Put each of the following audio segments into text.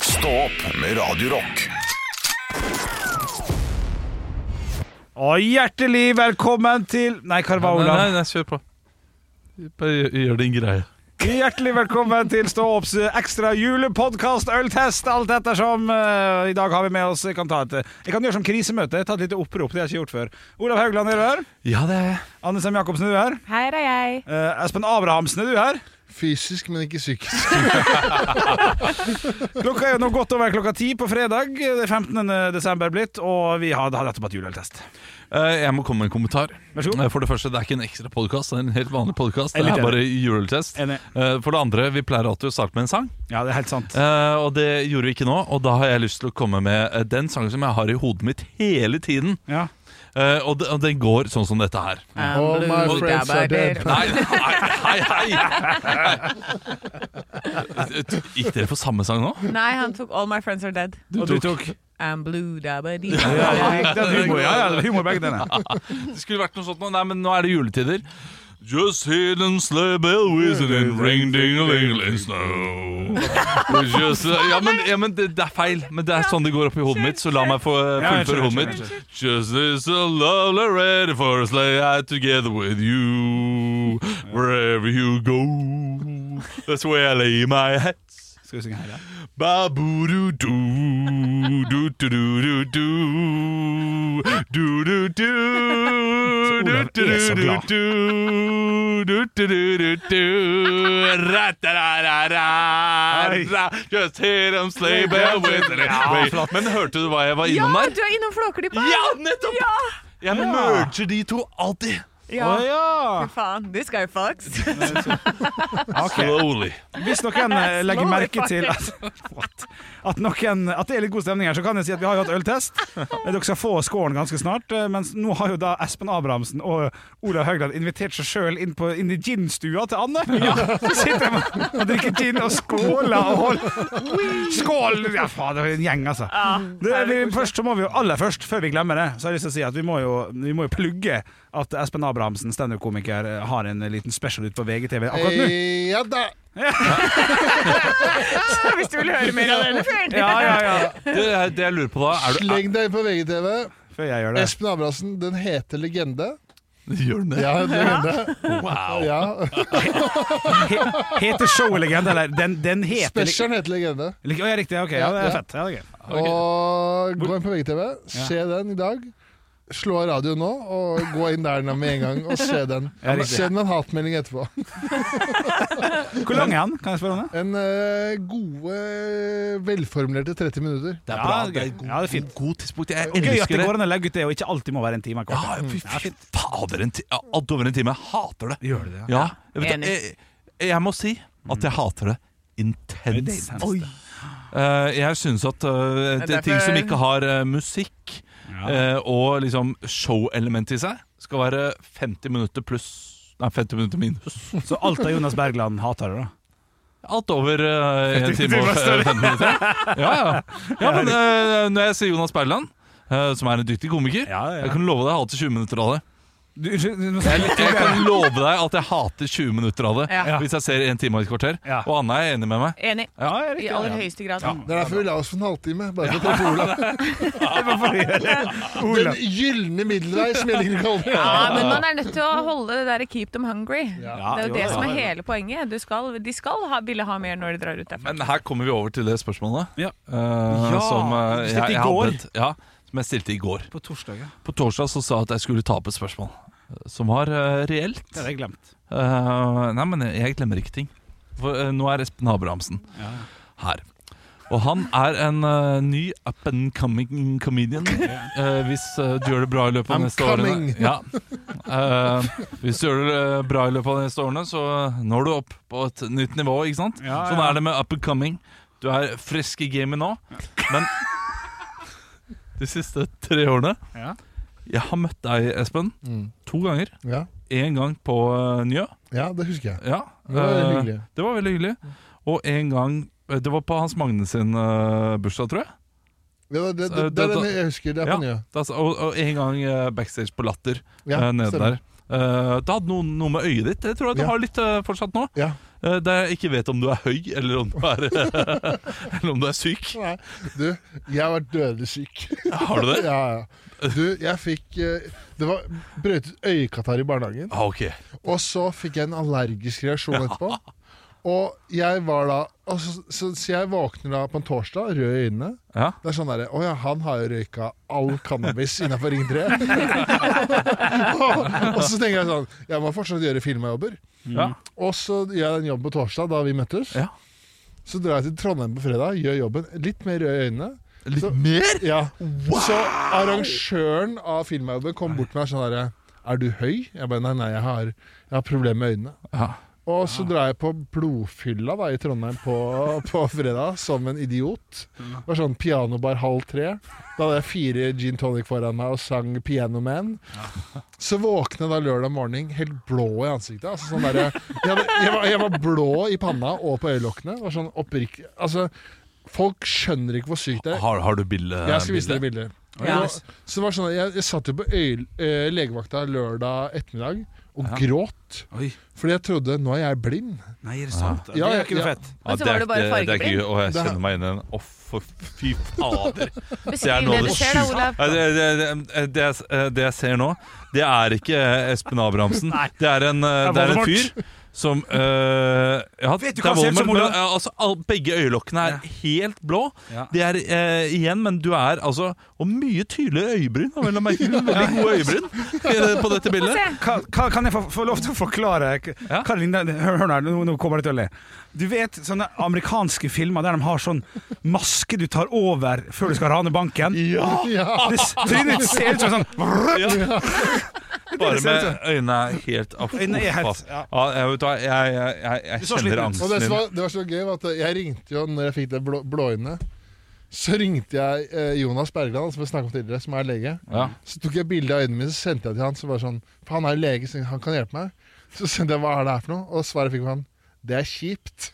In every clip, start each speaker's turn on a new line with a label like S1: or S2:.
S1: Stå opp med Radio Rock.
S2: Og hjertelig velkommen til Nei, hva var
S3: Nei, nei,
S2: Olav?
S3: nei, kjør på. Bare gjør, gjør din greie.
S2: Hjertelig velkommen til Stå opps ekstra julepodkast, øltest, alt ettersom. Eh, I dag har vi med oss Jeg kan, ta et, jeg kan gjøre som krisemøte, ta et lite opprop. Det har jeg ikke gjort før. Olav Haugland er du her.
S3: Ja, det er jeg.
S2: Anne Sem Jacobsen er du her.
S4: Her er jeg.
S2: Eh, Espen Abrahamsen er du her.
S5: Fysisk, men ikke psykisk.
S2: Klokka er jo nå godt over klokka ti på fredag. Det er 15. desember blitt, og vi har har nettopp hatt juleøltest.
S3: Eh, Jeg må komme med en kommentar.
S2: Vær så god.
S3: Eh, For det første, det er ikke en ekstra podkast. Det er en helt vanlig podkast.
S2: Jeg
S3: Det
S2: er
S3: er
S2: litt
S3: bare juletest.
S2: Enig.
S3: Eh, For det andre, vi pleier alltid å starte med en sang,
S2: Ja, det er helt sant.
S3: Eh, og det gjorde vi ikke nå. Og da har jeg lyst til å komme med eh, den sangen som jeg har i hodet mitt hele tiden.
S2: Ja.
S3: Eh, Og det- og den går sånn som dette her.
S5: All my
S3: blue
S5: friends are dead.
S3: Nei, nei, hei, hei! Gikk dere for samme sang nå?
S4: Nei, han tok All My Friends Are Dead.
S2: og du tok
S4: I'm blue dabba dee.
S2: ja, det er humor, ja, ja, det er humor begge denne.
S3: Det skulle vært noe sånt nå. Nei, men nå er det juletider. Just hear them sleigh bell whistling, ring ding a ling ling snow. Just, eh, ja, men, ja, men det, det er feil. Men det er sånn det går opp i hodet mitt, så la meg få eh,
S2: Ja, jeg skjønner,
S3: fullføre hodet mitt.
S2: jeg
S3: Just is a lovely ready for a sleigh ride together with you. Wherever you go, that's where I lay my hat.
S2: Skal vi synge her, ja?
S3: Ba-bu-du-du, du-du-du-du-du, du-du-du, du-du-du-du-du, du-du-du-du-du, ra-ta-ra-ra-ra-ra, just hear them sleigh bell with it. Wait, Men hørte du hva jeg var
S4: Ja,
S3: innom der?
S4: du er innom Flåklypa!
S3: Ja, nettopp!
S4: Ja!
S3: Jeg merger de to alltid.
S4: ja.
S2: Å ja!
S4: Fy faen, this guy fucks.
S3: Slowly.
S2: Hvis noen eh, legger
S4: Slår
S2: merke
S4: faktisk.
S2: til at, What? at, noen, at det er litt god stemning her, så kan jeg si at vi har jo hatt øltest. Eh, Dere skal få scoren ganske snart. eh, Mens nå har jo da Espen Abrahamsen og eh, Olav Haugland invitert seg sjøl inn, på- inn i ginstua til Anne. Så sitter de og drikker gin og skåler og holder Skål! Ja, faen, det er en gjeng, altså. Det, vi, først så må vi jo aller først, før vi glemmer det, så har jeg lyst til å si at vi må jo, vi må jo plugge at Espen Abrahamsen, standup-komiker, eh, har en liten special ute på VGTV akkurat nå.
S5: Eh, Ja da!
S4: Hvis du vil høre mer av denne fyren.
S2: Ja, ja, ja.
S3: Det, det jeg lurer på da, er du...
S5: Sleng deg inn på VGTV.
S2: Før jeg gjør det.
S5: Espen Abrahamsen, den heter Legende.
S3: Gjør den det?
S5: Ja, Legende.
S3: Wow.
S5: Ja.
S2: He- Heter showet Legende, eller den, den heter Leg-
S5: Specialen heter Legende.
S2: Leg- Å, ja, riktig. Ok, ja, det
S5: Ja,
S2: er
S5: ja.
S2: fett. Ja, det er gøy.
S5: Og gå inn på VGTV, se den i dag. Slå av radioen nå, og gå inn der nå med en gang og se den.
S2: Ja, riktig.
S5: Send meg en hatmelding etterpå.
S2: Hvor lang er han? Kan jeg spørre om det?
S5: En eh, gode, velformulerte 30 minutter.
S3: Det er
S2: Ja,
S3: bra.
S2: det er
S3: Det er
S2: gøy.
S3: god,
S2: Ja, det er fint.
S3: god, god tidspunkt. Jeg
S2: Gøy at
S3: elsker
S2: det
S3: det.
S2: går an å legge ut det, og ikke alltid må være en time.
S3: Ja, fy fy fader, en ti ja, alt over en time. Jeg hater det.
S2: Gjør det det?
S3: Ja, jeg, vet,
S4: Enig.
S3: jeg, jeg må si at jeg hater det intenst.
S2: Oi.
S3: Eh, jeg syns at eh,
S4: Det er
S3: det er ting som
S4: derfor-
S3: ikke har eh, musikk
S2: Ja.
S3: eh, og liksom showelement i seg, skal være 50 minutter pluss Nei, 50 minutter minus.
S2: Så alt av Jonas Bergland hater det, da?
S3: Alt over eh, en
S2: 50
S3: time og
S2: timer, sorry.
S3: 15 minutter. Ja, ja. ja men eh, når jeg ser Jonas Berland, eh, som er en dyktig komiker
S2: Ja, ja.
S3: Jeg kan love deg jeg hater 20 minutter av det.
S2: Du, unnskyld du må-
S3: Jeg, jeg kan love deg at jeg hater 20 minutter av det
S4: Ja.
S3: hvis jeg ser en time og et kvarter.
S2: Ja.
S3: Og Anna er enig med meg.
S4: Enig.
S2: Ja, jeg er
S4: I
S2: riktig.
S4: aller høyeste grad.
S2: Ja.
S5: Det er derfor vi la oss for en halvtime. Bare for å treffe Olav.
S2: Det var for å gjøre det.
S5: Den
S2: Olav.
S5: gylne middelvei, som jeg liker å kalle det.
S4: Ja, men man er nødt til å holde det der 'keep them hungry'.
S2: Ja,
S4: Det er jo
S2: jo,
S4: det
S2: ja.
S4: som er hele poenget. Du skal, de skal ha, ville ha mer når de drar ut derfra.
S3: Men her kommer vi over til det spørsmålet
S2: Ja.
S3: eh,
S2: Ja,
S3: som, eh,
S2: du
S3: jeg,
S2: stilte i
S3: jeg hadde
S2: går.
S3: et, ja, som jeg stilte i går.
S2: På torsdag, ja.
S3: På torsdag så sa jeg at jeg skulle ta opp et spørsmål eh, som var eh, reelt.
S2: Det hadde jeg glemt.
S3: Eh, nei, men jeg glemmer ikke ting. For, eh, nå er Espen Abrahamsen
S2: Ja.
S3: her. Og han er en eh, ny up and coming comedian. Eh, hvis eh, du gjør det bra i løpet av
S5: I'm
S3: neste årene
S5: coming.
S3: ja. Eh, Hvis du gjør det eh, bra i løpet av de neste årene, så når du opp på et nytt nivå. ikke sant?
S2: Ja,
S3: Sånn
S2: ja.
S3: er det med up and coming. Du er frisk i gamet nå, men de siste tre årene
S2: Ja.
S3: Jeg har møtt deg, Espen,
S5: Mm.
S3: to ganger.
S5: Ja.
S3: Én gang på eh, Njø.
S5: ja, det husker jeg.
S3: Ja,
S5: Det var veldig
S3: eh,
S5: hyggelig.
S3: det var veldig hyggelig. Og en gang eh, Det var på Hans Magne sin eh, bursdag, tror jeg.
S5: Det, var- det, det,
S3: Eh,
S5: det
S3: da-
S5: er den jeg husker. Det er
S3: Ja.
S5: på Njø.
S3: Da, og, og en gang eh, backstage på Latter
S5: Ja,
S3: eh, nede
S5: stemmer.
S3: der. Eh, det hadde noe, noe med øyet ditt. Det tror jeg du
S5: Ja.
S3: har litt eh, fortsatt nå.
S5: Ja.
S3: Eh, der jeg ikke vet om du er høy, eller om du er, eh, eller om du er syk.
S5: Nei. Du, jeg har vært dødelig syk.
S3: Har du det?
S5: ja, ja. Du, jeg fikk eh, Det var brøytet øyekatarr i barnehagen.
S3: Ah, ok.
S5: Og så fikk jeg en allergisk reaksjon etterpå. Og jeg var da altså, så, så jeg våkner da på en torsdag, rød i øynene.
S3: Ja.
S5: Det er sånn derre Å ja, han har jo røyka all cannabis innafor Ring 3. og, og så tenker jeg sånn Jeg må fortsatt gjøre filmjobber.
S3: Ja.
S5: Og så gjør jeg den jobben på torsdag, da vi møttes.
S3: Ja.
S5: Så drar jeg til Trondheim på fredag, gjør jobben. Litt mer rød i øynene.
S3: Litt
S5: Så-
S3: mer?
S5: Ja. Så arrangøren av filmjobben kom bort til meg og sånn derre Er du høy? Jeg bare nei, nei, jeg har, jeg har problemer med øynene.
S3: Ja.
S5: Og så drar jeg på blodfylla da, i Trondheim på, på fredag, som en idiot. Det var sånn pianobar halv tre. Da hadde jeg fire gin tonic foran meg og sang Piano Man. Så våkner jeg da lørdag morgen helt blå i ansiktet. Altså sånn derre- jeg, hadde- jeg, var, jeg var blå i panna og på øyelokkene. Det var Sånn oppriktig Altså, folk skjønner ikke hvor sykt det er.
S3: Har, har du bilde?
S5: Jeg skal vise dere bilder.
S4: Ja.
S5: Og Så det var sånn, at jeg, jeg satt jo på øy, eh, legevakta lørdag ettermiddag og
S2: Ja.
S5: gråt.
S2: Oi.
S5: Fordi jeg trodde nå er jeg blind.
S2: Nei, er det sant? det
S5: Ja, ja,
S2: er ikke noe
S5: ja.
S2: fett.
S4: Men så var det bare fargeblind.
S3: Og jeg
S5: Det-
S3: kjenner meg inn i den. Å, for fy fader. Det er
S4: Beskriv
S3: noe
S4: det
S3: av
S4: du
S3: det
S4: ser, da, Olav.
S3: Nei, Det, det, det, det, jeg s- eh, det jeg ser nå, det er ikke Espen Abrahamsen. Det er en, eh,
S2: Det
S3: det
S2: er
S3: er en
S2: Voldemort.
S3: fyr som eh, ja,
S2: Vet du
S3: det er
S2: hva han ser ut som,
S3: Voldemort, men,
S2: Olav?
S3: eh, altså, all, Begge øyelokkene er helt blå.
S2: Ja.
S3: Det er eh, igjen, men du er altså Og mye tydeligere øyebryn. og vel å merke, Veldig gode øyebryn eh, på dette
S4: Få
S3: bildet.
S4: se.
S2: Hva, hva, kan jeg få, få lov til å forklare? K-
S3: Ja.
S2: Hva det ligner- hør, hør nå, her, nå, nå kommer det til å le. Du vet sånne amerikanske filmer der de har sånn maske du tar over før du skal rane banken?
S5: Ja.
S2: Det s- Trynet ditt ser ut som en sånn
S3: Ja. Bare
S2: ser
S3: med
S2: ut
S3: øynene er helt ah,
S2: Øynene er helt-
S3: uff, ass.
S2: ja.
S3: Ja, jeg, vet hva, jeg, jeg, jeg,
S2: Du
S3: jeg
S2: så
S3: kjenner
S2: sliten ut.
S5: Og det
S3: angsten
S5: som
S3: din.
S5: var, det var så gøy, var at jeg ringte jo når jeg fikk det blå, blåøyne. Så ringte jeg eh, Jonas Bergland, som jeg snakket om tidligere, som er lege.
S3: Ja.
S5: Så tok jeg bilde av øynene mine, så sendte jeg til han. Så var det sånn, for han er jo lege, så han kan hjelpe meg. Så sendte jeg hva er det her for noe, og svaret fikk han. Det er kjipt.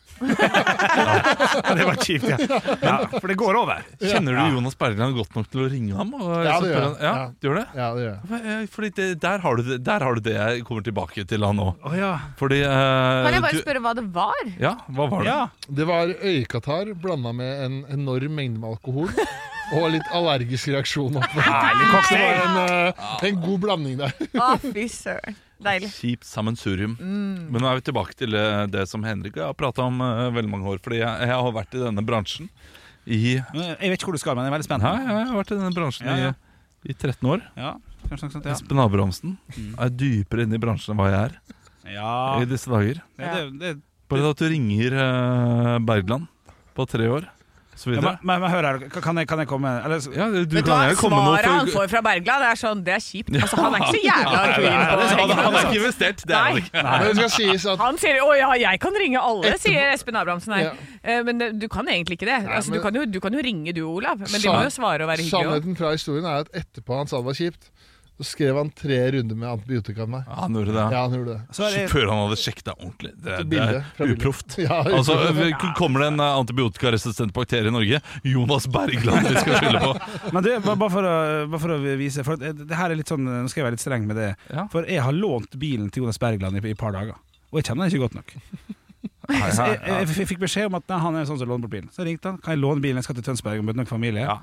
S2: Ja, det var kjipt, ja. ja. For det går over.
S3: Kjenner du Jonas Bergland godt nok til å ringe ham? Og
S5: Ja, det
S3: så
S5: gjør
S3: spør
S5: jeg.
S3: han- Ja,
S5: Ja.
S3: du gjør det?
S5: Ja, det gjør jeg.
S3: Eh, Fordi det, der, har du det, der har du det jeg kommer tilbake til han nå.
S2: Å ja.
S3: Fordi eh,
S4: Kan jeg bare
S3: du-
S4: spørre hva det var?
S3: Ja, hva var det?
S2: ja.
S5: Det var øyekatarr blanda med en enorm mengde med alkohol. Og litt allergisk reaksjon. oppå.
S2: Herlig
S5: Så Det
S2: cocktail.
S5: var en, eh, en god blanding der.
S4: Å, fy søren. Deilig.
S3: Kjipt sammensurium.
S2: Mm.
S3: Men nå er vi tilbake til eh, det som Henrik og jeg har prata om eh, veldig mange år. Fordi jeg, jeg har vært i denne bransjen i ja,
S2: Jeg vet ikke hvor du skal, men jeg er veldig spent.
S3: ja, jeg har vært i denne bransjen
S2: Ja, ja.
S3: I, i 13 år.
S2: Ja, kanskje noe sånt, ja. Mm.
S3: Espen Abrahamsen er dypere inne i bransjen enn hva jeg er
S2: Ja,
S3: i disse dager.
S2: det, det,
S3: Bare at du ringer eh, Bergland på tre år, så
S2: ja,
S3: videre.
S2: men, men, men hør her, kan jeg, kan jeg komme Eller, så-
S3: Ja, du
S4: Vet du
S3: kan
S4: hva
S3: gjerne komme med noe
S4: svaret
S3: for-
S4: han får fra Bergland, er sånn Det er kjipt. Altså, han er ikke så jævla
S3: Nei,
S4: keen
S3: det er sant,
S4: på
S3: han,
S4: å
S3: han er
S4: ringe.
S3: ikke investert. Det er han
S4: Nei.
S3: ikke.
S5: Men det skal sies at
S4: Han sier 'Å ja, jeg kan ringe alle',
S5: Etterpå-
S4: sier Espen Abrahamsen her.
S5: Ja.
S4: Eh, Men eh, du kan egentlig ikke det. Altså, du,
S5: men-
S4: kan jo, du kan jo ringe du, Olav, men de må jo svare og være hyggelige.
S5: sannheten fra historien er at etterpå han sa det var kjipt, så skrev han tre runder med antibiotika med meg.
S3: Ja, han gjorde det.
S5: Ja, han gjorde det.
S2: så er det,
S3: Før han hadde sjekket deg ordentlig. Det,
S5: Så
S3: det
S5: bildet fra
S3: er
S5: bildet.
S3: uproft.
S5: Ja,
S3: Altså, vi- Kommer det en eh, antibiotikaresistent bakterie i Norge? Jonas Bergland vi skal skylde på.
S2: men det, bare, bare, for å, bare for å vise for det, det her er litt sånn, Nå skal jeg være litt streng med det.
S3: Ja.
S2: For jeg har lånt bilen til Jonas Bergland i, i et par dager, og jeg kjenner han ikke godt nok. Så jeg, jeg, jeg fikk beskjed om at nei, han er sånn som låner bort bilen. Så jeg ringte han. Kan jeg låne bilen? Jeg skal til Tønsberg og møte noen familie.
S3: Ja.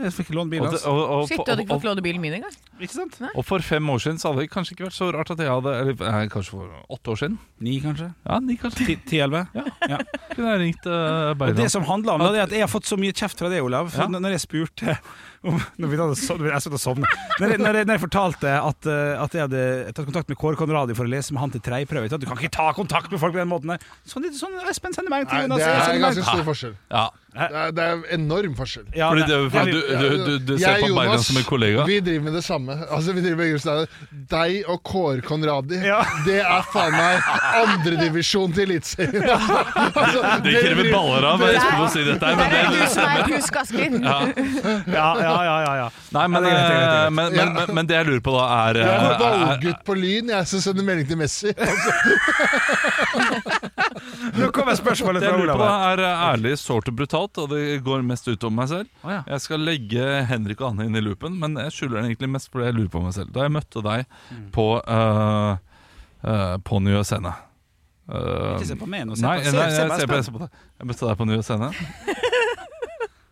S2: Jeg fikk låne bilen
S3: Og, det-
S2: hans.
S3: og, og,
S4: Shit, du
S3: og,
S4: hadde ikke fått
S3: og,
S4: låne bilen min engang.
S2: Ikke sant?
S3: og for fem år siden så hadde det kanskje ikke vært så rart at jeg hadde Eller eh, kanskje for åtte år siden.
S2: Ni, kanskje?
S3: Ja, ni kanskje
S2: Ti-elleve?
S3: Ja.
S2: Ja.
S3: kunne jeg ringt eh,
S2: Og det
S3: Bergland.
S2: som handler om det, det er at jeg har fått så mye kjeft fra deg, Olav. For
S3: Ja.
S2: n- Når jeg spurte om Når vi hadde sov- når jeg satt og sovnet. Når, jeg- når, jeg- når jeg fortalte at, eh, at jeg hadde tatt kontakt med Kåre Conradi for å lese med han til tredjeprøve Jeg sa, Du kan ikke ta kontakt med folk på den måten der! Sånn, sånn Espen sender melding til
S5: Nei,
S2: Jonas.
S5: det
S2: jeg
S5: er
S2: sender
S5: ganske
S2: melding-
S5: stor forskjell.
S3: Ja,
S5: Det er, det er enorm forskjell.
S2: Ja,
S3: fordi
S2: nei,
S3: det, for
S2: jeg-
S3: du, du, du, du ser
S5: Jeg,
S3: på Bergland
S5: Jonas,
S3: som en kollega.
S5: Vi driver med det samme. Altså, vi driver med grunnsteiner. Deg og Kåre Conradi,
S2: Ja.
S5: det er faen meg andredivisjon til Eliteserien. Altså,
S3: Det krever
S5: driver-
S3: baller av meg, jeg skulle si dette her, men
S4: Der
S3: det,
S4: er du som er kusk, Asker.
S2: ja, ja, ja, ja, ja.
S3: Nei, men,
S2: Ja, det er greit, det er greit, det er
S3: eh,
S2: greit.
S3: men, men, men, men det jeg lurer på da, er,
S5: Jeg er
S3: eh,
S5: en
S3: er, er
S5: ballgutt på Lyn, jeg, som sender melding til Messi.
S2: Nå kommer spørsmålet
S3: Det
S2: fra
S3: jeg lurer på
S2: Olav.
S3: da er ærlig, sårt og brutalt. sitat, og det går mest ut om meg selv.
S2: Å, ja.
S3: Jeg skal legge Henrik og Anne inn i loopen, men jeg skylder den egentlig mest fordi jeg lurer på meg selv. Da jeg møtte deg
S2: Mm.
S3: på, uh, på Nye Scene Eh,
S2: Ikke se på meg nå. Se
S3: Nei,
S2: på, se,
S3: nei,
S2: se
S3: jeg
S2: på
S3: ser på, jeg
S2: Espen.
S3: ser på deg. Jeg møtte deg på Nye Scene.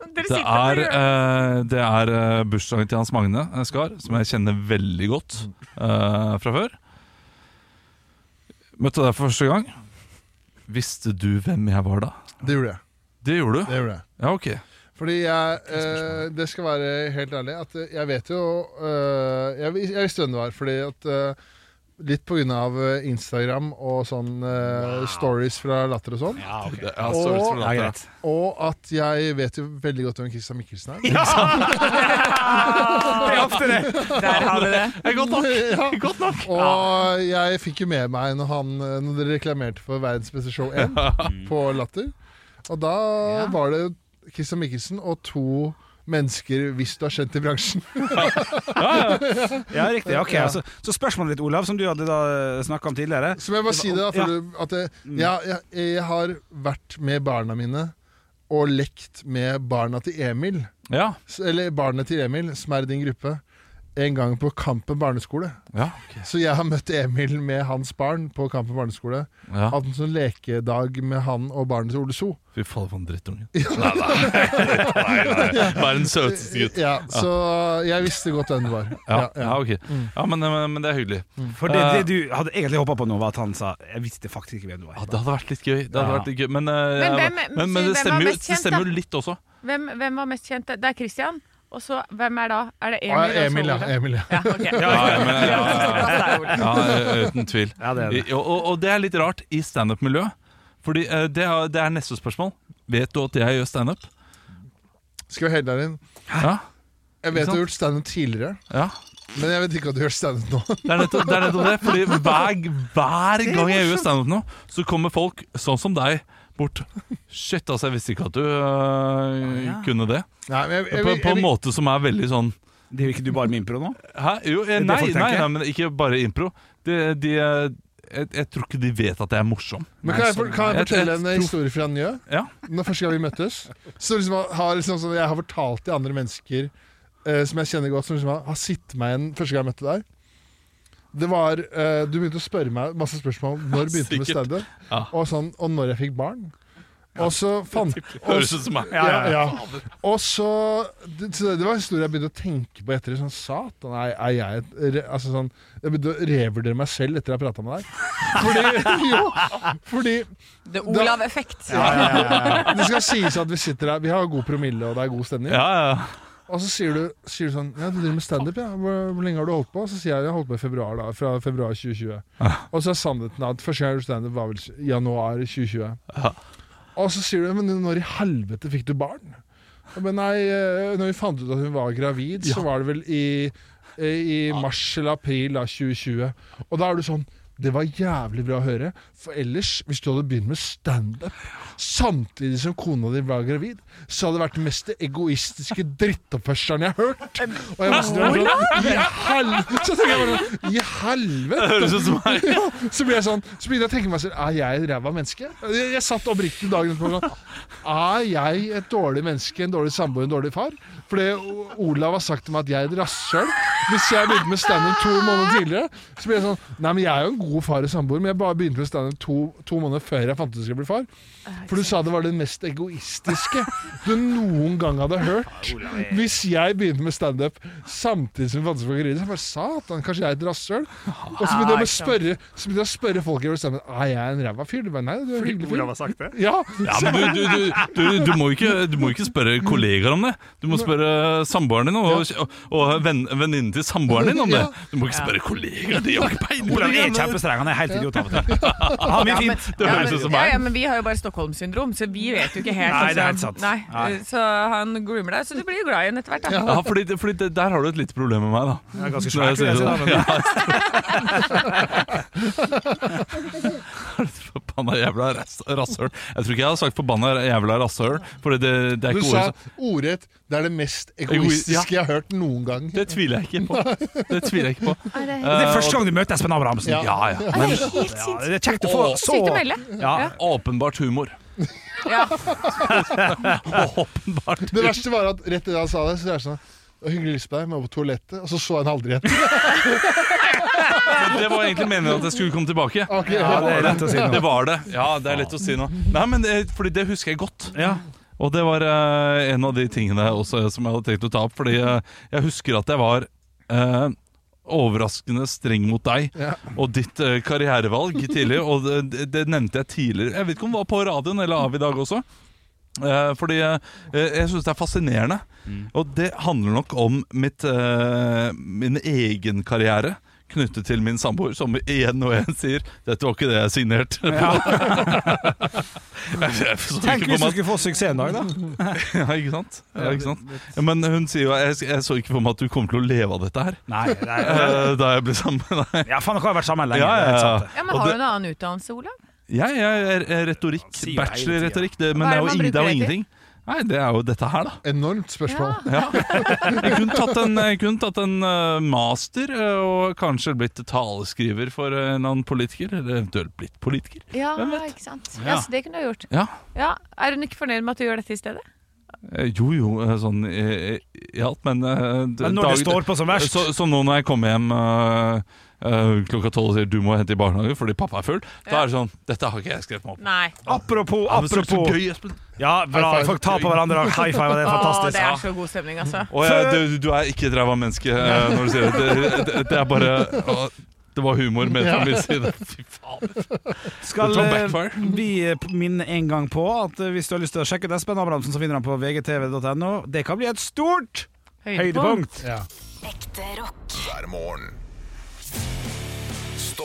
S4: Dere
S3: Det
S4: sitter
S3: er,
S4: og gjør
S3: eh, det er eh, bursdagen til Hans Magne eh, Skar, som jeg kjenner veldig godt eh, fra før. Møtte deg for første gang. Visste du hvem jeg var da?
S5: Det gjorde jeg.
S3: Det gjorde du?
S5: Det gjorde jeg.
S3: Ja, ok.
S5: Fordi jeg eh, Det skal være helt ærlig at eh, jeg vet jo eh, jeg, vis- jeg visste hvem det var, fordi at eh, Litt på grunn av eh, Instagram og sånn eh, stories fra latter og sånn.
S2: Ja, ok.
S3: Det er så vidt som
S5: Og-
S2: Ja,
S3: latter.
S2: greit.
S5: Og at jeg vet jo veldig godt hvem Christian Mikkelsen er.
S2: Ja! Det er ofte det.
S4: Der har vi det.
S5: Godt nok! Og jeg fikk jo med meg når, han, når dere reklamerte for Verdens beste show 1 på Latter. Og da
S2: Ja.
S5: var det Christian Mikkelsen og to mennesker, hvis du har kjent i bransjen.
S2: Ja, riktig. Ok, altså, Så spørsmålet ditt, Olav, som du hadde da snakka om tidligere.
S5: Så må jeg bare si det, da.
S2: Ja.
S5: For du- at jeg, jeg, jeg, jeg har vært med barna mine og lekt med barna til Emil.
S3: Ja.
S5: S- Eller barnet til Emil, som er i din gruppe. En gang på Kampen barneskole.
S3: Ja.
S5: Så jeg har møtt Emil med hans barn på Kampen barneskole.
S3: ja.
S5: Hatt en sånn lekedag med han og barnet til Ole So.
S3: Fy faen, for en drittungen. Nei, nei, nei, nei. Verdens søteste gutt.
S5: Ja, så jeg visste godt hvem det var.
S3: Ja, Mm. ja, ok. Ja, men, eh, men, men det er hyggelig.
S2: For det,
S3: Ah.
S2: det du hadde egentlig håpa på nå, var at han sa 'jeg visste faktisk ikke hvem du
S3: Ja,
S2: var'.
S3: det hadde vært litt gøy. Det hadde
S2: Ja.
S3: vært litt gøy. Men, eh,
S4: Men
S3: men,
S4: hvem-
S3: men,
S4: si hvem
S3: det,
S4: var
S3: stemmer jo,
S4: mest kjent,
S3: det stemmer
S4: da?
S3: jo litt også.
S4: Hvem, hvem var mest kjent? Det er Christian. Og så, hvem er da? Er det
S5: Ah, Ja,
S4: Emil?
S5: Emil,
S4: og så
S5: ja.
S4: Olav?
S5: Emil, ja.
S4: Ja, ok.
S3: Ja, ja, men, ja,
S4: Ja, det er Olav.
S3: Ja, eh, uten tvil.
S2: Ja, det er det.
S3: I- Og, og, og det er litt rart i standup-miljøet. Fordi eh, det, er, det er neste spørsmål. Vet du at jeg gjør standup?
S5: Skal vi helle deg inn?
S3: Ja,
S5: Jeg
S3: Ikke
S5: vet du
S3: sant?
S5: har gjort standup tidligere,
S3: ja.
S5: men jeg vet ikke at du gjør standup nå.
S3: Det er nettopp det. Er nettopp det fordi hver, hver gang jeg gjør standup nå, så kommer folk sånn som deg bort. Shit, altså, jeg visste ikke at du eh, kunne det.
S5: Nei, men jeg, jeg,
S3: På,
S5: jeg,
S3: på en
S5: jeg,
S3: måte som er veldig sånn
S2: Det er jo ikke du bare med impro nå?
S3: Hæ? Jo, eh,
S2: Det er det
S3: nei,
S2: folk
S3: nei,
S2: tenker.
S3: nei, men ikke bare impro. De, de, eh, jeg, jeg tror ikke de vet at jeg er morsom.
S5: men kan jeg, for- kan jeg
S3: Jeg- sånn, jeg
S5: fortelle en
S3: tror-
S5: historie fra Njø?
S3: Ja.
S5: Når første gang vi møttes. Så liksom har liksom, sånn, Jeg har fortalt til andre mennesker eh, som jeg kjenner godt, som liksom har, har sittet meg igjen første gang jeg møtte deg. Det var, eh, Du begynte å spørre meg masse spørsmål om når begynte du med
S3: Sikkert.
S5: standup,
S3: Ja.
S5: og, sånn, og når jeg fikk barn. Og så fant
S3: Høres ut som meg.
S5: ja, ja. Og så det, så det var en historie jeg begynte å tenke på etter. det, Sånn, Satan, er, er jeg et re, altså sånn, Jeg begynte å revurdere meg selv etter jeg prata med deg. Fordi, jo, fordi
S4: The Olav-effekt.
S5: ja, ja, ja. Det skal sies at vi sitter her Vi har god promille, og det er god stemning.
S3: Ja, ja.
S5: Og så sier du, sier du sånn Ja, du driver med standup, ja. Hvor, hvor lenge har du holdt på? Så sier jeg jeg har holdt på i februar, da. Fra februar 2020. Og så er sannheten at første gang jeg gjorde standup, var vel januar 2020.
S3: Ja.
S5: Og så sier du Men når i helvete fikk du barn? Ja, Men nei, eh, når vi fant ut at hun var gravid, så var det vel i, eh, i mars eller april da, 2020. Og da er du sånn det var jævlig bra å høre, for ellers, hvis du hadde begynt med standup samtidig som kona di var gravid, så hadde det vært den mest egoistiske drittoppførselen jeg har hørt. Og jeg var sånn, I helvete! Så tenker jeg bare sånn, I helvete!
S3: Høres ut som meg.
S5: Ja, så ble jeg sånn Så begynte jeg å tenke meg selv Er jeg et ræva menneske? Jeg, jeg satt oppriktig dagen etterpå og sånn, Er jeg et dårlig menneske, en dårlig samboer, en dårlig far? Fordi O- Olav har sagt til meg at jeg er et rasshøl. Hvis jeg begynte med standup to måneder tidligere, så blir jeg sånn Nei, men jeg er jo en god far og samboer, men jeg bare begynte med standup to, to måneder før jeg fant ut jeg skulle bli far. For du sa det var det mest egoistiske du noen gang hadde hørt. Hvis jeg begynte med standup samtidig som Fantes Folkeri, så bare satan, kanskje jeg er et rasshøl? Og så begynte jeg å spørre, så begynte jeg å spørre folk jeg ville stemme Er jeg en ræva fyr? Du bare, nei, du er en hyggelig fyr.
S2: har sagt det?
S5: Ja,
S3: Ja, men du, du, du, du, du, må ikke, du må ikke spørre kollegaer om det. Du må spørre samboeren din og, og, og venn- venninnen til samboeren din om det. Du må ikke spørre kollegaer. De har ikke peiling. på
S2: Olav er
S3: det.
S2: kjempestreng. Han er helt idiot av og til. Han er mye
S4: men,
S2: fint.
S3: Det
S4: ja,
S3: høres
S4: men,
S3: ut som
S4: ja,
S3: meg.
S4: ja, men vi har jo bare Stockholm-syndrom, så vi vet jo ikke helt.
S2: Nei, det er
S4: altså.
S2: helt sant.
S4: Nei,
S2: Nei.
S4: Så han groomer deg, så du blir jo glad i henne etter hvert. Da.
S3: Ja, fordi, fordi det- Der har du et lite problem med meg, da.
S2: Han er ganske
S3: Når jeg
S2: svær, vil jeg
S3: sier
S2: si da,
S3: sånn.
S2: men-
S3: Ja, Forbanna jævla rass- rasshøl. Jeg tror ikke jeg har sagt 'forbanna jævla rasshøl', for det, det er
S5: du
S3: ikke ordet
S5: sa
S3: som-
S5: ordrett Det er det mest
S3: Ja.
S5: egoistiske jeg har hørt noen gang.
S3: Det tviler jeg ikke på. Det tviler jeg ikke på. Eh,
S2: Det er første gang du møter Espen Abrahamsen.
S5: Ja.
S3: Ja, ja.
S4: Det er helt
S2: Ja,
S4: sinnssykt
S2: det er kjekt å få så
S4: å melde.
S2: Ja.
S4: Ja.
S3: Åpenbart humor.
S4: Ja.
S3: Åpenbart.
S5: Det verste var at rett idet han sa det, så er det sånn «Å, Hyggelig lyst på deg, må på toalettet. Og så så jeg han aldri igjen.
S3: Men Det var egentlig meningen at jeg skulle komme tilbake.
S5: Ok,
S2: Ja, det er lett å si
S3: Det
S2: noe.
S3: var det. Ja, det er lett å si nå. Nei, men eh, fordi det husker jeg godt.
S2: Ja.
S3: Og det var eh, en av de tingene også som jeg hadde tenkt å ta opp, fordi eh, jeg husker at jeg var eh, overraskende streng mot deg
S5: Ja.
S3: og ditt eh, karrierevalg tidlig, og det, det nevnte jeg tidligere. Jeg vet ikke om det var på radioen eller av i dag også. Eh, fordi eh, jeg syns det er fascinerende. Og det handler nok om mitt, eh, min egen karriere knyttet til min samboer, som igjen og igjen sier 'Dette var ikke det jeg signerte'. Jeg forstår ikke
S2: Tenk
S3: på
S2: hvis du
S3: meg-
S2: skulle få suksess en dag, da.
S3: ja, ikke sant? Ja, ikke sant? Ja, men hun sier jo jeg, jeg så ikke for meg at du kommer til å leve av dette her
S2: Nei, nei.
S3: eh, da jeg ble sammen med deg.
S2: Ja, faen, dere har vært sammen lenge.
S3: Ja, ja,
S2: det er helt sant,
S3: ja.
S2: det.
S4: ja, Men
S3: Og
S4: har
S3: det-
S4: du en annen utdannelse, Olav?
S3: Jeg, jeg er retorikk,
S2: sier jo hele
S3: bachelor i
S2: tiden.
S3: retorikk, det, men
S4: Hva
S3: det
S4: er
S3: er,
S4: det
S3: jo
S4: man
S3: ing- det er jo
S4: bruker det til?
S3: ingenting. Nei, det er jo dette her, da.
S5: Enormt
S4: Ja.
S5: spørsmål.
S3: Jeg kunne tatt en, jeg kunne tatt en eh, master eh, og kanskje blitt taleskriver for eh, en annen politiker, eller eventuelt blitt politiker.
S4: ja,
S3: Hvem vet?
S4: ikke sant.
S2: Ja.
S4: Ja, så det kunne du ha gjort.
S3: Ja.
S4: Ja, Er hun ikke fornøyd med at du gjør dette i stedet?
S3: Eh, Jo jo, eh, sånn eh, i alt, men eh, d-
S2: Men når det
S3: dag-
S2: står på som verst
S3: Så, så nå når jeg kommer hjem øh, øh, klokka tolv og sier du må hente i barnehage fordi pappa er full, da
S4: Ja.
S3: er det sånn Dette har ikke jeg skrevet meg opp på.
S4: Nei.
S2: Apropos,
S3: Ja, men så- så
S2: apropos
S3: gøy, Espen.
S2: Ja, bra.
S5: High five.
S2: Folk tar på hverandre og high five, og det er
S4: Å, det
S2: fantastisk.
S4: er så god stemning, altså.
S3: Å, ja, du, du er ikke et ræva menneske øh, når du sier det. Det, det. det er bare å, Det var humor med fra min side. Fy faen.
S2: Skal
S3: Det tar
S2: eh,
S3: backfire.
S2: vi eh, minne en gang på at eh, hvis du har lyst til å sjekke ut Espen Abrahamsen, så finner han på vgtv.no. Det kan bli et stort høydepunkt.
S5: Ja.
S6: Ekte rock.
S1: hver morgen. Stå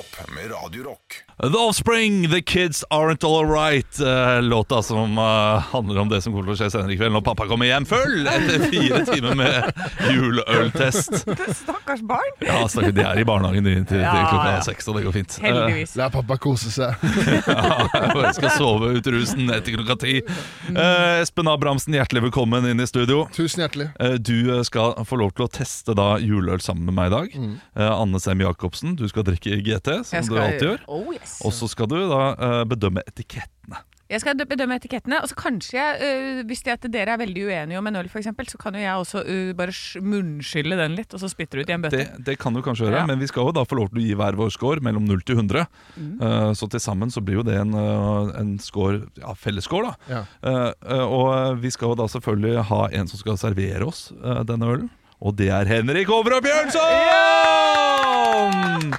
S1: opp med Radio Rock.
S3: The Offspring, The Kids Aren't All Right. eh, låta som eh, handler om det som kommer til å skje senere i kveld når pappa kommer hjem full etter fire timer med juleøltest.
S4: Stakkars barn.
S3: Ja, snakker, de er i barnehagen de, til, til
S4: Ja,
S3: klokka
S4: ja.
S3: seks, og det går fint. Eh,
S4: Heldigvis.
S5: La pappa kose seg.
S3: Ja, jeg skal sove ut rusen etter klokka ti. Eh, Espen Abrahamsen, hjertelig velkommen inn i studio.
S5: Tusen hjertelig.
S3: Eh, du eh, skal få lov til å teste da juleøl sammen med meg i dag. Eh, Anne Sem Jacobsen, du skal drikke GT, som
S4: Jeg
S3: du alltid gjør.
S4: Oh, yes.
S3: Og så skal du da eh, bedømme etikettene.
S4: Jeg skal dø- bedømme etikettene, og så kanskje jeg, øh, hvis det at dere er veldig uenige om en øl for eksempel, så kan jo jeg også øh, bare sj- munnskylle den litt, og så spytter du ut i en bøtte.
S3: Det, det kan du kanskje gjøre,
S4: Ja.
S3: men vi skal jo da få lov til å gi hver vår score mellom 0 til 100.
S4: Mm.
S3: Eh, så til sammen så blir jo det en, eh, en score, ja, fellesscore, da.
S5: Ja.
S3: Eh, eh, og vi skal jo da selvfølgelig ha en som skal servere oss eh, denne ølen. Og det er Henrik Overå Bjørnson!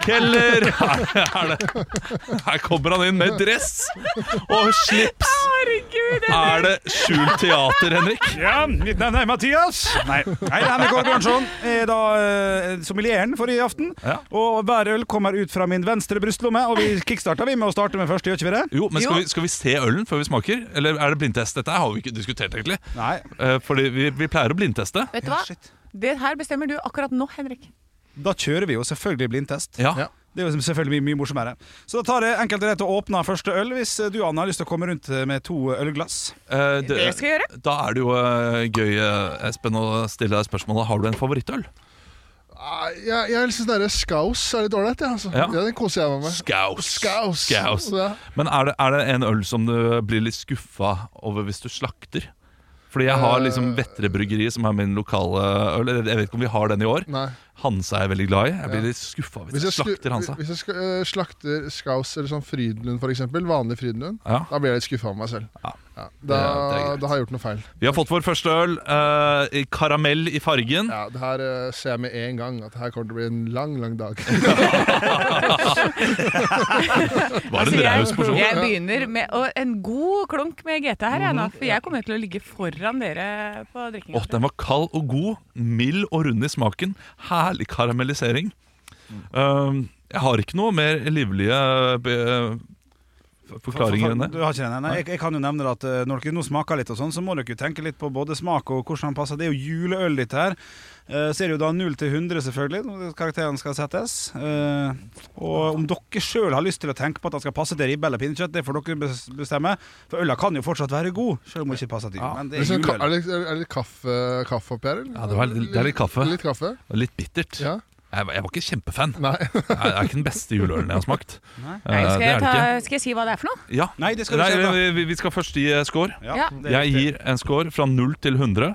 S3: Keller! Her, er det. Her kommer han inn med dress og slips!
S4: Herregud!
S3: Er det skjult teater, Henrik?
S2: Ja, mitt navn er Mathias. Nei, Nei Henrik Aare Bjørnson er da eh, sommelieren for i aften.
S3: Ja.
S2: Og hver øl kommer ut fra min venstre brystlomme, og vi kickstarter vi med å starte med første, gjør ikke vi det?
S3: Jo, men skal
S4: Jo.
S3: vi, skal vi se ølen før vi smaker? Eller er det blindtest? Dette har vi ikke diskutert, egentlig.
S2: Nei.
S3: Eh, fordi vi, vi pleier å blindteste.
S4: Vet du hva? Det her bestemmer du akkurat nå, Henrik.
S2: Da kjører vi jo selvfølgelig blindtest.
S3: Ja.
S5: Ja.
S2: Det er jo selvfølgelig mye, mye morsommere. Så da tar jeg enkelt og rett og åpner første øl, hvis eh, du Anne har lyst til å komme rundt eh, med to ølglass.
S3: Eh, det,
S4: Det skal jeg gjøre.
S3: Da er det jo eh, gøy, eh, Espen, å stille deg spørsmålet Har du en favorittøl.
S5: Ah, Jeg, jeg syns den der skaus er litt ålreit. jeg, Altså.
S3: Ja.
S5: Ja. Den koser jeg meg med.
S3: Skaus.
S5: Skaus!
S3: Skaus.
S5: Ja.
S3: Men er det, er det en øl som du blir litt skuffa over hvis du slakter? Fordi jeg har liksom Vettre bryggeri, som er min lokale øl. Jeg vet ikke om vi har den i år.
S5: Nei.
S3: Hansa er jeg veldig glad i. Jeg blir litt skuffa hvis,
S5: Hvis jeg,
S3: jeg slakter Hansa.
S5: hvis jeg sk- eh, slakter Skaus eller sånn Frydenlund, for eksempel, vanlig Frydenlund,
S3: Ja.
S5: da blir jeg litt skuffa over meg selv.
S3: Ja.
S5: Ja.
S3: det
S5: Da,
S3: er greit.
S5: da har jeg gjort noe feil.
S3: Vi har fått vår første øl. eh, i karamell i fargen.
S5: Ja, det her eh, ser jeg med en gang at det her kommer til å bli en lang, lang dag.
S3: Var det en raus
S4: Altså, jeg,
S3: porsjon?
S4: jeg begynner med og en god klunk med GT her, jeg, nå,
S3: Mm.
S4: for jeg kommer til å ligge foran dere på drikkinga.
S3: Åh, den var kald og god, mild og rund i smaken. Herlig karamellisering. Um, jeg har ikke noe mer livlige eh, be, eh, forklaringer enn det.
S2: Du har ikke den, nei. Nei, Jeg, jeg kan jo nevne det at eh, når dere nå smaker litt, og sånn så må dere jo tenke litt på både smak og hvordan den passer. Det er jo juleøl, dette her. Eh, Så er det jo da 0 til 100, selvfølgelig, når karakteren skal settes. Eh, Og om dere sjøl har lyst til å tenke på at den skal passe til ribbe eller pinnekjøtt, det får dere bes- bestemme. For øla kan jo fortsatt være god, sjøl om den ikke passer til. Men det
S5: Er
S2: er
S5: det, sånn, ka- er
S2: juleøl.
S5: det, er det litt kaffe, kaffe oppi her, eller?
S3: Ja, det var litt- det er litt kaffe.
S5: Litt kaffe,
S3: Litt bittert.
S5: ja.
S3: Jeg, var- jeg var ikke kjempefan.
S5: Nei.
S3: Det er det er ikke den beste juleølen jeg har smakt.
S2: Nei.
S3: Eh,
S4: Nei,
S3: det
S4: skal,
S3: er
S4: jeg
S3: det
S4: ta,
S3: ikke.
S4: skal jeg si hva det er for noe?
S3: Ja.
S2: Nei, det skal du
S3: Nei,
S2: ikke.
S3: vi, vi- vi skal først gi eh, score.
S2: Ja,
S4: Ja.
S2: det er
S3: Jeg
S2: riktig.
S3: gir en score fra 0 til 100.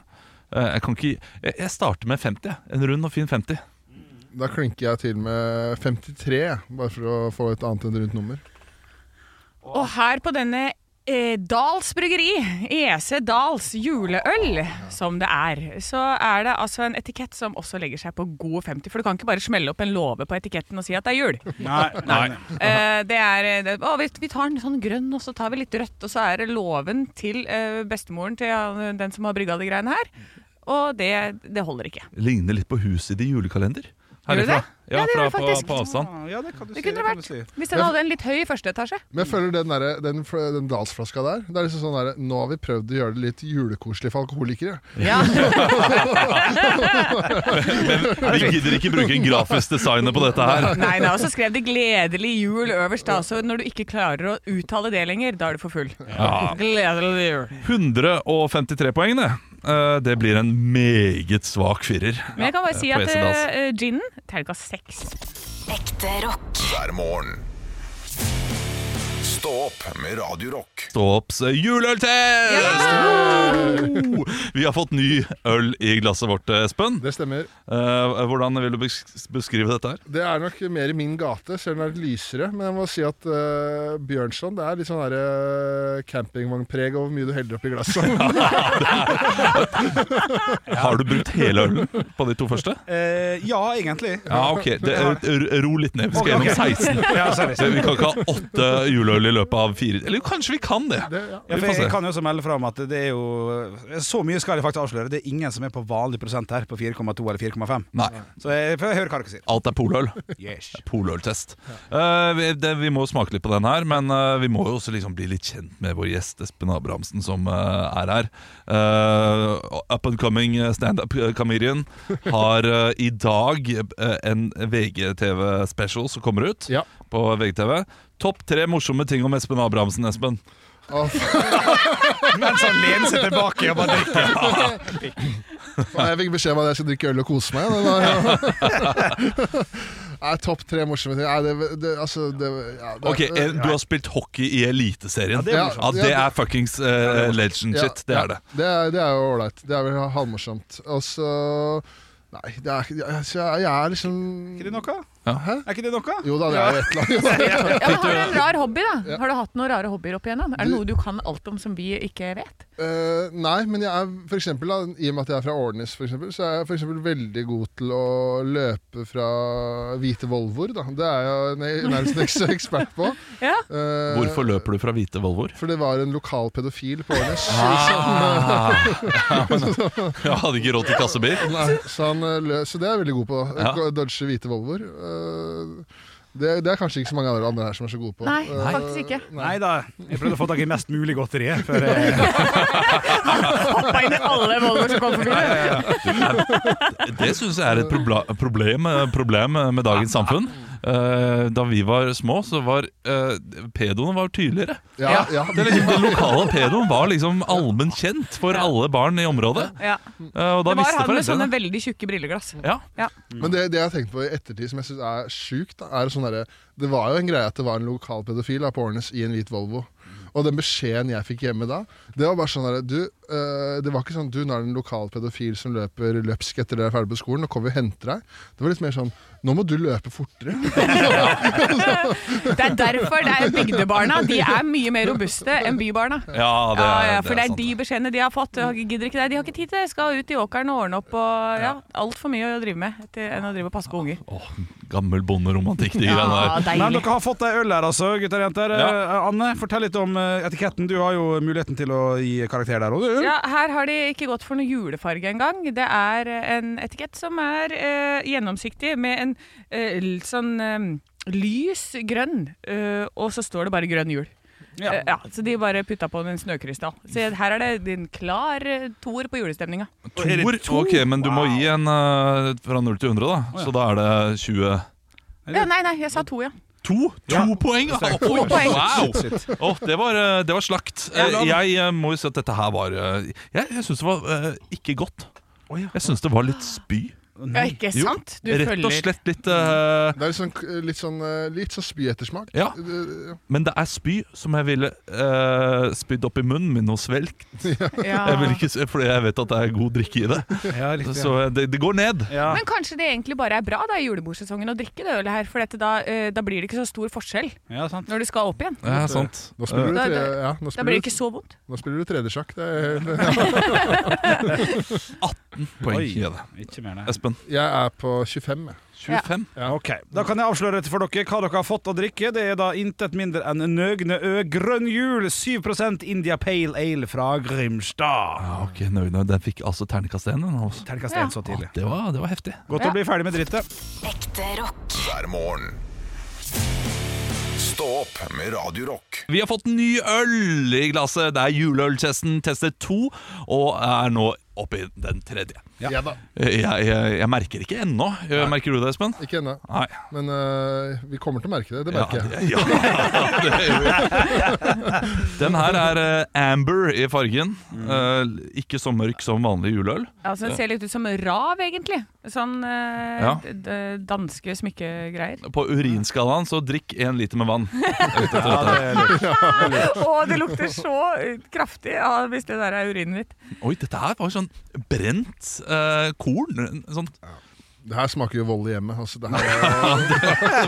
S3: Eh, Jeg kan ikke gi- Jeg jeg starter med 50. jeg. En rund og fin 50.
S5: Da klinker jeg til med 53, jeg, bare for å få et annet enn rundt nummer.
S4: Og her på denne eh, Dals bryggeri, EC Dals juleøl, som det er, så er det altså en etikett som også legger seg på god 50. For du kan ikke bare smelle opp en låve på etiketten og si at det er jul.
S2: Nei, nei, nei.
S4: Eh, det er, eh, det, å, vi, vi tar en sånn grønn, og så tar vi litt rødt, og så er det låven til eh, bestemoren til eh, den som har brygga de greiene her. Og det, det holder ikke.
S3: Ligner litt på huset i de julekalender.
S4: Gjør det
S3: Herifra.
S4: det?
S3: Ja,
S4: Ja, det gjør
S3: fra
S4: det
S3: på,
S4: faktisk.
S3: på avstand.
S2: Ah, Ja, det kan du si.
S4: Det kunne det
S2: kan du
S4: vært.
S2: si.
S4: Hvis den hadde en litt høy førsteetasje.
S5: Men jeg føler den, derre- den, fl- den Dals-flaska der Det er liksom sånn derre Nå har vi prøvd å gjøre det litt julekoselig for alkoholikere.
S4: Ja.
S3: Vi gidder ikke bruke grafisk designer på dette her.
S4: Nei, nei, og så skrev de 'gledelig jul' øverst da, så når du ikke klarer å uttale det lenger, da er du for full.
S3: Ja.
S4: Gledelig jul.
S3: 153 poeng, det. Eh, Det blir en meget svak firer.
S4: Men jeg kan bare si
S3: på
S4: at
S3: Esedals.
S4: eh, ginen terningkast seks.
S6: Ekte rock.
S1: hver morgen. Stå opp med Radio Rock.
S3: Stå opps juleøltest! Oh! Vi har fått ny øl i glasset vårt, Espen.
S5: Det stemmer.
S3: Eh, Hvordan vil du besk- beskrive dette her?
S5: Det er nok mer i min gate, selv om det er litt lysere. Men jeg må si at uh, Bjørnson det er litt sånn der, eh, campingvognpreg over hvor mye du heller oppi glasset.
S3: Har du brukt hele ølen på de to første?
S2: Eh, ja, egentlig.
S3: Ja, ok. Det, r- ro litt ned. Vi skal
S2: Ok, ok.
S3: gjennom 16.
S2: Ja, sorry.
S3: Så vi kan ikke ha åtte juleøl i løpet av fire Eller kanskje vi kan det?
S5: Det, ja.
S2: Ja,
S3: Vi
S2: for
S3: får se.
S2: jeg kan jo også melde fram at det er jo Så mye skal jeg faktisk avsløre. Det er ingen som er på vanlig prosent her, på 4,2 eller 4,5.
S3: Nei.
S2: Så jeg får høre hva dere sier.
S3: Alt er poløl.
S2: Yes.
S3: Poløltest. Eh, vi, det, vi må smake litt på den her, men eh, vi må jo også liksom bli litt kjent med vår gjest Espen Abrahamsen, som eh, er her. Eh, up and coming standup comedian har eh, i dag eh, en VGTV-special som kommer ut
S5: Ja.
S3: på VGTV. Topp tre morsomme ting om Espen Abrahamsen, Espen.
S5: Og,
S2: Mens han lener seg tilbake og bare drikker.
S5: og jeg fikk beskjed om at jeg skulle drikke øl og kose meg. Det var, Nei, topp tre morsomme ting. Nei, det, det, altså, det, ja, det,
S3: Ok, eh, Du har spilt hockey i Eliteserien.
S2: det er
S5: morsomt.
S3: Ja, det
S5: Ja,
S3: er fuckings eh, legend
S5: Ja,
S3: shit. Det
S5: ja.
S3: er det.
S5: Det er, det er jo ålreit. Det er vel halvmorsomt. Og så Nei, det er, ikke- altså, jeg, jeg er liksom
S2: Er ikke det noe?
S3: Ja.
S2: Er ikke det noe?
S5: Jo da, det er jo et eller annet.
S4: Ja, men har du en rar hobby, da? Har du hatt noen rare hobbyer opp igjennom? Er det noe du kan alt om som vi ikke vet?
S5: Eh, nei, men jeg er for eksempel, da, i og med at jeg er fra Årnes, for eksempel, så er jeg for eksempel veldig god til å løpe fra hvite Volvoer. Da. Det er jeg ne- nærmest en eks- ekspert på.
S4: Ja.
S5: Eh,
S3: Hvorfor løper du fra hvite Volvoer?
S5: For det var en lokal pedofil på Årnes.
S3: Jeg hadde ikke råd til kassebil.
S5: som, nei, så, han, eh, lø- så det er jeg veldig god på.
S3: Ja.
S5: Å Dodge hvite Volvoer. Eh, det, det er kanskje ikke så mange andre, andre her som er så gode på.
S4: Nei,
S5: Eh,
S4: faktisk ikke.
S2: Nei da. Jeg prøvde å få tak i mest mulig godteri. Før jeg...
S4: Hoppa inn i alle Volvoer som kom forbi.
S3: Det syns jeg er et probla problem, eh, problem eh, med dagens samfunn. Eh, da vi var små, så var eh, pedoene var tydeligere.
S5: ja, ja,
S3: Det, er liksom, den lokale pedoen var liksom allmenn kjent for alle barn i området.
S4: Ja.
S3: Eh, og da
S4: Det var
S3: visste
S4: han med sånne
S3: foreldrene.
S4: veldig tjukke brilleglass.
S3: Ja.
S5: Men det, det jeg har tenkt på i ettertid, som jeg syns er sjukt, da, er sånn derre Det var jo en greie at det var en lokal pedofil da, på Årnes i en hvit Volvo. Og den beskjeden jeg fikk hjemme da, det var bare sånn derre Du, eh, det var ikke sånn du, nå er det en lokal pedofil som løper løpsk etter dere er ferdig på skolen, nå kommer vi og henter deg. Det var litt mer sånn Nå må du løpe fortere.
S4: Det er derfor det er bygdebarna. De er mye mer robuste enn bybarna.
S3: Ja, det
S4: Ja,
S3: er,
S4: ja, for det er,
S3: sant,
S4: de beskjedene de har fått. Jeg gidder ikke det. De har ikke tid til det. Skal ut i åkeren og ordne opp og ja, altfor mye å drive med til, enn å drive og passe på unger.
S3: Åh, gammel bonderomantikk, de greiene der.
S2: Men dere har fått ei øl her, altså, gutter og jenter.
S3: Ja.
S2: Eh, Anne, fortell litt om eh, etiketten. Du har jo muligheten til å gi karakter der òg, du.
S4: Ja, her har de ikke gått for noe julefarge engang. Det er eh, en etikett som er eh, gjennomsiktig med en eh, l- sånn eh, lys grønn, eh, og så står det bare grønn jul.
S2: Ja.
S4: Eh, ja, så de bare putta på en snøkrystall. Så jeg- her er det en klar eh, toer på julestemninga.
S2: Er det
S3: Tor,
S2: to?
S3: ok, men du må gi en eh, fra 0 til 100, da. Så da er det 20
S4: Ja, Eh, nei, nei, jeg sa to, ja.
S3: To, to
S2: Ja.
S3: poeng! da.
S2: Sterkt.
S3: Oi,
S4: poeng.
S3: Wow!
S2: Shit, shit.
S3: Åh, det, var, eh, det var slakt. Eh,
S2: Ja, la-
S3: Jeg eh, må jo si at dette her var eh, Jeg, jeg syns det var eh, ikke godt. Jeg syns det var litt spy.
S4: Ja, ikke
S3: Jo,
S4: sant? Du
S3: Rett og
S4: følger-
S3: slett litt eh,
S5: Det er litt sånn, litt sånn, eh, litt sånn spyettersmak.
S3: Ja.
S5: Eh,
S3: Men det er spy som jeg ville eh, spydd opp i munnen min og svelgt.
S4: Ja.
S3: Jeg vil ikke, s- fordi jeg vet at det er god drikke i det.
S2: Ja, riktig.
S3: Så eh, det, det går ned.
S2: Ja.
S4: Men kanskje det egentlig bare er bra da i julebordsesongen å drikke det ølet her, for dette, da, eh, da blir det ikke så stor forskjell
S2: ja, sant.
S4: når du skal opp igjen.
S3: Ja, sant.
S5: Nå spiller du,
S4: Da-
S5: tre,
S4: da-
S5: ja,
S4: Da
S5: nå
S4: blir
S5: spiller
S4: det ikke
S5: du,
S4: så vondt.
S5: nå spiller du tredjesjakk. Det er-
S3: Poeng
S2: Oi,
S3: i det.
S2: ikke mer, nei.
S3: Espen,
S5: Jeg er på 25. jeg.
S3: 25.
S2: Ok, Da kan jeg avsløre for dere hva dere har fått å drikke. Det er da intet mindre enn Nøgne Ø Grønn Jul 7 India Pale Ale fra Grimstad.
S3: Ja, ok, nøy, nøy. Den fikk altså terningkast 1. Altså.
S2: Terningkast
S4: Ja.
S2: én så tidlig.
S3: Det, var- det var heftig.
S2: Godt å bli ferdig med drittet.
S6: Ekte rock.
S1: hver morgen. Stå opp med Radio Rock.
S3: Vi har fått ny øl i glasset. Det er juleøltesten testet to, og er nå oppe i den tredje.
S2: Ja.
S5: Ja da.
S3: Jeg, jeg, jeg merker ikke ennå. Eh, Merker du det, Espen?
S5: Ikke ennå.
S3: Nei.
S5: Men eh, vi kommer til å merke det. Det
S3: Ja,
S5: merker jeg.
S3: det- ja, det gjør jeg. Den her er eh, amber i fargen. Eh, ikke så mørk som vanlig juleøl.
S4: Altså, den ser litt ut som rav, egentlig. Sånn eh,
S3: Ja.
S4: d- d- danske smykkegreier.
S3: På urinskalaen så drikk én liter med vann.
S2: Ja, det er lurt.
S4: Å, det lukter så eh, kraftig av hvis det der er urinen ditt.
S3: Oi, dette her var jo sånn brent eh, korn. Sånn
S5: Det her smaker jo vold i hjemmet. Altså, det her er,
S3: ikke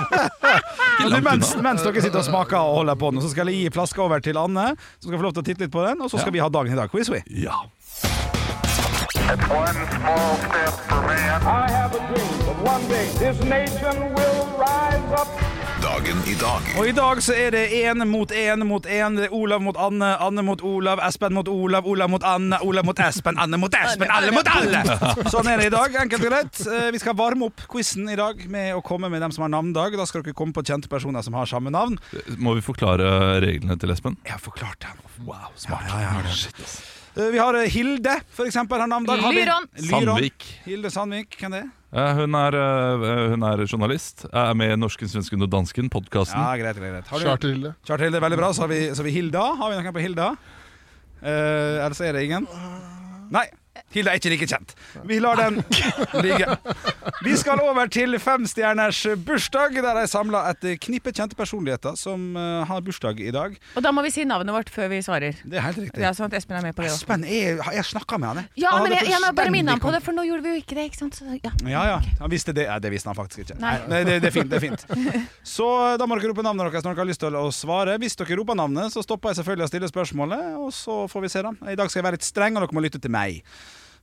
S2: Men
S3: langt
S2: mens,
S3: unna.
S2: mens dere sitter og smaker og holder på den, så skal jeg gi flaska over til Anne, som skal få lov til å titte litt på den, og så skal vi ha dagen i dag. Quiz, we.
S3: Ja.
S7: One small step for man.
S8: I have a dream that one day this nation will rise up.
S1: Dagen i dag
S2: Og i dag så er det én mot én mot én. Det er Olav mot Anne, Anne mot Olav, Espen mot Olav, Olav mot Anne, Olav mot Espen, Anne mot Espen, alle mot alle! Sånn er det i dag, enkelt og greit. Eh, Vi skal varme opp quizen i dag med å komme med dem som har navnedag. Da skal dere komme på kjente personer som har samme navn.
S3: Må vi forklare reglene til Espen?
S2: Jeg har forklart den.
S3: Wow, smart. Shit, ass.
S2: Eh, Vi har eh, Hilde, for eksempel, har navnedag. Har vi-
S4: Lyron.
S3: Sandvik.
S2: Hilde Sandvik, hvem det er?
S3: Eh, Hun er, eh, hun er journalist. Er med i Norsken, svensken og dansken, podkasten.
S2: Ja, greit, greit, greit. Har du-
S5: Charterhilde.
S2: Charter-Hilde er veldig bra. Så har vi, så har vi Hilda. Har vi noen på Hilda? Eh, ellers er det ingen. Nei. Hilda er ikke like kjent. Vi lar den ligge. Vi skal over til femstjerners bursdag, der jeg samla et knippe kjente personligheter som eh, har bursdag i dag.
S4: Og da må vi si navnet vårt før vi svarer.
S2: Det er helt riktig.
S4: Ja, sånn at Espen er med på det også.
S2: Espen, jeg, jeg snakka med han, jeg.
S9: Ja,
S2: Han
S9: men
S2: hadde
S9: jeg, jeg må bare
S2: fullstendig
S9: minne ham på
S2: kon-
S9: det, for nå gjorde vi jo ikke det. ikke sant? Så, ja.
S2: Ja, ja. Han visste det. Nei, det visste han faktisk ikke. Nei.
S9: Nei.
S2: det, det er fint. det er fint Så da må dere rope navnet deres når dere har lyst til å svare. Hvis dere roper navnet, så stopper jeg selvfølgelig å stille spørsmålet, og så får vi se, da. I dag skal jeg være litt streng, og dere må lytte til meg.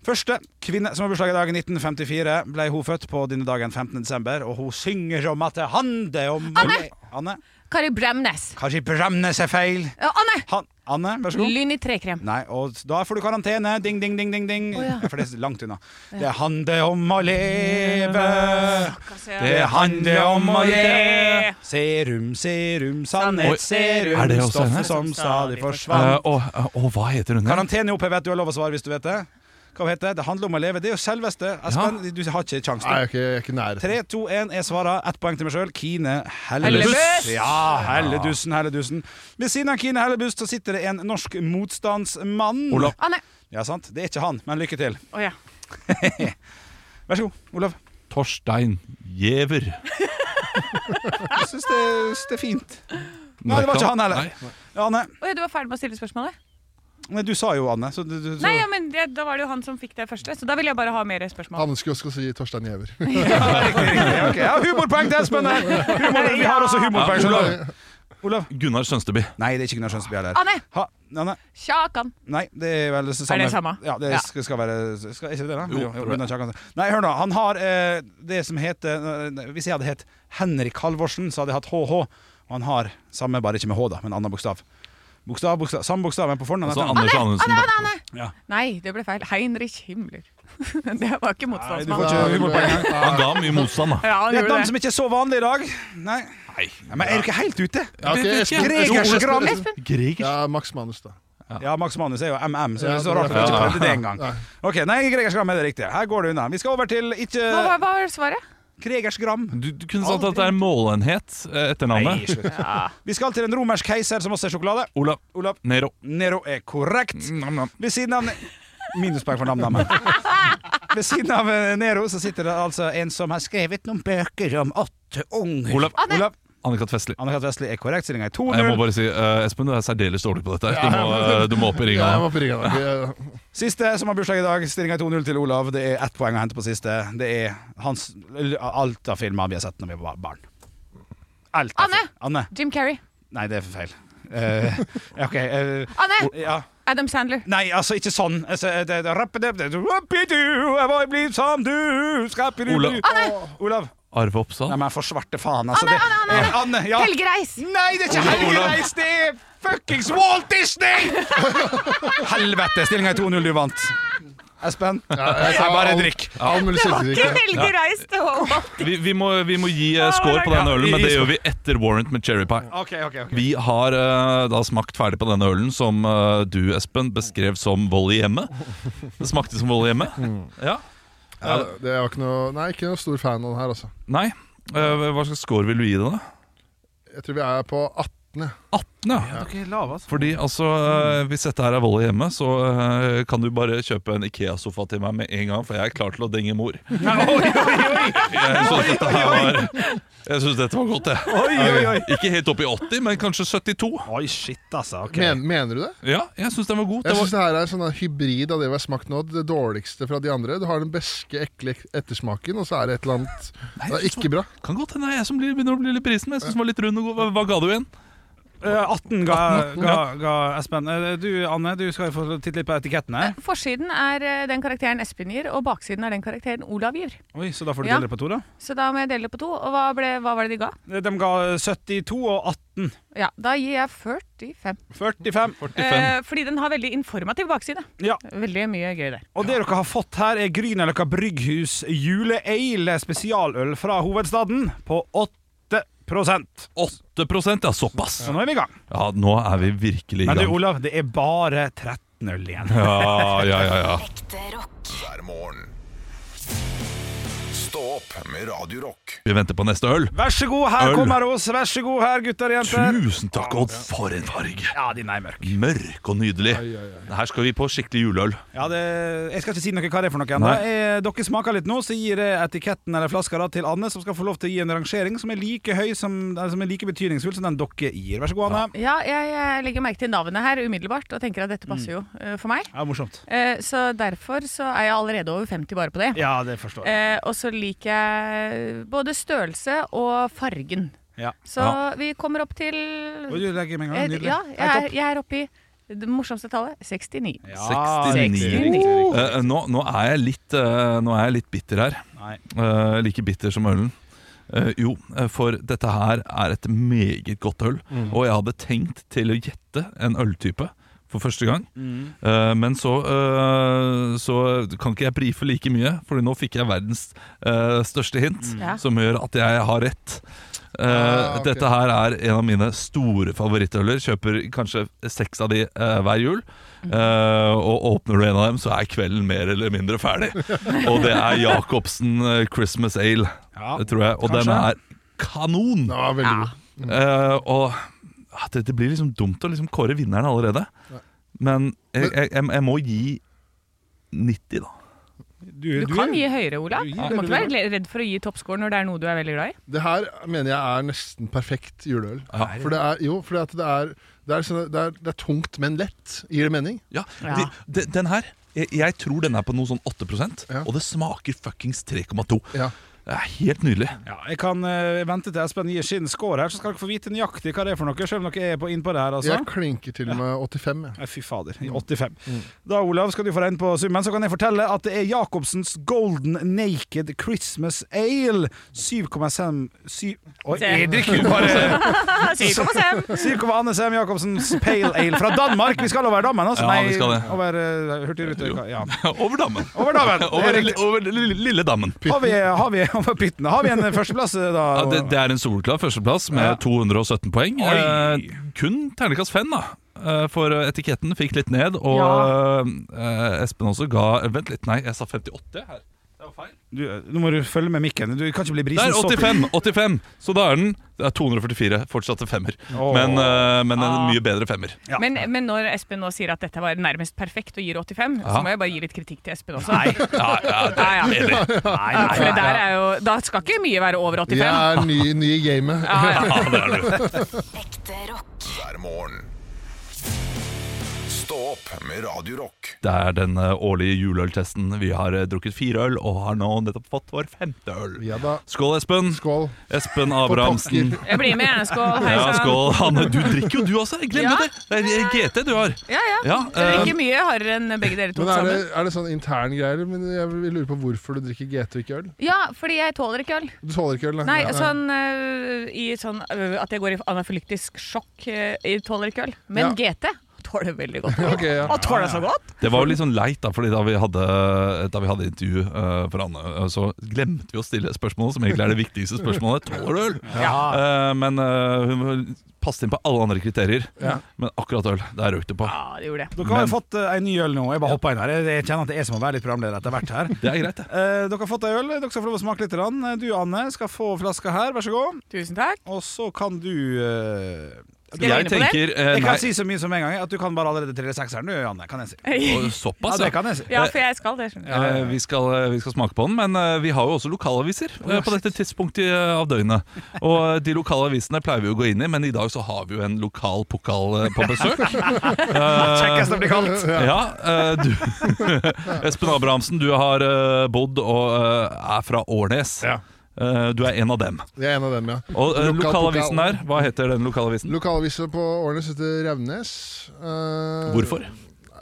S2: Første kvinne som har bursdag i dag, i 1954, ble hun født på denne dagen 15. desember, og hun synger om at det handler om
S9: Anne!
S2: Anne.
S9: Kari Bremnes.
S2: Kanskje Bremnes er feil.
S9: Ja, Anne!
S2: Han, Anne, vær så god.
S4: Lyn i trekrem.
S2: Nei, og da får du karantene. Ding, ding, ding, ding. ding
S9: ja.
S2: For det er langt unna. Det handler om å leve.
S3: Det handler om å
S2: leve. Serum, serum,
S3: Oi,
S2: sannhet, serum.
S3: er det også henne?
S2: Stoffet som stadig
S3: Eh,
S2: forsvant.
S3: Og og hva heter hun? igjen?
S2: Karantene oppe, vet du har lov å svare hvis du vet det. Hva heter det? Det handler om å leve. Det er jo selveste. Espen, du har ikke kjangs.
S5: Nei, jeg er ikke, jeg er ikke nære.
S2: 3, 2, 1, jeg svarer. Ett poeng til meg sjøl. Kine Hellebuss.
S4: Hellebuss!
S2: Ja, Helledussen, Helledussen. Ved siden av Kine Hellebuss så sitter det en norsk motstandsmann.
S3: Olav.
S9: Anne.
S2: Ja, sant. Det er ikke han, men lykke til.
S4: Å ja.
S2: Vær så god, Olav.
S3: Torstein Giæver.
S2: Jeg syns det, synes det er fint. Nei, det var ikke han heller.
S3: Nei.
S2: Anne,
S4: Å ja, du var ferdig med å stille spørsmålet?
S2: Nei, du sa jo Anne, så du, du så...
S4: Nei, ja, men det, da var det jo han som fikk det første, så da vil jeg bare ha mer spørsmål.
S5: Han skulle også si Torstein Giæver.
S2: Ja, ok. ja, humorpoeng til Espen! her. Humor, vi har også humorpoeng.
S3: Ja,
S2: skjønner du.
S3: Gunnar Sønsteby.
S2: Nei, det er ikke Gunnar Skjønsby heller.
S4: Anne!
S2: Ha, Anne.
S4: Kjakan.
S2: Nei, det er vel det samme.
S4: Er det samme?
S2: Ja, det
S4: Ja.
S2: skal, skal være skal, Er ikke det det?
S3: Jo,
S2: Jo,
S3: tror
S2: Gunnar Kjakan. Nei, hør nå. Han har eh, det som heter eh, Hvis jeg hadde hett Henrik Halvorsen, så hadde jeg hatt HH. Og han har samme, bare ikke med H, da, men annen bokstav. Bokstav, bokstav, Samme bokstav, men på fornavn.
S3: Altså
S2: heter han-
S3: Anders Anundsen.
S4: Nei, det ble feil. Heinrich Himmler. det var ikke
S2: Nei, du får
S4: motstandsmann.
S2: ikke humorpoeng engang.
S3: Han ga mye motstand, da.
S4: Ja, han
S2: Det er et
S4: gjorde
S2: navn
S4: det.
S2: som ikke er så vanlig i dag. Nei,
S3: Nei.
S2: ja, Men er du ikke helt ute?
S5: Ja, ok, Espen.
S2: Gregers
S5: Jo, Espen.
S2: Gran.
S3: Gregers.
S5: Ja, Max Manus, da.
S2: Ja, Max Manus er jo MM, så det
S5: Ja,
S2: er så
S5: det
S2: rart at
S5: er
S2: vi ikke
S3: det.
S2: prøvde det engang. Ok, nei, Gregers Gram er det riktige. Her går det unna. Vi skal over til ikke
S4: Hva var- hva var svaret?
S2: Gregers Gram.
S3: Du, du kunne sagt at det er målenhet, eh, etternavnet.
S2: Vi skal til en romersk keiser som også er sjokolade.
S3: Olav
S2: Olav
S3: Nero. Mm,
S2: Nero er korrekt. Ved siden av Minuspoeng for namnammen. Ved siden av eh, Nero så sitter det altså en som har skrevet noen bøker om åtte unger.
S3: Olav.
S9: Ah, nei.
S2: Olav.
S3: Annika Tvestli.
S2: Anne Kat. Vestli er korrekt, stillinga er
S3: Jeg må
S2: 2-0.
S3: bare si, eh, Espen, du er særdeles dårlig på dette. her. Du må, eh, du må opp i ringa.
S5: Ja, jeg må på ringa. Jeg-
S2: Siste som har bursdag i dag, stillinga er 2-0 til Olav. Det er ett poeng å hente på siste. Det er hans, alt av filmer vi har sett når vi var barn. Alt av
S9: Anne.
S2: fil- Anne.
S4: Jim Carrey.
S2: Nei, det er feil. Eh, OK. eh,
S4: Anne!
S2: ja.
S4: Adam Sandler.
S2: Nei, altså, ikke sånn. Altså, det, det, rappidip, det, rappidu, jeg vil bli som du skapidu,
S3: Olav.
S2: bli- Olav.
S3: Arve Oppsal.
S2: Nei, men for svarte faen, altså. Anne, Anne, Anne, ja.
S9: Helgereis.
S2: Nei, det er ikke Helgereis, det er fuckings Walt Disney! Helvete, stillinga er 2-0, du vant. Espen,
S5: jeg
S2: jeg
S5: sa
S2: bare
S5: alt-
S2: drikk.
S5: All mulig selvkritikk.
S4: Helgereis! det var-
S3: Vi, vi, må, vi må gi eh, score på
S2: Ja,
S3: denne
S2: vi
S3: ølen, men
S2: gir
S3: det gjør vi etter Warrant med cherry pie.
S2: OK, OK. ok
S3: Vi har eh, da smakt ferdig på denne ølen som eh, du, Espen, beskrev som vold i hjemmet. Det smakte som vold i hjemmet.
S2: Mm.
S3: Ja.
S5: Ja, det var ikke noe Nei, ikke noe stor fan av den her, altså.
S3: Nei. Eh, hva slags score vil du gi det, da?
S5: Jeg tror vi er på 18. jeg.
S3: 18, ja. Fordi altså, eh, hvis dette her er vold i hjemmet, så eh, kan du bare kjøpe en Ikea-sofa til meg med en gang, for jeg er klar til å denge mor. Jeg syns dette, her var, jeg synes dette var godt, jeg.
S2: Oi, oi, oi.
S3: Ikke helt opp i 80, men kanskje 72.
S2: Oi, shit, altså. OK.
S5: Men, mener du det?
S3: Ja, jeg syns den var god.
S5: Jeg
S3: Det
S5: syns
S3: var,
S5: det her er en sånn hybrid av det vi har smakt nå. Det dårligste fra de andre. Du har den beske, ekle ettersmaken, og så er det et eller annet Det er ikke bra.
S3: kan godt hende det er jeg som blir- begynner å bli litt prisen, men jeg syns den var litt rund og god. Hva, hva ga du igjen?
S2: Eh, 18 ga, ga, ga Espen. Eh, Du, Anne, du skal få titte litt på etikettene.
S4: Forsiden er eh, den karakteren Espen gir, og baksiden er den karakteren Olav gir.
S2: Oi, Så da får du
S4: Ja.
S2: dele på to, da.
S4: Så da må jeg dele det på to. Og hva, ble, hva var det de ga?
S2: De ga 72 og 18.
S4: Ja, Da gir jeg 45.
S2: 45.
S4: Eh, fordi den har veldig informativ bakside.
S2: Ja.
S4: Veldig mye gøy der.
S2: Og det dere har fått her er Grünerløkka Brygghus juleale spesialøl fra hovedstaden på 8 Så
S3: 8 ja. Såpass.
S2: nå er vi i gang.
S3: Ja, nå er vi virkelig i
S2: Men du
S3: gang.
S2: Olav, det er bare 13 øl igjen.
S3: Ja, ja, ja, ja.
S6: Ekte rock.
S1: hver morgen. Stå opp med Radio Rock.
S3: Vi venter på neste øl.
S2: Vær så god, her
S3: Øl.
S2: kommer oss. Vær så god her, gutter og jenter.
S3: Tusen takk, Odd, for en farge!
S2: Ja, din er mørk.
S3: Mørk og nydelig. Her skal vi på skikkelig juleøl.
S2: Ja, det, jeg skal ikke si noe hva det er for noe ennå.
S3: Nei.
S2: Eh, Dere smaker litt nå, så gir jeg etiketten eller flaska da, til Anne, som skal få lov til å gi en rangering som er like høy som, eller som er like betydningsfull som den dere gir. Vær så god, Anne.
S4: Ja, jeg, eh, legger merke til navnet her umiddelbart og tenker at dette passer
S2: Mm.
S4: jo eh, for meg.
S2: Ja, morsomt.
S4: Eh, så derfor så er jeg allerede over 50 bare på det.
S2: Ja, det forstår jeg.
S4: Eh, og så liker jeg både størrelse og fargen.
S2: Ja.
S4: Så
S3: Ja.
S4: vi kommer opp til
S2: Oi, du legger med en gang.
S4: Eh,
S2: Nydelig.
S4: Ja, jeg
S2: Helt
S4: er, jeg er oppe i det morsomste tallet Uh, 69.
S2: Ja,
S3: 69.
S2: riktig, riktig,
S4: Oh!
S2: riktig.
S3: Eh, nå, nå, er jeg litt, eh, nå er jeg litt bitter her.
S2: Nei.
S3: Eh, like bitter som ølen. Eh, jo, eh, for dette her er et meget godt øl. Og jeg hadde tenkt til å gjette en øltype for første gang. Eh, men så, eh, så kan ikke jeg brife like mye, for nå fikk jeg verdens eh, største hint,
S4: Ja.
S3: som gjør at jeg har rett. Eh,
S5: Ah, ok.
S3: Dette her er en av mine store favorittøler. Kjøper kanskje seks av de eh, hver jul. Eh, og åpner du en av dem, så er kvelden mer eller mindre ferdig. og det er Jacobsen eh, Christmas Ale,
S2: Ja,
S3: det tror jeg. Og den
S2: kanskje.
S3: er kanon!
S5: Den var veldig god.
S3: Eh, og ah, det, det blir liksom dumt å liksom kåre vinneren allerede. Men jeg, jeg, jeg, jeg må gi 90, da.
S4: Du kan gi høyere, Olav.
S2: Du
S4: Du
S2: gir
S4: må ikke være redd for å gi toppscore når det er noe du er veldig glad i.
S5: Det her mener jeg er nesten perfekt juleøl.
S3: Ja.
S5: For det er, jo, fordi at det er, det, er sånn, det, er, det er tungt, men lett. Gir det mening?
S3: Ja,
S4: Ja.
S3: De, de, Den her jeg, jeg tror den er på noe sånn 8
S5: Ja.
S3: og det smaker fuckings 3,2.
S5: Ja.
S3: Det er helt nydelig.
S2: Ja, jeg kan eh, vente til Espen gir sin score her, så skal dere få vite nøyaktig hva det er for noe, selv om dere er på, innpå det her, altså.
S5: Jeg klinker til med 85. Jeg.
S2: Nei, fy fader.
S3: Mm.
S2: I 85. Da, Olav, skal du få regn på summen, så kan jeg fortelle at det er Jacobsens Golden Naked Christmas Ale. 7,5 syv- Oi, jeg drikker jo bare
S4: 7,5.
S2: 7,2 Sem Jacobsens Pale Ale fra Danmark. Vi skal over dammen, altså.
S3: Ja, vi skal det.
S2: over uh, Hurtigrute. Ja.
S3: Over dammen.
S2: Over dammen. Det er
S3: Over,
S2: riktig.
S3: over lille, lille dammen.
S2: Har vi, har vi over pyttene? Har vi en førsteplass, eh, da?
S3: Ja, det, det er en solklar førsteplass med
S2: Ja.
S3: 217 poeng.
S2: Oi.
S3: Eh, kun terningkast fem, da. Eh, For etiketten eh, fikk litt ned, og eh, Espen også ga Vent litt, nei, jeg sa 58 her. Det var
S2: Du, nå må du følge med mikken. Du kan ikke bli
S3: Det
S2: brisen
S3: er
S2: så til-
S3: 85, 85, så da er den Det er 244, fortsatt en femmer.
S2: Åh.
S3: Men, eh, men en
S4: Ah.
S3: mye bedre femmer.
S2: Ja.
S4: Men, men når Espen nå sier at dette var nærmest perfekt og gir 85,
S3: Ja.
S4: så må jeg bare gi litt kritikk til Espen også. Nei,
S3: Ja, ja, det
S4: ja.
S3: er enig.
S2: Nei,
S4: Ja,
S2: nei,
S4: for det
S2: nei.
S4: der er jo, da skal ikke mye være over 85.
S5: Jeg er ny, ny i gamet.
S4: Ja, ja.
S3: Ja, det er du.
S6: Ekte rock.
S1: hver morgen. Stå opp med Radio Rock.
S3: Det er den eh, årlige juleøltesten. Vi har eh, drukket fire øl og har nå nettopp fått vår femte øl.
S5: Ja da.
S3: Skål, Espen.
S5: Skål.
S3: Espen Abrahamsen.
S4: Jeg blir med, jeg. skål. Hei
S3: Ja,
S4: sann.
S3: skål. Hanne, du drikker jo du også. Jeg
S4: Ja.
S3: Glemte det. Det er GT du har.
S4: Ja, ja.
S3: Ja,
S4: Dere
S3: eh,
S4: drikker mye hardere enn begge dere to
S5: Men er det,
S4: sammen.
S5: er det sånn intern greier? Men jeg vil lure på hvorfor du drikker GT og ikke øl.
S9: Ja, fordi jeg tåler ikke øl.
S5: Du tåler ikke øl? da?
S4: Nei, sånn, øh, i sånn øh, at jeg går i anafylyktisk sjokk øh, i tåler ikke øl. Men GT tåler veldig godt.
S5: Ok, ja.
S4: Og tåler så godt!
S3: Det var jo litt sånn leit, da, fordi da vi hadde, da vi hadde intervju eh, for Anne, eh, så glemte vi å stille spørsmålet som egentlig er det viktigste spørsmålet. Tåler du øl? Eh, men eh, hun passet inn på alle andre kriterier.
S5: Ja.
S3: Men akkurat øl, der røyk det på.
S4: Ja, det gjorde det.
S2: Dere har jo fått eh, en ny øl nå. Jeg bare hopper inn her. Jeg, jeg kjenner at det er jeg som må være litt programleder etter hvert her.
S3: Det er greit, det.
S2: Eh, dere har fått ei øl. Dere skal få lov å smake litt. grann. Eh, Du, Anne, skal få flaska her. Vær så god.
S4: Tusen takk.
S2: Og så kan du eh,
S4: Skal jeg
S3: Jeg
S4: vinne på det?
S3: tenker eh,
S2: Jeg
S3: nei,
S2: kan si så mye som en gang at du kan bare allerede trille sekseren, du, Anne. Kan jeg si.
S3: å,
S2: Ja,
S3: såpass,
S2: det kan jeg si.
S4: Ja, for jeg skal det, skjønner du.
S3: Eh, Vi, skal, eh, vi skal smake på den, men eh, vi har jo også lokalaviser eh, på dette tidspunktet eh, av døgnet. Og eh, de lokale avisene pleier vi å gå inn i, men i dag så har vi jo en lokal pokal eh, på besøk. Eh,
S2: Kjekkest det blir kalt.
S3: ja, eh, du Espen Abrahamsen, du har eh, bodd og eh, er fra Årnes.
S5: Ja.
S3: Eh, Du er en av dem.
S5: Jeg er en av dem, ja.
S3: Og eh,
S5: Lokal
S3: lokalavisen
S5: pokal.
S3: der, hva heter den lokalavisen?
S5: Lokalavisa på Årnes heter Revnes. Eh,
S3: Hvorfor?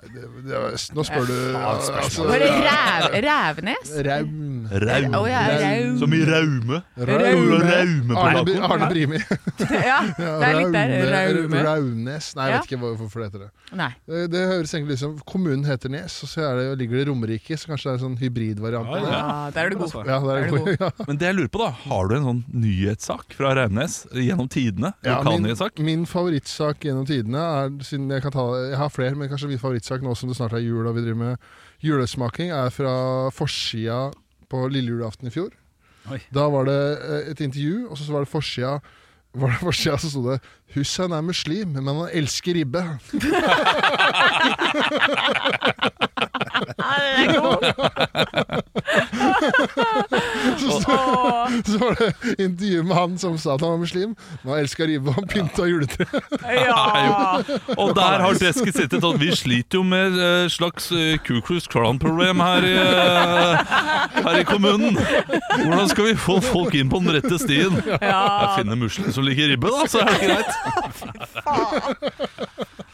S5: Det, det, nå spør du altså,
S9: Var det ræv, Rævnes?
S5: Raum.
S9: Å
S3: Raume.
S9: ja, Raum.
S3: Som i raume. Raume på
S5: Arne, Br-
S3: Blackholm.
S5: Arne Brimi.
S4: Ja, det er litt der.
S5: Raume-
S4: Raume.
S5: Raunes. Nei, jeg
S4: Ja.
S5: vet ikke hva- hvorfor det heter det.
S4: Nei.
S5: Det, det høres egentlig ut som kommunen heter Nes, og så er det, ligger det Romerike, så kanskje det er en sånn hybridvariant. av det.
S4: Ja, der er du god.
S5: Ja, det er
S4: Er det
S5: god. Ja.
S3: Men det jeg lurer på da, har du en sånn nyhetssak fra Raunes gjennom tidene?
S5: Ja,
S3: Lokalnyhetssak?
S5: min, min favorittsak gjennom tidene er siden jeg, kan ta, jeg har flere, men kanskje min favorittsak nå som det snart er jul og vi driver med julesmaking, er fra forsida på lille julaften i fjor.
S2: Oi.
S5: Da var det eh, et intervju, og så var det forsida. Var det forsida så sto det 'Hussein er muslim, men han elsker ribbe'.
S4: Ja, den er god.
S5: Så, sto-
S4: Åh,
S5: så var det intervju med han som sa at han var muslim, men han elska ribbe og han pynta juletreet.
S4: ja.
S3: Og der har desken sittet og vi sliter jo med eh, slags eh, Ku Klux Klan-problem her, i, eh, her i kommunen. Hvordan skal vi få folk inn på den rette stien? Jeg finner muslimer som liker ribbe, da, så er det greit.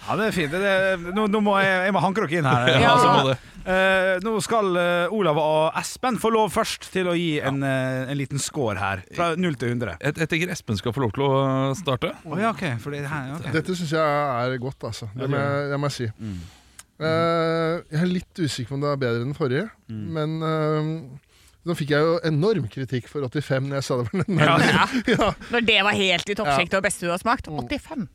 S2: Ja, det er fint. Det er, nå, nå må jeg, jeg må hanke dere inn her.
S3: Ja, så må det.
S2: Eh, nå skal eh, Olav og Espen få lov først til å gi en, eh, en liten score her. Fra 0 til 100.
S3: Jeg, jeg tenker Espen skal få lov til å eh, starte.
S2: Å ja, OK. For det her, ok.
S5: Dette syns jeg er godt, altså. Det må jeg, det må jeg si. Eh, jeg er litt usikker på om det er bedre enn den forrige, men eh, nå fikk jeg jo enorm kritikk for 85 når jeg sa det var den nærmeste.
S4: Ja.
S5: Ja.
S4: Når det var helt i toppsjiktet og beste du har smakt. 85.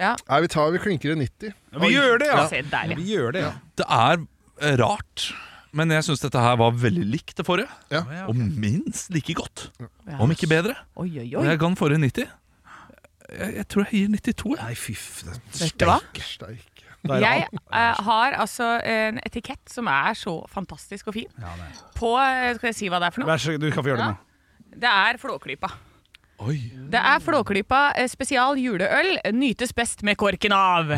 S4: Ja,
S5: Nei, vi tar vi klinker i 90.
S2: Vi gjør det, ja.
S4: se der, ja.
S2: Vi gjør det, ja.
S3: Det er eh, rart, men jeg syns dette her var veldig likt det forrige.
S5: Ja.
S3: Og minst like godt,
S4: Ja.
S3: om ikke bedre.
S4: Oi, oi,
S3: Og
S4: oi.
S3: jeg ga den forrige 90. Jeg, jeg tror jeg gir 92. jeg.
S2: Nei, fy f- det-
S4: Vet du hva?
S5: Steik.
S2: da er det
S4: Jeg
S2: alt.
S4: eh, har altså en etikett som er så fantastisk og fin.
S2: Ja, det
S4: På eh, Skal jeg si hva det er for noe?
S2: Vær så god, du kan få gjøre det nå.
S4: Det er Flåklypa.
S3: Oi.
S4: Det er Flåklypa eh, spesial juleøl. Nytes best med korken av.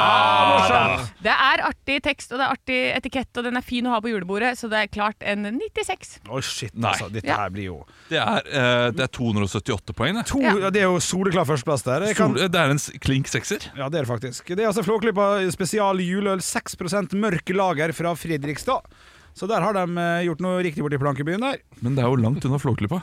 S4: Ah, Det er artig tekst og det er artig etikett, og den er fin å ha på julebordet, så det er klart en 96.
S2: Å, shit,
S3: Nei.
S2: altså. Dette
S4: Ja.
S2: her blir jo
S3: Det er, eh, det er 278 poeng, det.
S2: to, ja. Det er jo soleklar førsteplass der. Jeg kan,
S3: Sol, det er en s- klink sekser.
S2: ja, det er det faktisk. Det er altså Flåklypa spesial juleøl 6 mørk lager fra Fredrikstad. Så der har de eh, gjort noe riktig borti plankebyen der.
S3: Men det er jo langt unna Flåklypa.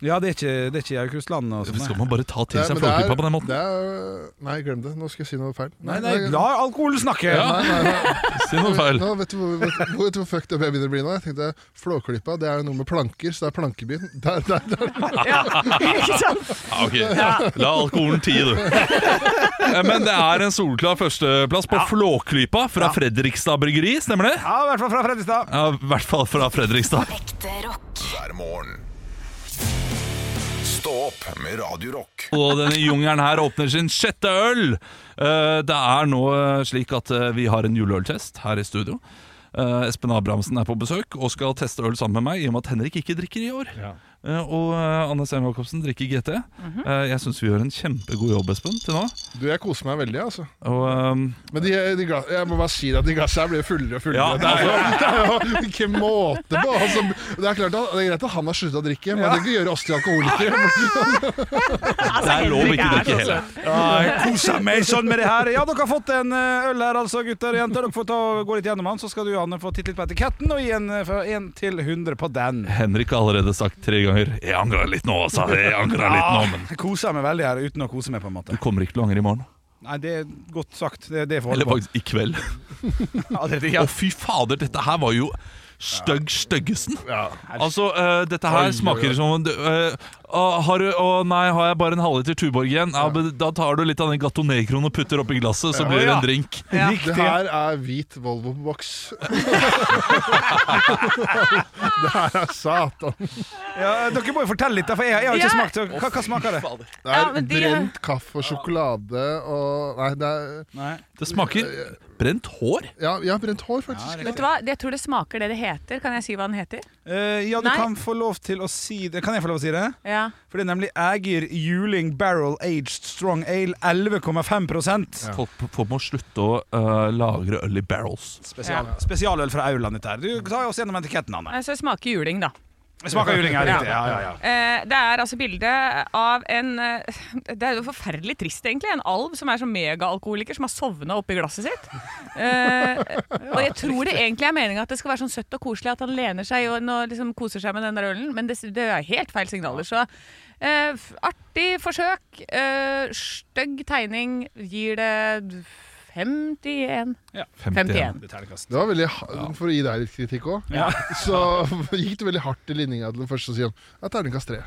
S2: Ja, det er ikke, det er ikke i Aukrustland og sånn.
S3: Skal
S2: nei.
S3: man bare ta til
S5: Det er-
S3: seg
S5: men det er-
S3: flåklypa på den måten?
S5: Det er, nei, glem det. Nå skal jeg si noe feil.
S2: Nei, nei, la alkoholen snakke!
S3: Ja.
S5: Nei, nei, nei.
S3: Si noe feil.
S5: Nå, vet, du, hvor- vet, du- vet du hvor fucked up jeg begynner å bli nå? Jeg tenkte Flåklypa, det er jo noe med planker, så det er plankebyen. Der, der, der.
S4: Ikke sant?
S3: Ja, ok. La alkoholen tie, du. Eh, Men det er en solklar førsteplass på Flåklypa fra Fredrikstad bryggeri, stemmer det?
S2: Ja, i hvert fall fra Fredrikstad.
S3: Ja, I hvert fall fra Fredrikstad.
S6: Ekte rock.
S1: hver morgen. Stå opp med Radio Rock.
S3: Og denne jungelen her åpner sin sjette øl. Eh, Det er nå eh, slik at eh, vi har en juleøltest her i studio. Eh, Espen Abrahamsen er på besøk og skal teste øl sammen med meg, i og med at Henrik ikke drikker i år. Eh, Og eh, Anne Sem Jacobsen drikker GT. Eh, Jeg syns vi gjør en kjempegod jobb, Espen, til nå.
S5: Du, jeg koser meg veldig, altså.
S3: Og ehm,
S5: Men de, de glass, jeg må bare si at de glassa her blir fullere og fullere.
S3: Ja,
S5: det, er jo, det er jo ikke måte på! Altså, det, er klart at, det er greit at han har slutta å drikke, men det kan ikke gjøre oss til alkoholikere.
S3: det er lov å ikke drikke hele.
S2: Jeg koser meg sånn med det her. Ja, dere har fått en eh, øl her, altså, gutter og jenter. Dere får ta og gå litt gjennom den, så skal du, Anne, få titte litt på etiketten og gi en eh, fra 1 til 100 på den.
S3: Henrik har allerede sagt tre ganger 'Jeg angrer litt nå', altså. Jeg angrer litt nå, men
S2: Jeg koser meg veldig her uten å kose meg, på en måte.
S3: Du kommer ikke til å angre i morgen.
S2: Nei, det er godt sagt. Det, det får
S3: Eller
S2: holde på.
S3: faktisk i kveld.
S2: Ja, det,
S3: Å,
S2: ja.
S3: fy fader, dette her var jo stygg styggesen. Altså, eh, dette
S5: Oi,
S3: her
S5: oi,
S3: smaker
S5: oi.
S3: som eh, ah, har du, Å nei, har jeg bare en halvliter Tuborg igjen? Ja, men Da tar du litt av den Gato Negroen og putter oppi glasset, så blir det
S2: ja.
S3: en drink.
S5: Det
S2: Riktig.
S5: her er hvit Volvo på boks. det her er satan.
S2: Ja, dere må jo fortelle litt, da, for jeg, jeg har ikke
S4: Ja.
S2: smakt. så Hva, hva smaker det?
S5: Det er
S4: Ja, men de-
S5: brent kaffe og sjokolade og Nei, det er
S2: Nei.
S3: Det smaker brent hår.
S5: Ja, ja brent hår, faktisk.
S9: Vet du hva, jeg tror det smaker det det heter. Kan jeg si hva den heter?
S2: Eh, ja, du
S9: Nei.
S2: kan få lov til å si det. Kan jeg få lov å si det?
S9: Ja.
S2: For det er nemlig Ægir Juling Barrel Aged Strong Ale 11,5
S3: Folk, folk må slutte å eh, lagre øl i barrels.
S2: Spesial, Spesialøl fra Aurland, dette her. Du tar oss gjennom etiketten, Anne.
S4: Altså, det smaker juling, da.
S2: Jeg smaker juling her, riktig. Ja, ja, ja.
S4: Eh, det er altså bilde av en eh, Det er jo forferdelig trist, egentlig. En alv som er sånn megaalkoholiker som har sovna oppi glasset sitt. Eh, og jeg tror det egentlig er meninga at det skal være sånn søtt og koselig at han lener seg og, og liksom koser seg med den der ølen, men det, det er helt feil signaler. Så eh, f- artig forsøk. Eh, Stygg tegning gir det 51. 51.
S2: Det er terningkast.
S5: Det var veldig ha- For å gi deg litt kritikk òg,
S2: Ja.
S5: så gikk du veldig hardt i linninga til den første som sier han, ja, terningkast tre.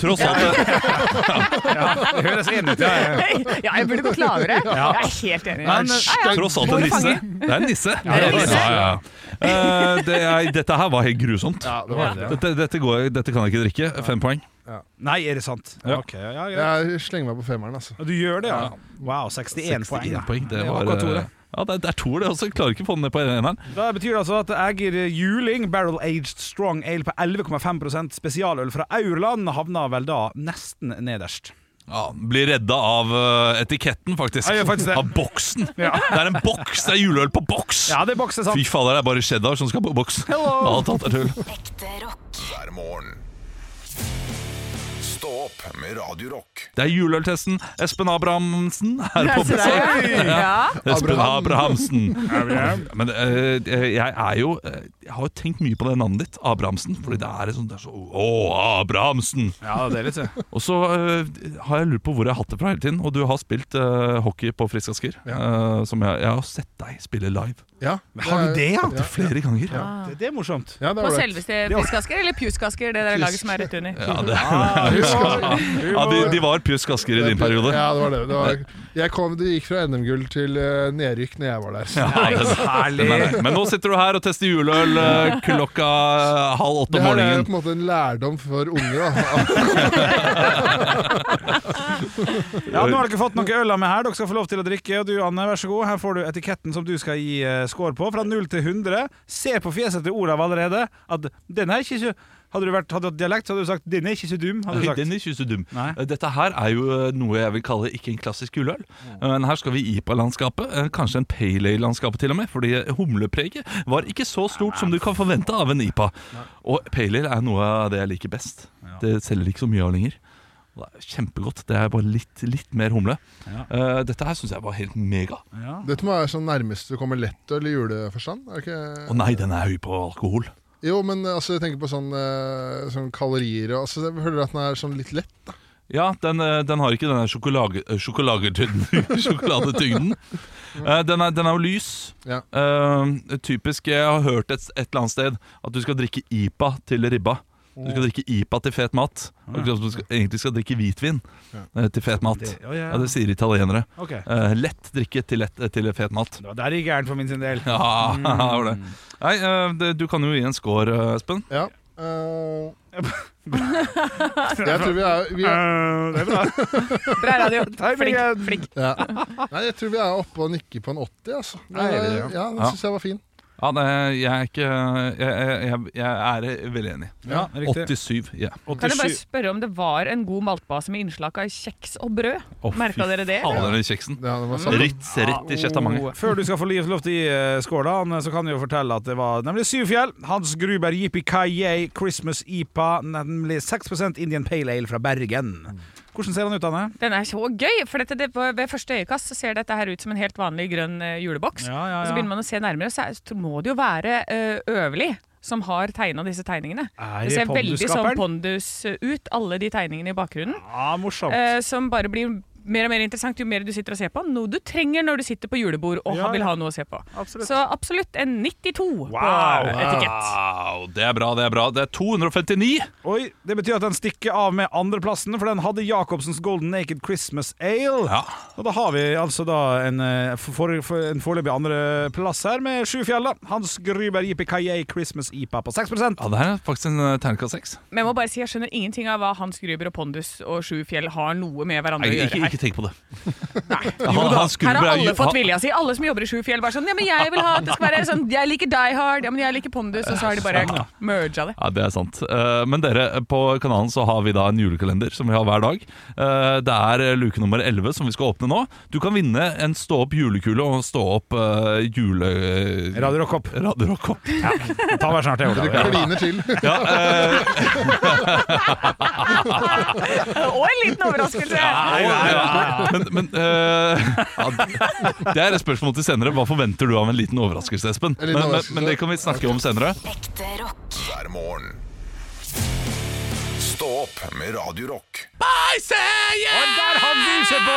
S3: Tross alt eh,
S2: Det høres inn ut. Ja, ja.
S4: Ja, jeg burde gått lavere. Jeg er helt enig.
S3: Nei, tross alt en nisse. Det er en nisse.
S4: det er en nisse.
S3: ja, ja. Eh, det er, dette her var helt grusomt.
S5: Ja, det var det.
S3: Dette, dette, går, dette kan jeg ikke drikke. Fem poeng.
S2: Nei, er det sant?
S3: Ja.
S2: Ok, ja, ja, greit.
S5: Jeg slenger meg på femmeren, altså.
S2: Og Du gjør det, ja? Wow, 61 poeng.
S3: 61
S2: da.
S3: poeng. Det
S2: Det var
S3: var
S2: akkurat to,
S3: eh,
S2: det.
S3: ja, det, er- det er to, det også. Jeg Klarer ikke å få den ned på eneren.
S2: Da betyr det altså at Ægir Juling Barrel Aged Strong Ale på 11,5 spesialøl fra Aurland havna vel da nesten nederst.
S3: Ja, blir redda av eh, etiketten, faktisk.
S2: Ja, jeg gjør faktisk det.
S3: Av boksen.
S2: Ja.
S3: Det er en boks! Det er juleøl på boks!
S2: Ja, det bokser sant.
S3: Fy fader, det er bare cheddar som skal på boks. Alt annet er tull.
S6: Ekte rock.
S1: hver morgen. Stå opp med Radio Rock.
S3: Det er juleøltesten. Espen Abrahamsen er på
S4: Så
S3: besøk.
S4: der, ja. Ja.
S3: Espen
S5: Abraham.
S3: Abrahamsen. Men eh, jeg er jo eh, Jeg har jo tenkt mye på det navnet ditt, Abrahamsen. Fordi det er et sånt det er så, Å, Abrahamsen!
S2: Ja, det er litt så.
S3: Og så eh, har jeg lurt på hvor jeg har hatt det fra hele tiden. Og du har spilt eh, hockey på Frisk Asker. eh, som jeg, jeg har sett deg spille live
S5: Ja,
S2: Har du det, ja?
S5: Ja,
S3: flere ganger. Ja,
S2: Det, det er morsomt.
S5: ja det
S4: På
S5: var det.
S4: selveste Pjuskasker eller Pjuskasker, det der laget som er rett under.
S3: det,
S5: Ja,
S3: ja de, de var Pjusk Asker i din periode.
S5: Ah, Ja, det var det. det, var, jeg kom, det gikk fra NM-gull til eh, nedrykk når jeg var der. Så.
S3: Nei, det-
S2: Herlig.
S3: nei, nei. Men nå sitter du her og tester juleøl eh, klokka eh, halv åtte
S5: Det
S3: om
S5: her er jo
S3: morgenen.
S5: på en måte en lærdom for unge. Da.
S2: Ja, Nå har dere fått noen øl av meg her. Dere skal få lov til å drikke. Og du, Anne, vær så god. Her får du etiketten som du skal gi eh, score på. Fra 0 til 100. Se på fjeset til Olav allerede at den er ikke så Hadde du vært, hadde du hatt dialekt, så hadde du sagt 'den er ikke så dum'. Hadde du
S3: Nei,
S2: sagt.
S3: Den er ikke så dum.
S2: Nei.
S3: Eh, Dette her er jo eh, noe jeg vil kalle ikke en klassisk juleøl. Eh, Men her skal vi i IPA-landskapet, eh, kanskje en pale ale-landskapet til og med, fordi eh, humlepreget var ikke så stort som du kan forvente av en IPA. Og pale ale er noe av det jeg liker best. Det selger ikke så mye av lenger. Og Det er kjempegodt. Det er bare litt, litt mer humle. Eh, Dette her syns jeg var helt mega.
S5: Dette må være sånn nærmest du kommer lettøl i juleforstand. Er det ikke?
S3: Å nei, den er høy på alkohol.
S5: Jo, men altså, jeg tenker på sånn, eh, sånn kalorier og altså, Jeg føler at den er sånn litt lett. Da.
S3: Ja, den, eh, den har ikke denne sjokolage, eh, sjokoladetyngden. sjokoladetyngden. Eh, Den, er, den er jo lys.
S5: Ja.
S3: Eh, typisk, jeg har hørt et, et eller annet sted at du skal drikke IPA til ribba. Du skal drikke IPA til fet mat. Og Du skal, egentlig skal drikke hvitvin eh, til fet mat.
S2: Det- ja, ja, ja.
S3: Ja, det sier italienere.
S2: Ok,
S3: Eh, lett drikke til, lett, eh, til fet mat.
S2: det var der det gikk gærent for min sin del.
S3: Ja, det var det. Nei, eh, det, du kan jo gi en score, eh, Espen.
S5: Ja. Eh, jeg tror vi er, vi er
S2: Eh, det er bra.
S4: Bra radio.
S2: Timingen.
S4: Flink, flink.
S5: ja. Nei, jeg tror vi er oppe og nikker på en 80, altså.
S2: Nei, det er det,
S5: ja, den
S3: Ja.
S5: syns jeg var fin.
S3: Ja, det, jeg, er ikke, eh, jeg, jeg, jeg er veldig enig.
S2: Ja, riktig.
S3: 87. ja
S4: Kan jeg bare spørre om det var en god maltbase med innslag av kjeks og brød?
S3: oh,
S4: Merka dere det?
S3: Fader, den kjeksen.
S5: Ja, den var
S4: Sånn.
S5: sant.
S3: Ritz rett i kjeftamanget.
S2: Oh. Før du skal få liv- lov til å gi eh, skål, da, han, eh, så kan vi jo fortelle at det var nemlig Syvfjell, Hans Gruber Jippi Kayay Christmas IPA, nemlig 6 Indian Pale Ale fra Bergen. Hvordan ser han ut, Anne?
S4: Den er så gøy! For dette, det, ved første øyekast så ser dette her ut som en helt vanlig grønn eh, juleboks.
S2: Ja, ja,
S4: Og så
S2: ja.
S4: begynner man å se nærmere, så er- så må det jo være eh, Øverli som har tegna disse tegningene.
S2: Er
S4: Det ser veldig sånn
S2: Pondus-skaperen?
S4: pondus ut, alle de tegningene i bakgrunnen.
S2: Ja, morsomt.
S4: eh, som bare blir mer og mer interessant jo mer du sitter og ser på. Noe du trenger når du sitter på julebord og
S2: Ja,
S4: vil
S2: ja.
S4: ha noe å se på.
S2: Absolutt.
S4: Så absolutt en 92 på
S2: Wow.
S4: etikett.
S3: Wow, det er bra, det er bra. Det er 259.
S2: Oi, det betyr at den stikker av med andreplassen, for den hadde Jacobsens Golden Naked Christmas Ale.
S3: Ja.
S2: Og da har vi altså da en, eh, for, for, en foreløpig andreplass her med sju fjell. da. Hans Gruber Jippi Kayay Christmas IPA på 6
S3: Ja, det her er faktisk en eh, terningkast seks.
S4: Men jeg må bare si, jeg skjønner ingenting av hva Hans Gruber og Pondus og Sju Fjell har noe med
S3: Nei,
S4: hverandre å
S3: Ikke,
S4: gjøre her.
S3: ikke tenk på det.
S4: Jo da, her har alle fått
S3: vilje
S4: vilja si. Alle som jobber i Sju Fjell, bare sånn Ja, men jeg vil ha at det skal være sånn Jeg liker Die Hard, ja, men jeg liker Pondus, og så har de bare merga det.
S3: Ja, det er sant. Eh, Men dere, på kanalen så har vi da en julekalender som vi har hver dag. Eh, Det er luke nummer 11 som vi skal åpne nå. Du kan vinne en stå opp julekule og stå opp eh, jule...
S2: Radio Rock-Opp.
S3: Radio Rock Opp.
S2: Ta hver snart, det,
S5: Det
S2: Olav.
S5: kliner til.
S3: Ja, eh,
S4: Og en liten overraskelse!
S3: Nei, nei, nei. Men, men eh, ja, Det er et spørsmål til senere. Hva forventer du av en liten overraskelse, Espen?
S5: En
S3: Men,
S5: liten
S3: men,
S5: overraskelse.
S3: men det kan vi snakke om senere.
S6: Ekte rock.
S1: hver morgen. Stå opp med Radio Rock.
S2: Og der hadde du sett på!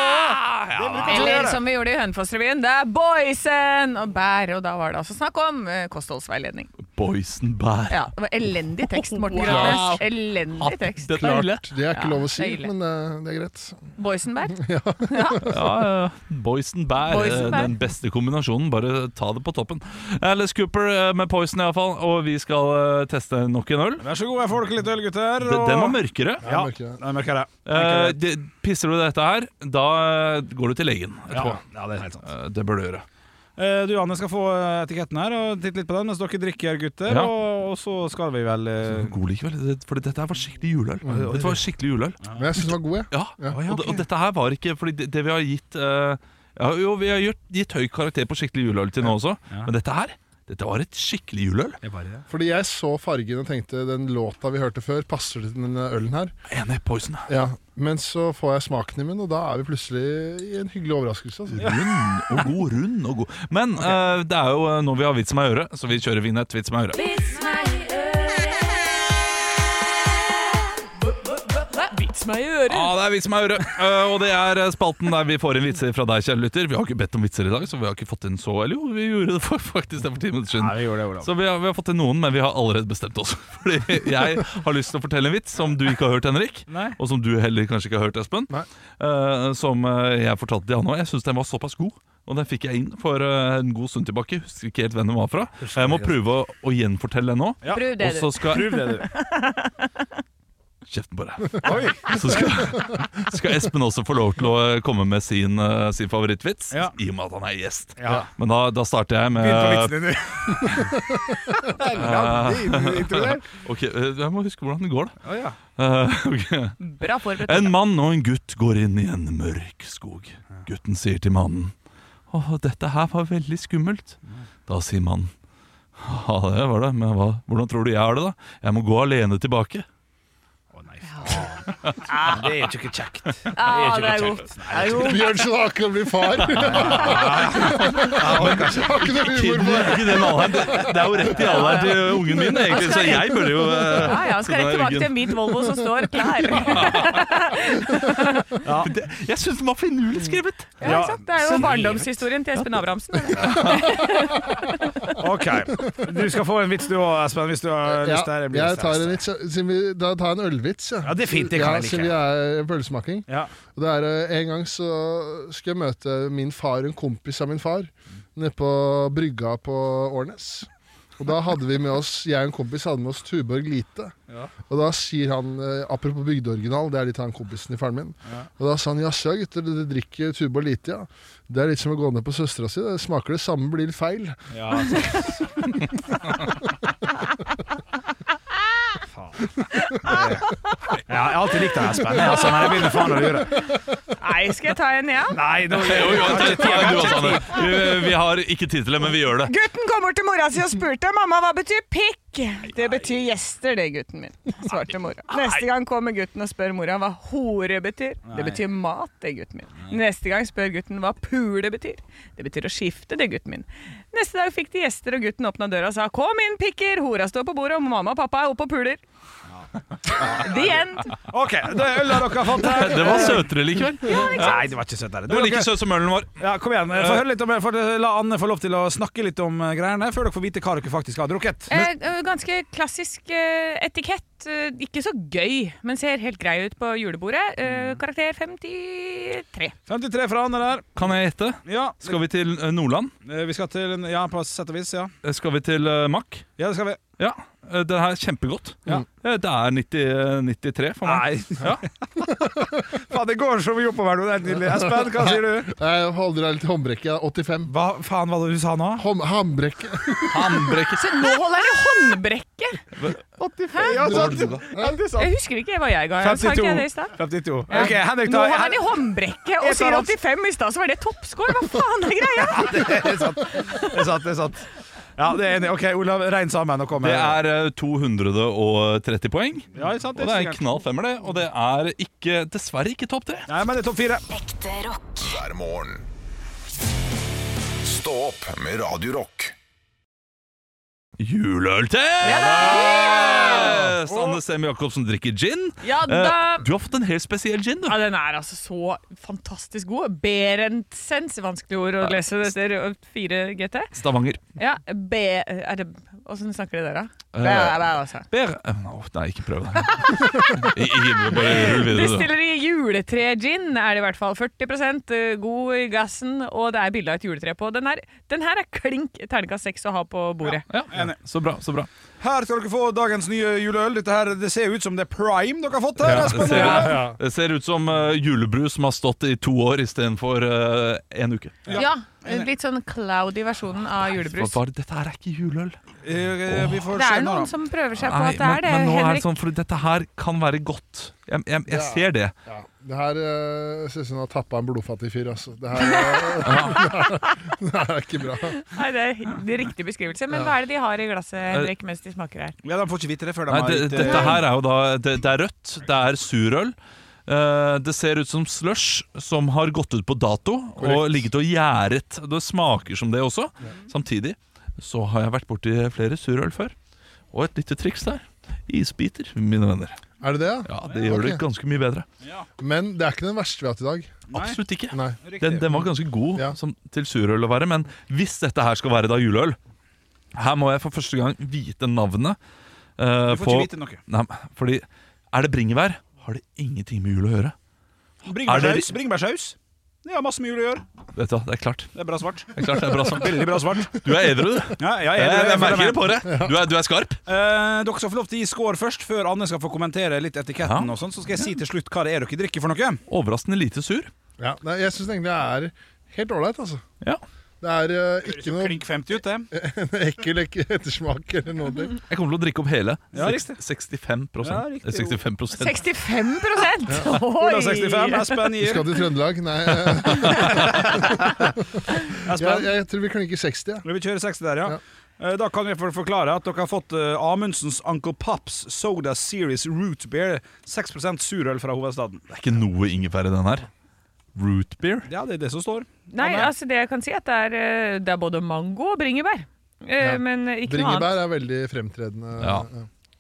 S2: Det bruker ikke å
S4: Eller
S2: gjøre.
S4: som vi gjorde i Hønefoss-revyen, det er boysen og bær. Og da var det altså snakk om eh, kostholdsveiledning.
S3: Boysen Bær.
S4: Ja, det var Elendig tekst, Morten
S5: Wow.
S4: Grandes. Elendig tekst.
S3: Det er deilig.
S2: altså.
S5: Klart. Det er ikke lov å si,
S4: deilig.
S5: men eh, det er greit.
S4: Boysenbær.
S3: Ja, ja, ja. Boysen Bær.
S4: Boys and
S3: eh,
S4: Bær.
S3: Den beste kombinasjonen. Bare ta det på toppen. Alice Cooper eh, med Poison, iallfall. Og vi skal eh, teste nok en øl.
S2: Vær så god, jeg får dere litt øl, gutter.
S3: Den den var mørkere.
S2: Ja,
S5: Jeg merker det.
S2: den merker jeg.
S3: Eh,
S2: Merker jeg.
S3: det- pisser du dette her, da eh, går du til legen
S2: Ja,
S3: etterpå.
S2: ja, det er helt sant.
S3: Eh, Det bør du gjøre.
S2: Eh, Du, Anne, skal få eh, etiketten her og titte litt på den mens dere drikker, gutter.
S3: Ja.
S2: Og, og så skal vi vel eh,
S3: God likevel, det- fordi dette her var skikkelig juleøl. Dette var skikkelig juleøl.
S5: Men jeg syns den var god, jeg.
S3: Ja, og, og dette her var ikke Fordi det, det vi har gitt eh, ja, Jo, vi har gitt, gitt høy karakter på skikkelig juleøl til nå også Men dette her, dette var et skikkelig juleøl
S5: Fordi jeg så fargen og tenkte den låta vi hørte før, passer til den ølen her.
S3: Enig, Poison
S5: Ja, Men så får jeg smaken i munnen, og da er vi plutselig i en hyggelig overraskelse. Altså.
S3: Rund og god, rund og god Men eh, det er jo eh, når vi har vits med øre Så vi kjører vignett, vits med øre
S4: Vits meg i øret!
S3: Ja, det er vits med øre Eh, Og det er eh, spalten der vi får inn vitser fra deg, kjære lytter Vi har ikke bedt om vitser i dag, så vi har ikke fått inn så Eller jo, vi gjorde det for, faktisk det for ti minutter siden
S2: Nei, vi gjorde det, Olav.
S3: Så vi har, vi har fått til noen, men vi har allerede bestemt oss. Fordi jeg har lyst til å fortelle en vits som du ikke har hørt, Henrik.
S2: Nei.
S3: Og som du heller kanskje ikke har hørt, Espen.
S5: Nei.
S3: Eh, som eh, jeg fortalte til Janne. Og jeg syns den var såpass god. Og den fikk jeg inn for eh, en god stund tilbake. Husker ikke helt hvem den var fra. Jeg må prøve å, å gjenfortelle den nå.
S2: Ja.
S4: Prøv det,
S3: Og
S4: du.
S3: så skal
S2: Prøv det, du.
S3: Kjeften på deg.
S2: Oi.
S3: Så skal, skal Espen også få lov til å eh, komme med sin, eh, sin favorittvits,
S2: Ja.
S3: i og med at han er gjest.
S2: Ja.
S3: Men da, da starter jeg med
S2: Begynn på vitsen din, du. Det er langt intro der.
S3: Ok, eh, Jeg må huske hvordan det går, da.
S2: Å, ja.
S3: Eh, ok.
S4: Bra forberedt.
S3: En mann og en gutt går inn i en mørk skog. Gutten sier til mannen Åh, dette her var veldig skummelt. Da sier mannen Ja, det var det, men hva, hvordan tror du jeg har det, da? Jeg må gå alene tilbake.
S2: Å, nei, faen. Det er jo ikke kjekt. Det
S4: Ja,
S2: ikke
S4: det er
S2: kjekt.
S4: godt. Ja, jo.
S5: Bjørn Slake blir far. Har ikke noe humor på det.
S3: Ikke den alderen. Det det er jo rett i alderen til ungen min, egentlig, så Altså, jeg burde jo eh,
S4: Ja, ja, skal
S3: sitte med
S4: rett tilbake til
S3: ryggen.
S4: en hvit Volvo som står klar.
S3: Det- Jeg syns den var finurlig skrevet.
S4: Ja, ikke sant? Det er jo barndomshistorien til Espen Abrahamsen.
S2: OK. Du skal få en vits du òg, Espen, hvis du har
S5: Ja,
S2: lyst. Der, blir
S5: jeg tar en
S2: stress.
S5: vits, ja. Siden vi- Da tar jeg en ølvits.
S2: Ja, det er fint, det kan jeg like.
S5: Siden vi er eh, pølsemaking.
S2: Ja.
S5: Og det er eh, En gang så skulle jeg møte min far, en kompis av min far, nede på brygga på Årnes. Og da hadde vi med oss, Jeg og en kompis hadde med oss Tuborg Lite. Og da sier han, eh, apropos bygdeoriginal, det er litt han kompisen i faren min Og da sa han jaså, gutter, dere drikker Tuborg Lite, ja. Det er litt som å gå ned på søstera si. Det smaker det samme, blir litt feil.
S2: Ja, sant. Faen. Det- Ja, jeg har alltid likt deg, Espen. Men altså, nei, jeg begynner faen å lure.
S4: Nei, skal jeg ta en, ja?
S2: Nei, nå
S3: Jo, jo, det- det er du også, Anne. Vi- Vi har ikke tid til det, men vi gjør det.
S4: Gutten kommer til mora si og spurte mamma hva betyr pikk. Det betyr gjester, det, gutten min, svarte mora. Neste gang kommer gutten og spør mora hva hore betyr. Det betyr mat, det, gutten min. Neste gang spør gutten hva pule betyr. Det betyr å skifte, det, gutten min. Neste dag fikk de gjester, og gutten åpna døra og sa kom inn, pikker, hora står på bordet, og mamma og pappa er oppe og puler. The end.
S2: OK, det er øl har dere fått her.
S3: Det var søtere likevel. Det
S2: Nei, det var ikke søtt. der.
S3: var like Eh.
S2: Dere-
S3: søt som ølen vår.
S2: Ja, kom igjen. Eh, Få høre litt om, for la Anne få lov til å snakke litt om eh, greiene, før dere får vite hva dere faktisk har drukket.
S4: Eh, eh, ganske klassisk eh, etikett. Eh, ikke så gøy, men ser helt grei ut på julebordet. Eh, karakter 53.
S2: 53 fra Anne der.
S3: Kan jeg gjette?
S2: Ja,
S3: Skal vi til eh, Nordland?
S2: eh, vi skal til en- Ja, på sett og vis, ja.
S3: Eh, Skal vi til eh, Mack?
S2: Ja, det skal vi.
S3: Ja. eh, Det her er kjempegodt.
S2: Ja.
S3: Eh, Det er 90, eh, 93 for meg.
S2: Nei. Faen, det går som vi oppover nå. Det er helt nydelig. Espen, hva sier du?
S5: Jeg holder deg litt håndbrekket. jeg er 85.
S2: Hva faen var det du sa nå?
S5: Hånd- Håndbrekket.
S4: Så nå holder han i håndbrekket!
S2: Ja, sant.
S4: Jeg husker ikke hva jeg ga. Sa ikke jeg det i stad?
S2: 52. Ok, Henrik
S4: Nå
S2: tar
S4: holder han i håndbrekket og
S2: Jeg tar
S4: sier
S2: opp-
S4: 85 i stad, så var det toppscore! Hva faen er greia?
S2: Det er sant. Det er sant. Det er sant. Ja, det er enig. Ok, Olav, regn sammen og kom med.
S3: Det er eh, 230 poeng.
S2: ja, det er sant,
S3: Og det er en knall femmer, det. Og det er ikke, dessverre ikke topp tre.
S2: Nei, men det er topp fire.
S6: Ekte rock.
S1: hver morgen. Stå opp med Radio Rock.
S3: Juleøltest! Anne Semi Jacobsen drikker gin.
S4: Ja da!
S3: Eh, Du har fått en helt spesiell gin, du.
S4: Ja, Den er altså så fantastisk god. Berentsens, vanskelig ord å lese etter 4GT.
S3: Stavanger.
S4: Ja, B... Er det Åssen snakker de der, da?
S3: Eh,
S4: Bæ, bæ, altså.
S3: Ber... Åh, nei, ikke prøv det. I- i- Bare rull videre, du.
S4: Destilleri juletre-gin er det i hvert fall. 40 god i gassen, og det er bilde av et juletre på. Den her, den her er klink terningkast seks å ha på bordet.
S3: Ja, så bra, så bra.
S2: Her skal dere få dagens nye juleøl. Dette her, Det ser ut som det er prime dere har fått her.
S3: Ja, det,
S2: Espen.
S3: ser,
S5: Ja.
S3: det ser ut som eh, julebrus som har stått i to år istedenfor uh, en uke.
S4: Ja. litt sånn cloudy versjonen av
S3: Hva,
S4: julebrus.
S3: var det- dette her er ikke juleøl.
S2: Eh, Vi får
S4: Det
S2: se
S4: er
S2: nå,
S4: noen
S2: da.
S4: som prøver seg på
S3: Nei,
S4: at det
S3: men,
S4: er det,
S3: men nå er det
S4: Henrik.
S3: sånn, for dette her kan være godt. Jeg, jeg, jeg
S5: Ja.
S3: ser det.
S5: Ja, det her uh, ser ut som han har tappa en blodfattig fyr. Altså. Det, her, eh, det her er ikke bra.
S4: Nei, det er det er riktig beskrivelse. Men hva er det de har i glasset,
S3: Eh,
S4: Henrik, mens de smaker her?
S2: Ja, De får ikke vite det før de
S3: Nei,
S2: har
S3: det,
S2: gitt, eh,
S3: dette her er jo da Det, det er rødt, det er surøl. Eh, det ser ut som slush som har gått ut på dato og ligget og gjæret. Det smaker som det også. Samtidig så har jeg vært borti flere surøl før. Og et lite triks der. Isbiter, mine venner.
S5: Er det det, ja?
S3: Ja, Det gjør det
S5: ok.
S3: ganske mye bedre.
S5: Men det er ikke den verste vi har hatt i dag.
S3: Absolutt ikke.
S5: Nei.
S3: Den, den var ganske god
S5: Ja.
S3: som, til surøl å være, men hvis dette her skal være da juleøl Her må jeg for første gang vite navnet. eh,
S2: Du får
S3: på-
S2: ikke vite noe.
S3: Nei, men, fordi er det bringebær, har det ingenting med jul å gjøre.
S2: Bringebærsaus. Bringebærsaus. Det har masse med jul å gjøre.
S3: Vet du hva, Det er klart.
S2: Det er bra svart.
S3: Det er klart det er bra sagt.
S2: Veldig bra svart.
S3: Du er edru, du.
S2: Ja, ja,
S3: Jeg,
S2: jeg,
S3: jeg,
S2: jeg føler
S3: merker det
S2: meg.
S3: på deg. Du er, du er skarp.
S2: Eh, dere skal få lov til å gi score først, før Anne skal få kommentere litt etiketten.
S3: Ja.
S2: og sånn Så skal jeg si til slutt hva det er dere drikker for noe.
S3: Overraskende lite sur.
S5: Ja. Nei jeg syns egentlig det er helt ålreit, altså.
S3: Ja.
S5: Det er eh, ikke noe
S2: Klink 50 ut, det.
S5: ekkel ek- ettersmak eller noe. ting.
S3: Jeg kommer til å drikke opp hele.
S2: Ja,
S3: Seks- 65
S2: Ja, riktig.
S3: Eh, 65 prosent.
S4: 65
S2: Ola 65,
S4: Oi!
S2: Espen
S5: Vi
S2: gir.
S5: skal til Trøndelag. Nei, eh,
S2: Espen.
S5: jeg, jeg tror vi klinker 60. Ja.
S2: Vi kjører 60 der, ja. Eh, Da kan vi for- forklare at dere har fått eh, Amundsens Uncle Pops Soda Series Root Beer. 6 surøl fra hovedstaden.
S3: Det er ikke noe ingefær i den her. Root beer?
S2: Ja, det er det som står.
S4: Nei,
S2: Anne?
S4: altså det jeg kan si er at det er, eh, det er både mango og bringebær. Eh, Men ikke noe annet.
S5: Bringebær er veldig fremtredende.
S3: Ja.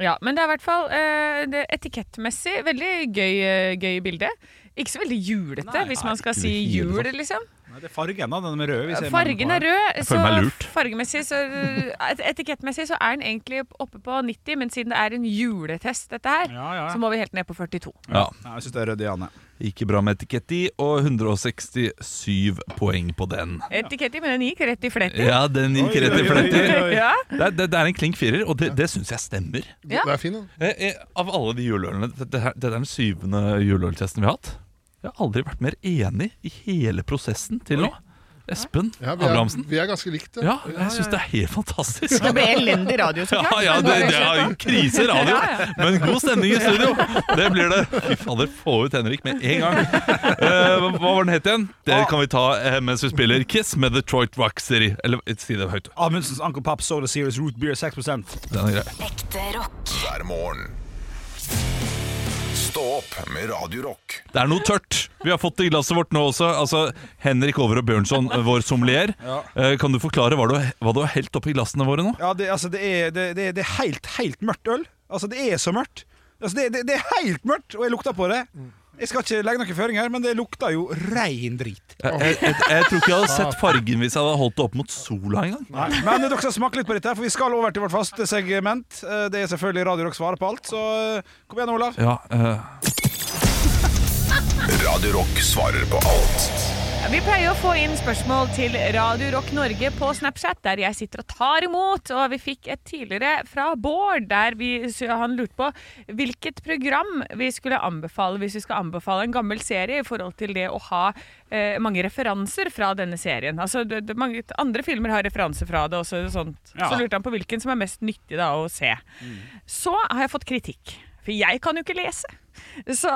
S4: Ja, men det er i hvert fall eh, det er etikettmessig veldig gøy, eh, gøy bilde. Ikke så veldig julete,
S2: Nei,
S4: hvis man skal
S3: i
S4: si
S3: det hele
S4: jul,
S3: tatt.
S4: liksom. Eh,
S2: Nei, det er fargen, da. Den med rød. vi ser mellom på
S4: Fargen er
S2: her.
S4: rød,
S3: føler meg
S4: så
S3: lurt.
S4: fargemessig så eh, et- Etikettmessig så er den egentlig oppe på 90, men siden det er en juletest, dette her,
S2: Ja, ja.
S4: så må vi helt ned på 42.
S3: Ja.
S2: Nei, jeg syns det er rød, Janne.
S3: Ikke bra med etikett i, og 167 poeng på den.
S4: Etiketti, men den gikk rett i fletter.
S3: Ja, den gikk rett i fletter.
S4: Ja.
S3: Det, er- det, det er en klink firer, og det, det syns jeg stemmer.
S4: Ja.
S5: Det er fin, den.
S3: Eh, eh, Av alle de juleølene det- det, her- Dette er den syvende juleøltesten vi har hatt. Jeg har aldri vært mer enig i hele prosessen til nå. Espen
S5: Ja, vi, er,
S3: Abrahamsen.
S5: vi er ganske likt, det.
S3: Ja, jeg syns det er helt fantastisk.
S4: Det ble elendig radio, så
S3: Ja,
S4: klart.
S3: ja
S4: men
S3: det,
S4: bare
S3: det er
S4: kjør på.
S3: en krise i radio, men god stemning i studio. Det blir det. Fy fader, få ut Henrik med en gang. Eh, hva hva var den het igjen? Det kan vi ta eh, mens vi spiller Kiss med Detroit Rock City. Eller eh, si det høyt.
S2: Amundsens Uncle Pops Soda Series Root Beer 6
S3: Den er grei.
S6: Ekte rock.
S1: hver morgen. Stå opp med Radio Rock.
S3: Det er noe tørt. Vi har fått det i glasset vårt nå også. Altså, Henrik Over og Bjørnson, vår sommelier. Eh, Kan du forklare hva du, hva du har helt oppi glassene våre nå?
S2: Ja, det, altså, det, er, det, det, det er helt, helt mørkt øl. Altså, det er så mørkt. Altså, det, det, det er helt mørkt, og jeg lukter på det.
S4: Mm.
S2: Jeg skal ikke legge noen føringer, men det lukter jo rein drit.
S3: Jeg, jeg, jeg, jeg tror ikke jeg hadde sett fargen hvis jeg hadde holdt det opp mot sola engang.
S2: Men dere skal smake litt på dette, her, for vi skal over til vårt faste segment. Eh, Det er selvfølgelig Radio Rock svarer på alt, så eh, kom igjen, Olav.
S3: Ja, eh,
S1: Radio Rock svarer på alt.
S4: Vi pleier å få inn spørsmål til Radio Rock Norge på Snapchat, der jeg sitter og tar imot. Og vi fikk et tidligere fra Bård, der vi, så han lurte på hvilket program vi skulle anbefale hvis vi skal anbefale en gammel serie i forhold til det å ha eh, mange referanser fra denne serien. Altså, det, det, mange, andre filmer har referanser fra det og så- sånt. Så lurte han på hvilken som er mest nyttig da, å se. Så har jeg fått kritikk. For jeg kan jo ikke lese. Så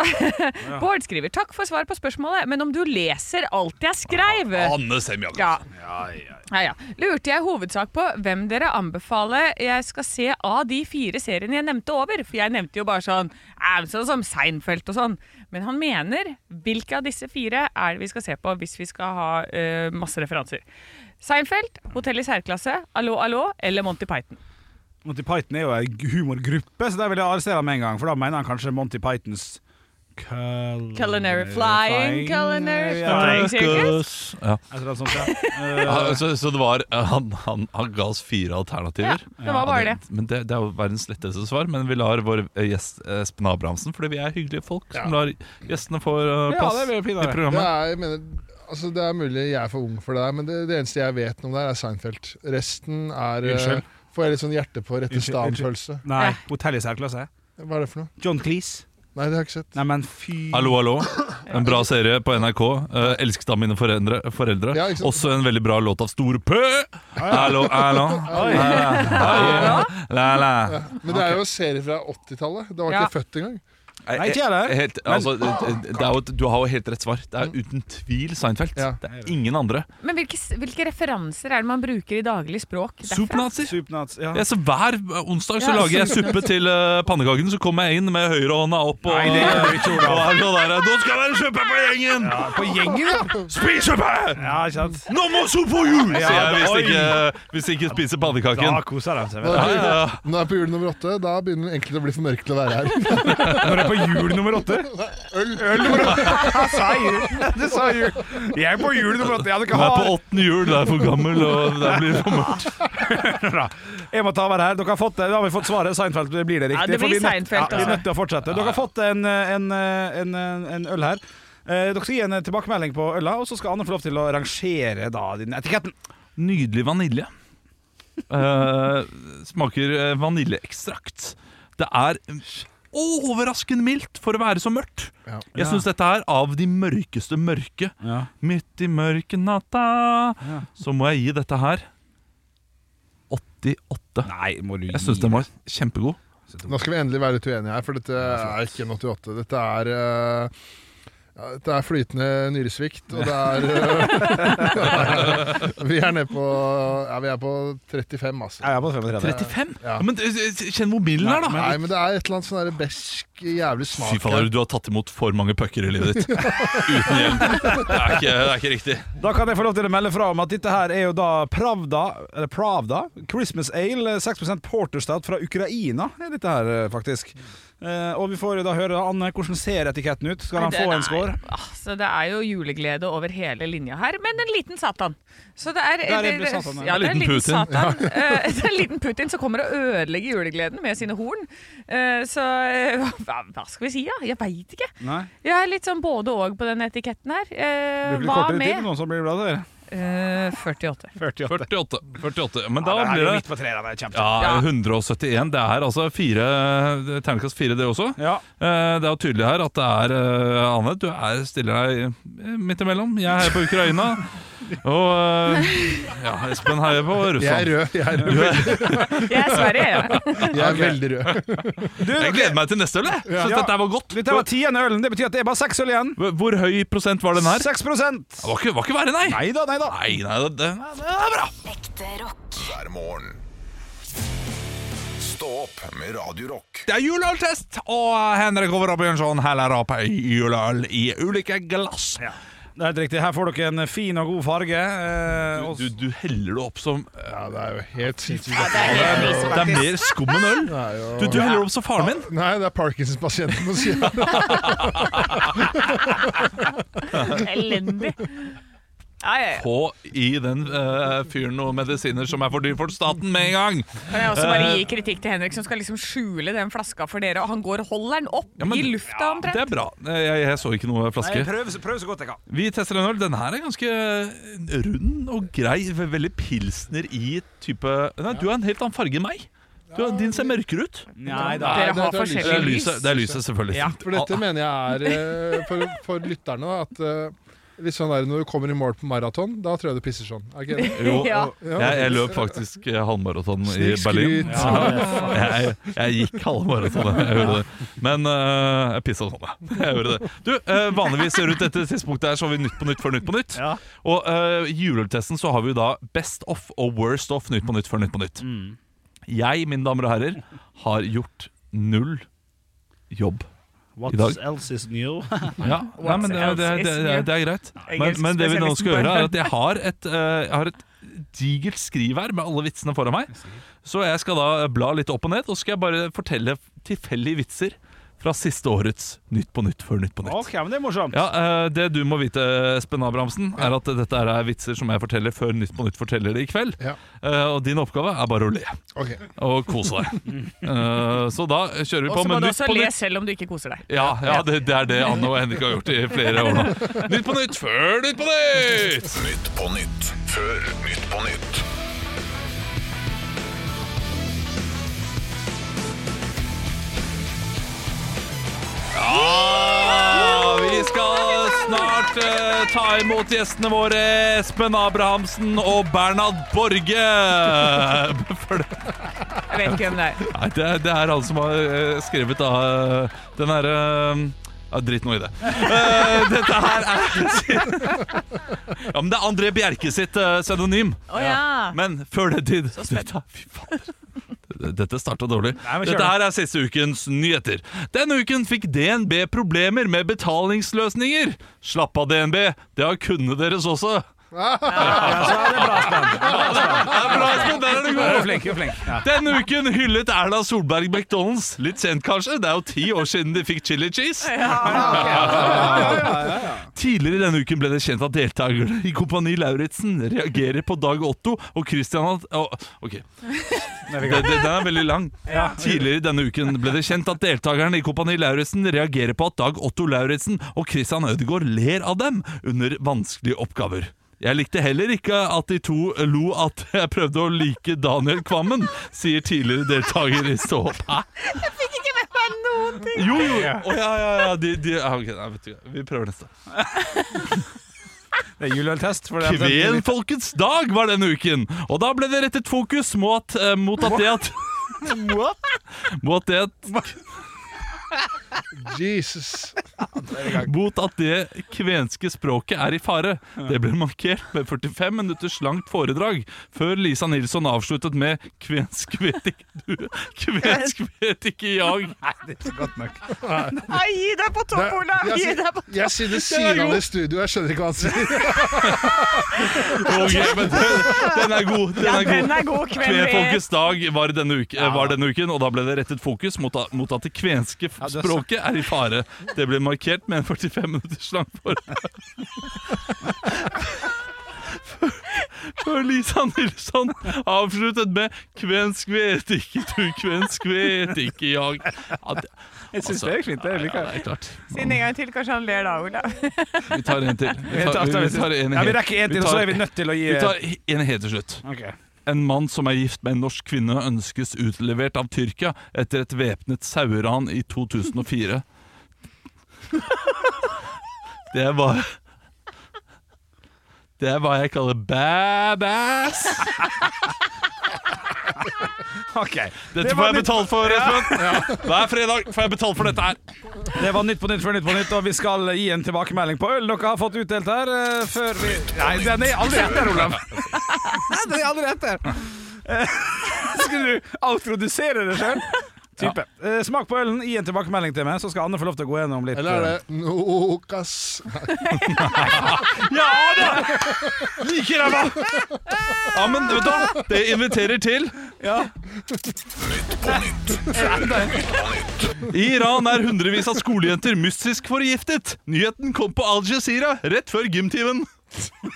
S4: Bård skriver 'Takk for svar på spørsmålet, men om du leser alt jeg skreiv'
S3: Anne Semjak.
S4: ja. Ja, ja. Lurte jeg i hovedsak på hvem dere anbefaler jeg skal se av de fire seriene jeg nevnte over. For jeg nevnte jo bare sånn, eh, sånn som Seinfeld og sånn. Men han mener hvilke av disse fire er det vi skal se på hvis vi skal ha eh, masse referanser. Seinfeld, Hotell i særklasse, Allo, allo eller Monty Python.
S2: Monty Python er jo ei humorgruppe, så der vil jeg arrestere ham med en gang, for da mener han kanskje Monty Pythons Culinary,
S4: Culinary flying, culinary
S2: eh, Ja,
S4: flying circus.
S3: Ja.
S2: jeg tror det er sånt, ja. Eh,
S3: Ja, så, så det var eh, han, han, han ga oss fire alternativer.
S4: Ja, det var bare
S3: Ja, Men det, det er jo verdens letteste svar. Men vi lar vår eh, gjest eh, Espen Abrahamsen, fordi vi er hyggelige folk, som lar gjestene få eh,
S2: Ja,
S3: plass
S2: det blir jo
S3: i
S2: pinadø.
S5: Det
S3: programmet.
S5: er, jeg mener, altså det er mulig jeg er for ung for det der, men det, det eneste jeg vet om det her, er Seinfeld. Resten er eh,
S2: Unnskyld.
S5: Får jeg litt sånn hjerte på rette
S2: Unnskyld, unnskyld.
S5: stan-følelse.
S2: Nei,
S4: Ja.
S2: Hotell i særklasse.
S5: Hva er det for noe?
S2: John Cleese.
S5: Nei, det har jeg ikke sett.
S2: Nei, men fy
S3: Hallo, hallo. En bra serie på NRK. Eh, elsket av mine foreldre. foreldre.
S5: Ja, ikke sant?
S3: Også en veldig bra låt av Store Pø. Hallo, hallo. La, la, la.
S5: Men det er jo serier fra 80-tallet. Da var ikke
S4: Ja.
S5: jeg født engang.
S2: Nei, ikke jeg heller.
S3: Helt, altså, det, det er jo, et- du har jo helt rett svar. Det er uten tvil Seinfeld.
S5: Ja.
S3: Det er ingen andre.
S4: Men hvilke, s- hvilke referanser er det man bruker i daglig språk? derfra?
S3: Supernazi.
S2: Supernats. Ja.
S3: Ja, så Hver onsdag så
S4: Ja,
S3: lager jeg
S4: sånn.
S3: suppe til uh, pannekakene. Så kommer jeg inn med høyrehånda opp og
S2: Nei, det gjør du ikke, Olav.
S3: og her og der, Nå skal det være suppe på gjengen!
S2: På gjengen, ja.
S3: Spis suppe!
S2: Ja, ikke sant?
S3: Nå må suppe på jul!
S2: Ja,
S3: sier jeg hvis
S2: oi.
S3: ikke, hvis ikke spiser
S2: Da
S3: pannekaken.
S2: koser de seg.
S5: Nå
S2: vet
S3: Ja,
S5: er, på,
S3: ja.
S5: nå er jeg på jul nummer åtte. Da begynner det egentlig å bli for mørkt til å være her.
S2: du. Når det er på jul nummer åtte
S5: Øl.
S2: Jeg sa jul! Du sa jul. Jeg er på jul nummer åtte. Jeg hadde ikke
S3: Hun er på
S2: har-
S3: åttende jul, det er for gammel, og det blir for mørkt.
S2: Jeg må ta over her. Dere har fått det. Da har vi fått svaret. Seinfeld det blir det riktig.
S4: Ja, det
S2: for
S4: blir
S2: vi er nødt-
S4: Seinfeld,
S2: Ja, vi er
S4: altså.
S2: nødt til å fortsette. Dere har fått en, en, en, en øl her. Eh, Dere skal gi en tilbakemelding på øla, og så skal Anne få lov til å rangere da, den etiketten.
S3: Nydelig vanilje. Eh, smaker eh, vaniljeekstrakt. Det er overraskende mildt for å være så mørkt.
S5: Ja.
S3: Jeg syns dette er av de mørkeste mørke.
S2: Ja.
S3: Midt i mørke natta
S2: Ja.
S3: Så må jeg gi dette her 88.
S2: Nei, må du gi
S3: Jeg syns den var kjempegod.
S5: Nå skal vi endelig være litt uenige her, for dette er ikke en 88. Dette er eh, Ja, det er flytende nyresvikt, og det er øh, Vi er nede på Ja, vi er på 35, altså.
S2: Jeg er på 35.
S3: 35?
S5: Ja.
S3: Men eh, eh, kjenn mobilen her, da.
S5: Nei, men det er et eller annet sånn der besk, jævlig smak
S3: Fy fader, du har tatt imot for mange pucker i livet ditt. Uten hjelm. Det er ikke, det er ikke riktig.
S2: Da kan jeg få lov til å melde fra om at dette her er jo da Pravda, eller Pravda Christmas Ale, eh, 6 porterstout fra Ukraina er dette her, eh, faktisk. Eh, og vi får jo da høre, da, Anne, hvordan ser etiketten ut? Skal han få en score?
S4: Altså, det er jo juleglede over hele linja her, men en liten Satan. Så det er,
S2: Der er det Satan, ja.
S4: ja, det er en
S3: Liten
S4: liten
S3: Putin.
S4: Satan. Eh, det er en liten Putin som kommer og ødelegger julegleden med sine horn. Eh, så eh, hva, hva skal vi si, da? Jeg veit ikke.
S2: Nei?
S4: Jeg er litt sånn både og på den etiketten her. Eh,
S2: Bruker litt
S4: hva
S2: kortere tid, men
S4: med
S2: noen som blir glad der.
S4: Eh, 48.
S2: 48.
S3: 48. 48. Men
S2: Ja,
S3: da
S2: det er
S3: blir
S2: jo
S3: det
S2: midt på treet, det er kjempe.
S3: ja, 171. Det er altså fire terningkast fire, det også.
S2: Ja.
S3: Eh, Det er jo tydelig her at det er eh, Anne, du er, stiller deg eh, midt imellom. Jeg heier på Ukraina. Og eh, ja, Espen heier på
S5: Jeg er
S3: Russland.
S5: rød. Jeg er, rød.
S4: Jeg er Sverige, jeg.
S5: Jeg er veldig rød.
S2: Du,
S3: Jeg gleder meg til neste øl. jeg. Synes
S2: Ja.
S3: dette var godt.
S2: Dette var tiende ølen, det betyr at det er bare seks øl igjen.
S3: Hvor- Hvor høy prosent var den her?
S2: 6
S3: Det var ikke, var ikke verre, nei.
S2: Nei da, nei da.
S3: Nei, nei, det, det det er bra.
S6: Ekte rock.
S1: hver morgen. Stå opp med Radio Rock.
S3: Det er juleøltest, og eh, Henrik Over og Bjørnson heller opp juleøl i ulike glass.
S2: Det er helt riktig. Her får dere en fin og god farge. eh, og-
S3: Du, du heller det opp som eh,
S5: Ja, det er jo helt sinnssykt.
S3: Det er mer skum enn øl.
S5: Det er jo-
S3: Du, du heller det opp som faren min.
S5: Nei, det er Parkinsons-pasienten på sida.
S4: Elendig. Ja, ja, ja.
S3: På i den eh, fyren noen medisiner som er for dyr for staten med en gang.
S4: Kan jeg også
S3: Eh.
S4: bare gi kritikk til Henrik, som skal liksom skjule den flaska for dere, og han går og holder den opp
S3: Ja, men-
S4: i lufta omtrent.
S3: Det er bra. Eh, Jeg, jeg så ikke noe
S2: Nei,
S3: flaske.
S2: prøv, prøv så godt jeg kan.
S3: Vi tester en øl. Den her er ganske eh, rund og grei. ve- Veldig pilsner i type Nei, du har en helt annen farge enn meg. Du, har- din ser mørkere ut.
S2: Nei
S5: Nei,
S4: Dere
S5: det
S4: har
S5: er lyset.
S3: Det er
S4: forskjellig lys.
S3: lyset, det er lyset selvfølgelig.
S5: For dette mener jeg er eh, for, for lytterne, da, at eh, litt sånn der når du kommer i mål på maraton, da tror jeg du pisser sånn. Er ikke det?
S3: Ah, Jo,
S4: Ja.
S3: jeg, jeg løp faktisk eh, halvmaraton i
S5: Snikskryt.
S3: Berlin.
S5: Ja,
S3: Ja. Jeg, jeg gikk halvmaraton, jeg gjorde det. Men eh, jeg pissa sånn, jeg. jeg. gjorde det. Du, eh, Vanligvis rundt dette tidspunktet her så har vi Nytt på Nytt før Nytt på Nytt.
S2: Ja.
S3: Og eh, i juleøltesten så har vi jo da Best off og Worst off Nytt på Nytt før Nytt på Nytt. Jeg, mine damer og herrer, har gjort null jobb.
S2: What
S3: I dag.
S2: else is new?
S3: Ja, nei, men det, det, det, det, det er greit. Men, men det vi nå skal gjøre, er at jeg har et, eh, jeg har et digert skriv her med alle vitsene foran meg. Så jeg skal da bla litt opp og ned, og så skal jeg bare fortelle tilfeldige vitser fra siste årets Nytt på Nytt før Nytt på Nytt.
S2: Ok, men det er morsomt.
S3: Ja, eh, Det du må vite, Espen Abrahamsen, er at dette er vitser som jeg forteller før Nytt på Nytt forteller det i kveld.
S5: Ja.
S3: Eh, Og din oppgave er bare å le
S5: Ok.
S3: og kose deg. Eh, Så da kjører vi
S4: Og
S3: på
S4: så må
S3: med
S4: du
S3: Nytt
S4: også
S3: på
S4: le
S3: Nytt.
S4: selv om du ikke koser deg.
S3: Ja, ja det, det er det Anne og Henrik har gjort i flere år nå. Nytt på Nytt før Nytt på Nytt!
S1: Nytt på nytt før Nytt på nytt.
S3: Ja, Ah, vi skal snart eh, ta imot gjestene våre Espen Abrahamsen og Bernhard Borge. For det,
S4: Jeg vet ikke hvem det er.
S3: nei, det, er- det er han som har eh, skrevet da, eh, den herre ja, Drit nå i det. Eh, dette her er Ja, men Det er André Bjerke sitt eh, pseudonym.
S4: Å ja.
S3: Men før den tid dette, Fy fader. Dette starta dårlig.
S2: men kjør
S3: Dette her er siste ukens nyheter. Denne uken fikk DNB problemer med betalingsløsninger. Slapp av, DNB. Det har kundene deres også.
S2: Ja, så er det bra spenn.
S3: Det er bra, Espen. Der er du
S2: Du er
S3: god.
S2: flink, du er flink. Ja.
S3: Denne uken hyllet Erna Solberg McDonald's. Litt sent, kanskje. Det er jo ti år siden de fikk chili cheese. Tidligere denne uken ble det kjent at deltakerne i Kompani Lauritzen reagerer på Dag Otto og Christian at, å, Ok, det, det, den er veldig lang. Tidligere denne uken ble det kjent at deltakerne i Kompani Lauritzen reagerer på at Dag Otto Lauritzen og Christian Ødegaard ler av dem under vanskelige oppgaver. Jeg likte heller ikke at de to lo at jeg prøvde å like Daniel Kvammen, sier tidligere deltaker i Stå opp. Hæ?
S4: Ikke med meg noen ting!
S3: Jo, jo! Å, ja, ja, ja. De, de, ja, ok, nei, vet du, hva. vi prøver neste.
S2: Det er juleøltest. for det er-
S3: Kvenfolkets dag var denne uken, og da ble det rettet fokus mot, eh, mot at det at Mot det at
S5: Jesus.
S3: Bot at det kvenske språket er i fare. Det ble markert med 45 minutters langt foredrag, før Lisa Nilsson avsluttet med 'Kvensk vet ikke du, kvensk vet ikke jeg'.
S9: Nei, gi deg på topp, Olav! Gi deg på
S5: Jeg sitter siden av det studioet, jeg skjønner ikke hva han sier.
S3: Ok, men den, den er god. Den er god.
S9: Den er god, kveld
S3: Kvenfolkets dag var denne, uke, var denne uken, og da ble det rettet fokus mot, a- mot at det kvenske f-
S2: du har
S3: språket er i fare. Det ble markert med en 45 minutters lang foredrag. Før Lisa Nilsson avsluttet med 'Kvensk vet ikke du, kvensk vet ikke jeg'. Ja, det,
S2: Jeg syns
S3: altså,
S2: det er fint. Det er
S3: ja,
S2: like.
S3: det er klart.
S9: Siden en gang til, kanskje han ler da, Olav.
S3: Vi tar en til. Vi tar, vi, vi tar en
S2: ja, vi
S3: helt.
S2: rekker en til,
S3: Vi
S2: og så
S3: tar-
S2: er vi nødt til å gi
S3: Vi tar en helt til slutt.
S2: Ok.
S3: En mann som er gift med en norsk kvinne ønskes utlevert av Tyrkia etter et væpnet saueran i 2004. Det er hva Det er hva jeg kaller badass.
S2: Ok. Det var
S3: Dette får jeg
S2: nytt-
S3: betalt for, Espen. Hver fredag får jeg betalt for dette her.
S2: Det var Nytt på Nytt før Nytt på Nytt, og vi skal gi en tilbakemelding på øl dere har fått utdelt her. eh, Før vi Nei, den er aldri etter, Olav! Nei, den er aldri etter! Eh, Skulle du outrodusere det sjøl? Type. Eh, Smak på ølen, gi en tilbakemelding til meg, så skal Anne få lov til å gå gjennom litt.
S5: Eller er det Nokas?
S3: Ja da! Like ræva! Ja, men vet du hva? Det inviterer til.
S1: På nytt.
S3: I Iran er hundrevis av skolejenter mystisk forgiftet. Nyheten kom på Al-Jazeera rett før gymtimen.
S2: eh,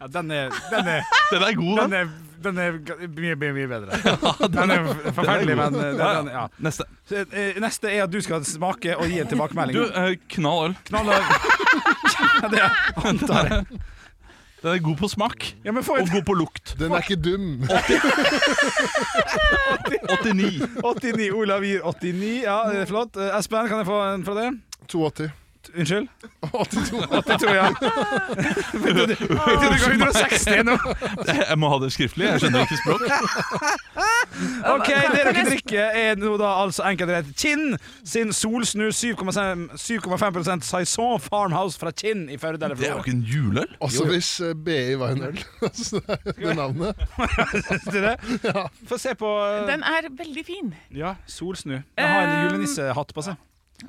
S2: Ja, den er, den er,
S3: Den er god,
S2: den
S3: den.
S2: er, den er g- mye, mye, mye bedre. Den er forferdelig, men eh, den, den, ja.
S3: Neste.
S2: Så, eh, Neste er at du skal smake og gi en tilbakemelding.
S3: Du, eh, knall øl.
S2: Knaller. Ja, det antar jeg.
S3: Den er god på smak
S2: Ja, men få
S3: og
S2: et
S3: god på lukt.
S5: Den er ikke dum.
S3: 89.
S2: 89. Olav gir 89. Ja, det er flott. Eh, Espen, kan jeg få en fra det?
S5: 82.
S2: T- Unnskyld?
S5: 82.
S2: 82, ja. Men du- Jeg trodde det var 160 nå.
S3: Jeg må ha det skriftlig. Jeg skjønner ikke språk.
S2: Ok, Det dere drikker, er nå da altså enkeltrett Kinn sin solsnu 7,5 7,5 Saison Farmhouse fra Kinn i Førde eller
S3: Det er jo
S2: Florø.
S3: ikke en juleøl.
S5: Også hvis eh, BI var en øl. Altså, det navnet.
S2: Syns du det? Få se på eh,
S4: Den er veldig fin.
S2: Ja, solsnu. Den har en julenissehatt på seg.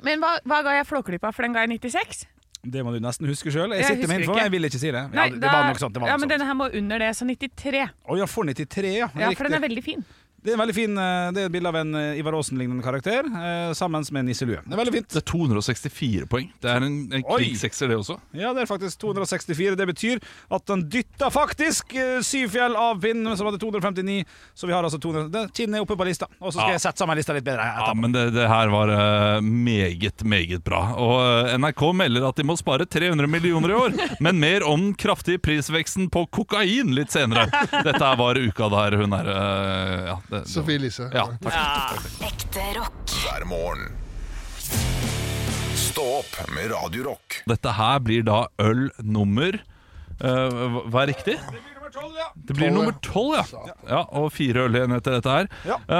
S4: Men hva, hva ga jeg Flåklypa, for den ga jeg 96?
S2: Det må du nesten huske sjøl. Jeg
S4: Jeg
S2: sitter med
S4: husker
S2: info,
S4: ikke.
S2: jeg vil ikke si det. Ja,
S4: Nei,
S2: det
S4: da-
S2: var nok sånt. Det var
S4: ja,
S2: nok sånn.
S4: men
S2: sånt.
S4: denne her må under det, så 93.
S2: Å ja, for 93, ja.
S4: Ja, for den
S2: Riktig.
S4: er veldig fin.
S2: Det er en veldig fin, eh, det er et bilde av en eh, Ivar Aasen-lignende karakter eh, sammen med nisselue. Det er veldig fint.
S3: Det er 264 poeng. Det er en, en
S2: Oi.
S3: krigssekser, det også.
S2: Ja, det er faktisk 264. Det betyr at den dytta faktisk eh, Syfjell av pinnen, som hadde 259. Så vi har altså 200 det- Kinn er oppe på lista. Og så skal
S3: Ja.
S2: jeg sette sammen lista litt bedre.
S3: Ja,
S2: Etterpå.
S3: men det, det her var eh, meget, meget bra. Og eh, NRK melder at de må spare 300 millioner i år. Men mer om den kraftige prisveksten på kokain litt senere. Dette her var uka der hun er eh, ja, det, det
S5: Sofie Elise.
S3: Ja, takk.
S6: Ekte rock.
S1: hver morgen. Stå opp med Radio Rock.
S3: Dette her blir da øl nummer eh, hva- Hva er riktig? Det blir
S5: Tolv,
S3: nummer tolv, ja. ja. Og fire øl igjen etter dette her.
S2: Ja.
S3: Um,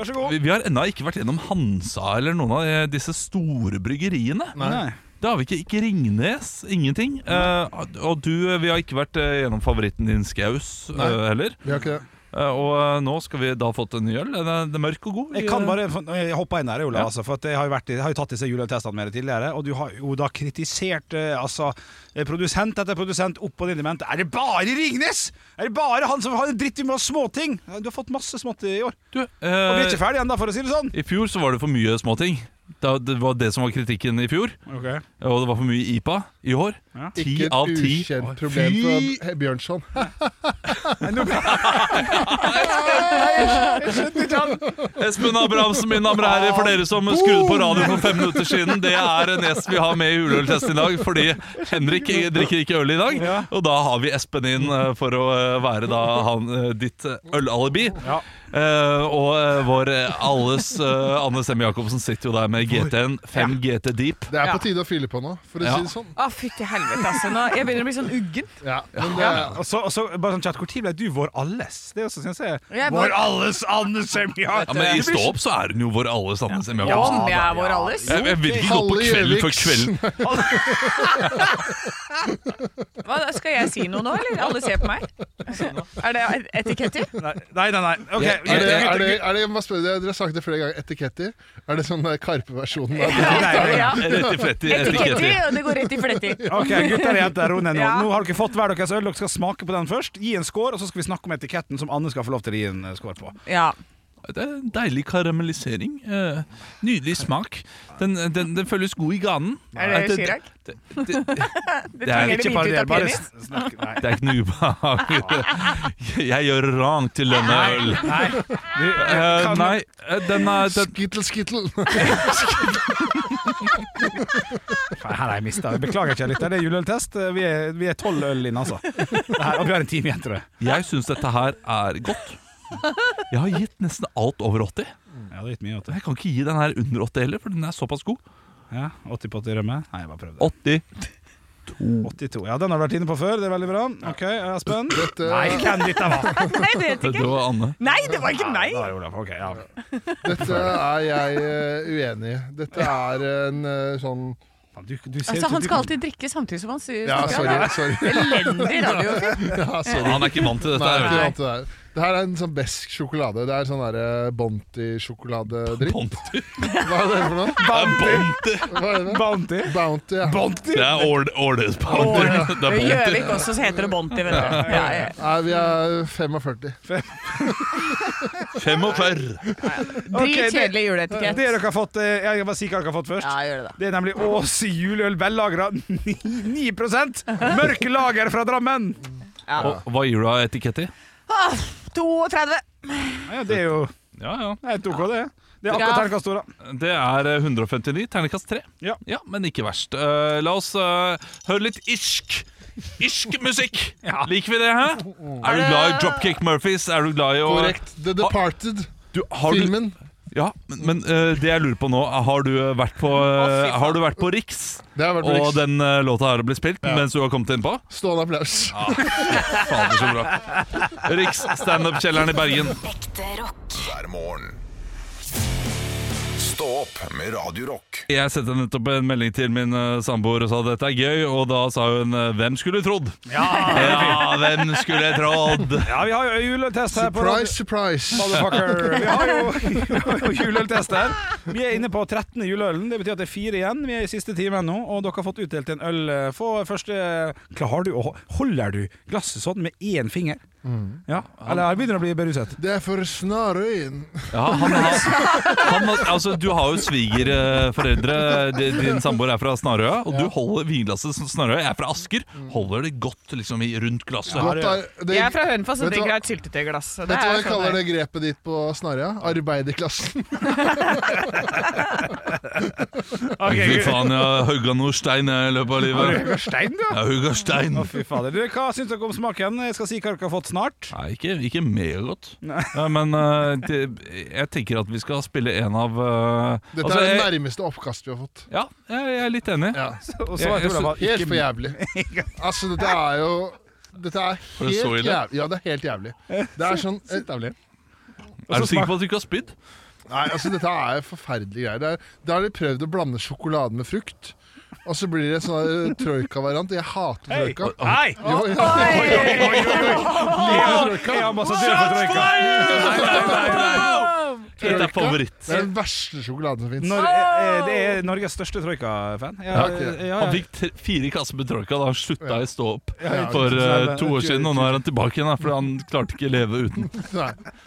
S2: Vær så god.
S3: Vi, vi har ennå ikke vært gjennom Hansa eller noen av de- disse store bryggeriene.
S2: Nei.
S3: Det har vi ikke. Ikke Ringnes, ingenting. Eh, og du, eh, vi har ikke vært eh, gjennom favoritten din, Skaus, eh,
S5: Nei.
S3: heller.
S5: Vi har ikke det.
S3: Eh, og eh, nå skal vi da fått en ny øl. Den er, den er mørk og god.
S2: Jeg
S3: Vi,
S2: kan
S3: eh,
S2: bare jeg hopper inn der, Ola,
S3: Ja.
S2: altså, for at jeg har jo, vært, i- jeg har jo tatt disse juleøltestene med deg tidligere, og du har jo da kritisert eh, altså, eh, produsent etter produsent opp på din dement. Er det bare Ringnes?! Er det bare han som har en dritt med oss småting?! Du har fått masse smått i år.
S3: du,
S2: Og vi
S3: eh,
S2: er ikke ferdig ennå, for å si det sånn.
S3: I fjor så var det for mye småting. Da- Det var det som var kritikken i fjor. Og det var for mye IPA i år.
S2: Ja.
S3: Ti
S5: Ikke
S3: av
S5: et
S3: ti.
S5: ukjent problem
S3: Fy-
S5: for Bjørnson.
S3: Espen Abrahamsen, min navn er her for dere som skrudde på radio for fem minutter siden. Det er en gjest vi har med i juleøltesten i dag, fordi Henrik drikker ikke øl i dag. Og da har vi Espen inn eh, for å eh, være da han, eh, ditt eh, ølalibi.
S2: Ja.
S3: Eh, og eh, vår eh, alles eh, Anne Semme Jacobsen sitter jo der med GT-en. 5 GT Deep.
S5: Det er på tide å fylle på nå, for å
S3: Ja.
S5: si det sånn.
S9: Å,
S4: fytti helvete, altså. Nå, jeg begynner å bli sånn uggen.
S5: Ja, men det,
S2: Ja, og så, og så bare sånn chat, Hvor tid ble du vår alles? Det er også, synes jeg,
S4: Jeg var-
S2: vår alles Anders Semja!
S3: Ja, men I Stå opp så er hun jo vår alle sammen. som jeg
S4: Ja,
S3: har på.
S4: det er vår alles.
S3: Jeg, jeg vil ikke gå på
S5: Halve
S3: kvelden for
S5: Gjøviks.
S3: kvelden.
S4: Hva, skal jeg si noe nå, eller? Alle ser på meg. Er det etiketter?
S2: Nei, nei, nei. nei. Ok,
S3: Jeg-
S5: er det,
S2: gutter,
S5: er det,
S2: gutter,
S5: er det, jeg må spørre, dere- dere har sagt det flere ganger, etiketter. Er det sånn der Karpe-versjonen? av det?
S2: gutter. Nei, nei, nei.
S4: Ja.
S3: Rett i flett i etiketter.
S4: Etiketter, og det går rett i fletter.
S2: Ok, gutter og jenter, ro ned nå.
S4: Ja.
S2: Nå har dere fått hver deres øl. Dere skal smake på den først. Gi en score, og så skal vi snakke om etiketten som Anne skal få lov til å gi en eh, score på.
S4: Ja.
S3: Det er en Deilig karamellisering. eh, Nydelig smak. Den, den, den føles god i ganen.
S4: Er det Chirac?
S3: Det, det, det, det,
S4: tvinger
S3: er,
S4: det
S2: Ikke
S4: hvite ut
S2: parodier,
S4: av
S2: bare
S4: penis?
S2: sn- snakk. Nei.
S3: det er ikke noe ubehag. Jeg gjør rank til denne øl.
S2: Nei. Du,
S3: Eh,
S2: kan-
S3: nei, eh, den er den,
S5: Skittle, skittle.
S2: Faen, Her har jeg mista. Beklager ikke jeg litt. Det er juleøltest. Eh, Vi er- vi er tolv øl inne, altså. Det Her, og vi har en time igjen, tror jeg.
S3: Jeg syns dette her er godt. Jeg har gitt nesten alt over 80.
S2: Ja, det er litt mye, vet du.
S3: Jeg kan ikke gi den her under 80 heller, for den er såpass god.
S2: Ja, 80 på 80 rømme? Nei, jeg bare prøvde.
S3: 80.
S2: 82. Ja, den har du vært inne på før. Det er veldig bra. Ok, Espen?
S5: Dette,
S2: Nei, hvem dette var?
S4: Nei, det vet
S3: Det
S4: ikke.
S3: var Anne.
S4: Nei, det var ikke meg!
S2: Da er det Olav. Ok, ja.
S5: dette er jeg eh, uenig i. Dette er en eh, sånn
S2: Faen, Du, du ser
S4: Altså,
S2: ut som du
S4: Han skal
S2: kan-
S4: alltid drikke samtidig som han sier
S5: Ja, sorry. sorry.
S4: Elendig radiofyr.
S5: Ja, sorry.
S3: Han er ikke vant til dette. her,
S5: Nei, ikke
S3: vet
S5: alt det der. Det her er en sånn besk sjokolade. Det er sånn derre
S3: du.
S5: Bonti-sjokoladedritt.
S3: Bonte.
S5: Hva er det for noe?
S3: Det er Bonte.
S5: Hva er det?
S2: Bounty.
S5: Bounty, ja.
S3: Det er Ål- Åles Bonte. Det er Bonte.
S4: Gjøvik også, så heter det Bonti, vet du. Ja, ja.
S5: Nei, vi er 45.
S3: 45.
S4: Dritkjedelig
S2: Det
S4: juleetikett.
S2: dere har fått, eh, jeg kan bare si hva dere har fått først.
S4: Ja, gjør det, da.
S2: Det er nemlig Ås juleøl vellagra 9 Mørke lager fra Drammen.
S3: Og hva gir du av etiketter?
S4: 32.
S2: Ja, det er jo
S3: Ja, ja.
S2: helt OK, det. Det er akkurat
S4: Bra.
S2: terningkast to, da.
S3: Det er eh, 159. Terningkast 3.
S2: Ja.
S3: men ikke verst. Eh, la oss eh, høre litt irsk. Irsk musikk! Liker vi det, hæ? Er du glad i Dropkick Murphys? Er du glad i å
S5: Korrekt. The Departed.
S3: Du, har du-
S5: Filmen.
S3: Ja, men, men eh, det jeg lurer på nå, har du vært på, eh, har du vært på Riks?
S5: Det har vært
S3: Og
S5: Riks.
S3: den eh, låta her ble spilt mens du har kommet innpå?
S5: Stående applaus.
S3: Fader, så bra. Riks standup-kjelleren i Bergen.
S6: Ekte rock.
S1: hver morgen. Stå opp med Radio Rock.
S3: Jeg sendte nettopp en melding til min eh, samboer og sa dette er gøy, og da sa hun eh, 'hvem skulle trodd'? Ja, hvem skulle trodd?
S2: Ja, vi har jo juleøltest her. på
S5: Surprise, surprise.
S2: Motherfucker. Vi har jo, vi har jo juleøltest her. Vi er inne på 13. juleølen. Det betyr at det er fire igjen. Vi er i siste timen nå, og dere har fått utdelt en øl. Få første Klarer du å Holder du glasset sånn med én finger? Ja? Eller jeg begynner å bli beruset?
S5: Det er for snarøyen.
S3: Ja, han har, han har, altså, du har jo svigerforeldre. Din samboer er fra Snarøya, og du holder vinglasset som Snarøya. Jeg er fra Asker. Holder det godt liksom, i- rundt glasset.
S5: Godt er, det,
S4: Jeg er fra Hønefoss og
S5: Vet du
S4: drikker
S5: hva-
S4: av et syltetøyglass. så det
S5: Vet du hva
S4: er
S5: jeg
S4: sånn
S5: kaller
S4: der.
S5: det grepet ditt på Snarøya? Arbeiderklassen.
S3: Fy faen, jeg har hugga noe stein jeg, i løpet av livet.
S2: Stein, du?
S3: Jeg har hugga stein.
S2: Å, fy fader. Du, hva syns dere om smaken? Jeg skal si hva dere har fått snart.
S3: Nei, ikke, ikke megagodt. Ja, men eh, det, jeg tenker at vi skal spille en av eh,
S5: Dette
S3: altså,
S5: er det
S3: jeg,
S5: nærmeste oppkast vi har fått.
S3: Ja, jeg, jeg er litt enig.
S5: Ja.
S2: Og så
S3: Jeg- jeg
S2: tror jeg var
S5: Helt for jævlig. Altså, dette er jo Dette er
S3: det så
S5: helt
S3: ille?
S5: jævlig. Ja, det er helt jævlig. Det er sånn
S3: Er du sikker på at du ikke har spydd?
S5: Nei, altså, dette er forferdelige greier. Det er, da har de prøvd å blande sjokolade med frukt. Og så blir det en sånn der trojka-variant. Jeg hater trojka.
S2: Nei!
S5: Jo, jo, jo, jo, jo,
S2: Jeg er ambassadør for Troika.
S3: Dette er favoritt.
S5: Det er den verste sjokoladen som fins.
S2: Nor eh, det er Norges største Troika-fan. Ja,
S5: ok.
S2: ja, ja.
S3: Han fikk tre, fire kasser med troika da han slutta i stå opp
S5: Ja,
S3: for
S2: sant,
S3: eh, to år siden, og nå er han tilbake igjen, da, for han klarte ikke leve uten.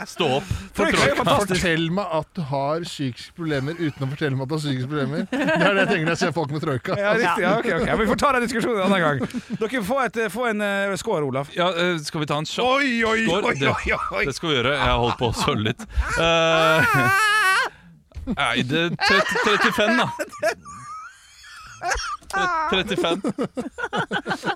S3: Stå opp for
S2: Troika er
S3: troika.
S2: fantastisk.
S5: Fortell meg at du har psykiske problemer uten å fortelle meg at du har psykiske problemer. Det er det jeg tenker når jeg ser folk med troika.
S2: Ja, riktig. Ja, ok, ok. Ja, Vi får ta den diskusjonen en annen gang. Dere får, et, få en eh, score, Olav.
S3: Ja, eh, skal vi ta en shot?
S2: Oi, oi,
S3: Skål.
S2: oi, oi, oi.
S3: Det skal vi gjøre. Jeg har holdt på å søle litt. Eh, nei, det er 30, 35, da. 35.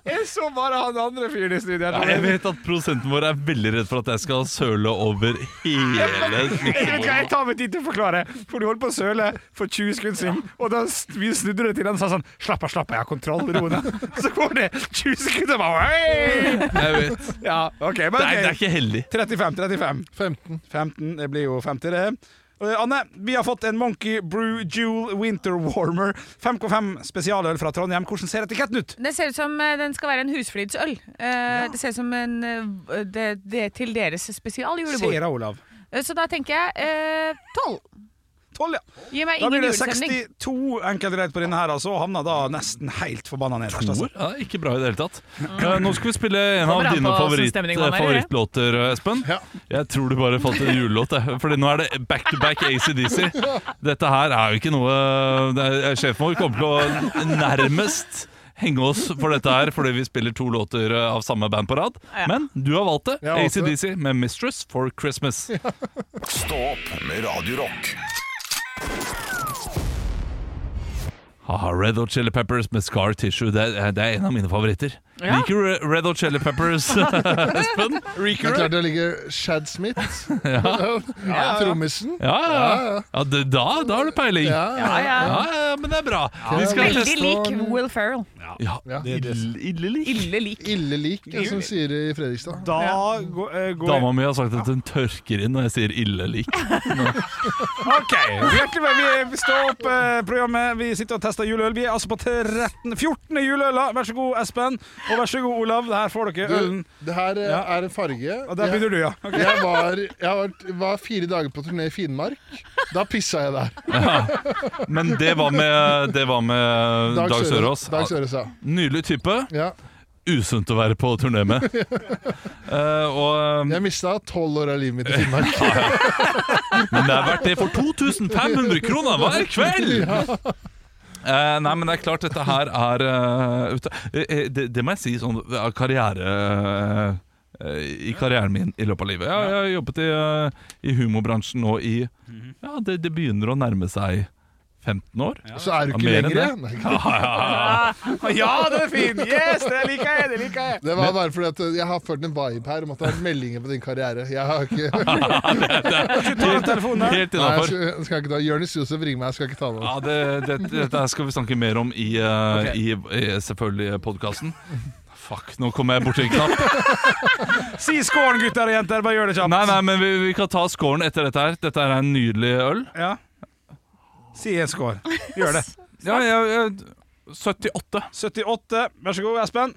S2: Jeg så bare han andre fyren i studio.
S3: Ja, jeg vet at prosenten vår er veldig redd for at jeg skal søle over hele
S2: Jeg vet hva, jeg tar meg tid til å forklare, for du holdt på å søle for 20 sekunder siden, og da s- vi snudde det til han og sa sånn Slapp av, slapp av, jeg har kontroll, ro deg. Så går det 20 sekunder, bare «Hei!»
S3: Jeg vet.
S2: Ja, OK, men
S3: Det er, det er
S2: ok.
S3: ikke heldig.
S2: 35, 35.
S5: 15.
S2: 15, det blir jo 50 det. Eh, Anne, vi har fått en Monkey Brew Jewel Winter Warmer 5K5 spesialøl fra Trondheim. Hvordan ser etiketten ut?
S4: Det ser ut som eh, den skal være en husflidsøl. Eh, Det ser ut som en, eh, det, det til deres spesialjulebord.
S2: Ser jeg, Olav.
S4: Eh, Så da tenker jeg eh, tolv.
S2: 12, ja.
S4: Gi meg
S2: Da blir
S4: ingen
S2: det
S4: julestemning.
S2: 62 enkeltreit på denne her, altså, og havna da nesten helt forbanna nederst. Altså.
S3: Ja, ikke bra i det hele tatt. Eh, Nå skal vi spille en av
S4: Kommer an
S3: dine
S4: på hvordan
S3: favoritt,
S4: stemningen er,
S3: favorittlåter, eh, Espen.
S5: Ja.
S3: Jeg tror du bare fant en julelåt, jeg. Fordi nå er det back to back ACDC. Dette her er jo ikke noe eh, det er, Sjefen vår kommer til å nærmest henge oss for dette her, fordi vi spiller to låter eh, av samme band på rad. Men du har valgt det.
S5: Jeg har valgt det.
S3: ACDC med 'Mistress for Christmas'.
S1: Stå opp med Radio Rock.
S3: Ah, Red Hot Chili Peppers med Scar Tissue. Det er, det er en av mine favoritter.
S4: Ja.
S3: Liker du Re- Red Hot Chili Peppers, Espen?
S5: Det
S3: Liker
S5: er
S3: du?
S5: klart det ligger Shad Smith. Trommisen.
S3: Ja, ja. ja. ja det, da, da har du peiling. Ja.
S5: Ja,
S4: Ja, ja.
S3: Ja, men det er bra. Vi skal
S4: Veldig
S3: teste
S4: lik Will Ferrell.
S3: ja,
S5: Ja.
S3: ille- ille lik.
S4: Ille lik.
S5: Ille lik, ja, som sier det i Fredrikstad.
S2: Da gå- eh, går
S3: Dama mi har sagt at hun tørker inn når jeg sier ille lik.
S2: OK. Hjertelig velkommen. Vi står opp eh, programmet. Vi sitter og tester juleøl. Vi er altså på 13, 14. juleøla. Vær så god, Espen. Og vær så god, Olav. Her får dere ølen.
S5: Du, det her eh,
S2: Ja.
S5: er en farge.
S2: Og der begynner du, ja. Ok.
S5: Jeg var, jeg har vært- var fire dager på turné i Finnmark. Da pissa jeg der.
S3: Men det var med, det var med Dag, Sørås.
S5: Dag Sørås, ja.
S3: Nydelig type.
S5: ja.
S3: Usunt å være på turné med. Eh, og,
S5: Jeg mista tolv år av livet mitt i Finnmark.
S3: men det er verdt det for 2500 kroner hver kveld! Eh, nei, men det er klart, dette her er eh, ut- eh, eh, det, det må jeg si sånn eh, karriere eh, I karrieren min i løpet av livet. Jeg, jeg har jobbet i, eh, i humorbransjen nå i Ja, det, det begynner å nærme seg 15 år.
S5: Så er du ikke
S3: Mer enn
S5: lenger
S3: det.
S5: Nei,
S2: Ja, den er fin! Yes, det liker jeg! Det liker jeg.
S5: Det var bare fordi at eh, jeg har følt en vibe her om at det er meldinger på din karriere. Jeg har ikke Nei,
S2: Ikke ta den telefonen der.
S3: Helt
S5: jeg
S3: innafor.
S5: skal, jeg skal ikke ta Jonis Josef ringer meg, jeg skal ikke ta det.
S3: Ja, det, det, dette her skal vi snakke mer om i, eh, i, i selvfølgelig podkasten. Fuck, nå kom jeg borti en knapp.
S2: Si skålen, gutter og jenter. Bare gjør det kjapt.
S3: Nei, nei, men vi, vi kan ta scoren etter dette her. Dette her er en nydelig øl.
S2: Ja. Si en skål. Gjør det.
S3: Ja, jeg, jeg, 78.
S2: 78. Vær så god, Espen.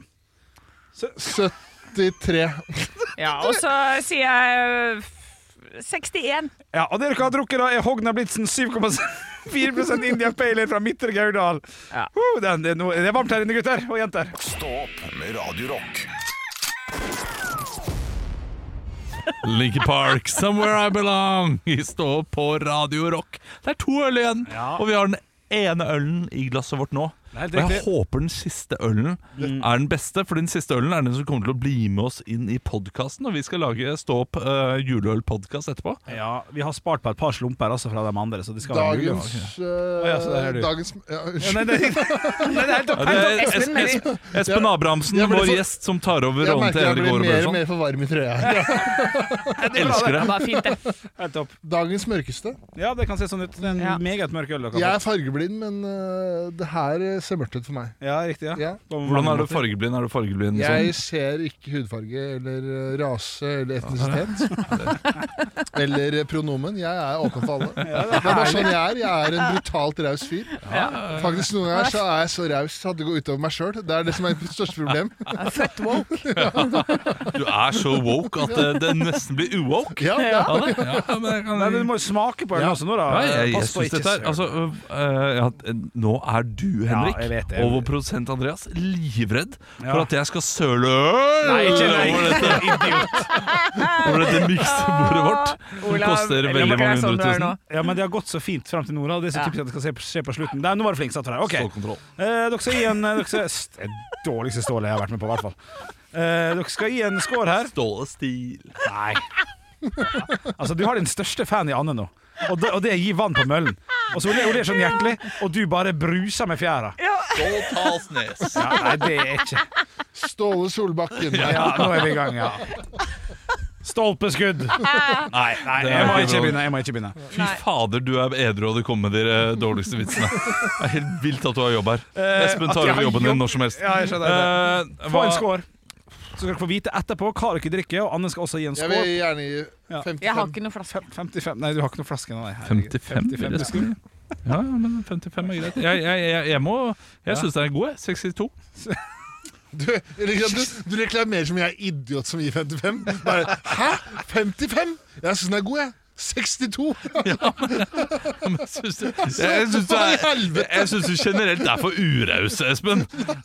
S5: 73.
S4: Ja, og så sier jeg eh, 61.
S2: Ja, og dere kan ha drukket da er Hogna Blitzen 7,4 India Pale Ale fra Midtre Gauldal.
S4: Ja.
S2: Uh, den- det, er noe- det er varmt her inne, gutter og jenter.
S1: Stå opp med Radio Rock.
S3: Linkin Park, 'Somewhere I Belong'. Vi står på Radio Rock. Det er to øl igjen, og vi har den ene ølen i glasset vårt nå.
S2: helt
S3: Og jeg
S2: riktig.
S3: håper den siste ølen er den beste, for den siste ølen er den som kommer til å bli med oss inn i podkasten. Og vi skal lage Stå opp uh, juleølpodkast etterpå.
S2: Ja, Vi har spart på et par slumper altså fra de andre. Så det skal
S5: Dagens
S2: ja, så der er
S5: eh,
S2: du.
S5: Dagens ja,
S2: ja,
S5: Unnskyld.
S2: nei, det, nei, det er helt opp.
S3: Ja, det er
S4: Espen,
S3: Espen,
S4: men-
S3: Espen, Espen Abrahamsen,
S5: Jeg ble
S3: vår
S5: for-
S3: gjest, som tar over
S5: Jeg
S3: rollen
S5: merker
S3: til sånn.
S5: jeg
S3: Henrik
S5: blir mer og
S3: Aarbergsson.
S5: mer for varm i trøya.
S3: Elsker det.
S4: Det var fint, det.
S2: Helt opp.
S5: Dagens mørkeste.
S2: Ja, det kan se sånn ut. Det er en
S4: Ja.
S2: meget mørk øl. dere har
S5: Jeg
S2: fått.
S5: er fargeblind, men eh, det her eh, ser mørkt ut for meg.
S2: Ja, riktig. ja.
S5: Ja.
S2: På mange
S3: Hvordan er du
S2: måter.
S3: fargeblind? Er du fargeblind sånn?
S5: Jeg ser ikke hudfarge eller eh, rase eller etnisitet. Eller eh, pronomen. Jeg er åpen for alle. Det er bare sånn jeg er. Jeg er en brutalt raus fyr. Faktisk Noen ganger så er jeg så raus at det går utover meg sjøl. Det er det som er mitt største problem.
S4: Født woke.
S3: sånn? Du er så woke at det, det nesten blir uwoke.
S5: Ja, det er.
S3: Ja, det, ja, men jeg kan...
S2: Nei, men Du må jo smake på ølen
S5: Ja.
S2: også nå, da.
S3: Ja, jeg, jeg
S2: Pass på
S3: synes
S2: ikke
S3: dette er
S2: søl.
S3: altså, øh, øh, ja, Nå er du, Henrik,
S2: jeg vet det.
S3: og vår produsent Andreas, livredd for
S2: Ja.
S3: at jeg skal søle øl
S2: Nei, ikke nei.
S3: over dette, over dette miksebordet vårt. Som
S4: Olav,
S3: koster
S4: eller
S3: veldig
S4: må ikke
S3: mange
S4: være sånn
S3: hundre
S4: du er
S3: tusen.
S4: nå.
S2: Ja, men det har gått så fint frem til nå. da. Det er så
S4: Ja.
S2: typisk at det skal se på- skje på slutten. Der, nå var du flink, satt du der. Ok.
S3: Stålkontroll.
S2: Eh, dere skal gi en eh, dere skal, st- det Dårligste stålet jeg har vært med på, i hvert fall. Eh, dere skal gi en score her.
S3: Stål og stil.
S2: Nei. Altså, du har din største fan i Anne nå, og det, og det gir vann på møllen. Og så Hun er hun er sånn hjertelig, og du bare bruser med fjæra.
S4: Ja,
S3: Ståltalsnes.
S2: Ja, nei, det er ikke
S5: Ståle Solbakken.
S2: Ja, nå er vi i gang, ja. Stolpeskudd. Nei, nei, jeg må
S3: sånn.
S2: ikke begynne. Jeg må ikke begynne.
S3: Fy fader, du er edru og du kommer med de eh, dårligste vitsene. Det er helt vilt at du har jobb her.
S2: Eh,
S3: Espen
S2: at
S3: tar
S2: jeg
S3: over
S2: har
S3: jobben din
S2: jobb.
S3: når som helst.
S2: Ja, jeg skjønner det.
S3: Eh,
S2: Få en
S3: hva-
S2: score. Så skal dere få vite etterpå hva dere drikker, og Anne skal også gi en
S5: Jeg vil
S2: score.
S5: gjerne gi
S2: Ja.
S5: 55.
S4: Jeg har ikke noe flaske.
S2: Fem- 55 Nei, du har ikke noe flaske nå, nei. herregud.
S3: 55, vil
S2: 55,
S3: jeg si. Ja, ja, men 55 er greit. Jeg, jeg, jeg, jeg, må- jeg syns den er god, jeg. 62.
S5: Du, liksom, du, du reklamerer som jeg er idiot som gir 55. Bare, Hæ? 55? Jeg syns den er god, jeg. 62!
S3: Jeg syns du, jeg syns du, er- jeg syns du generelt er for uraus, Espen.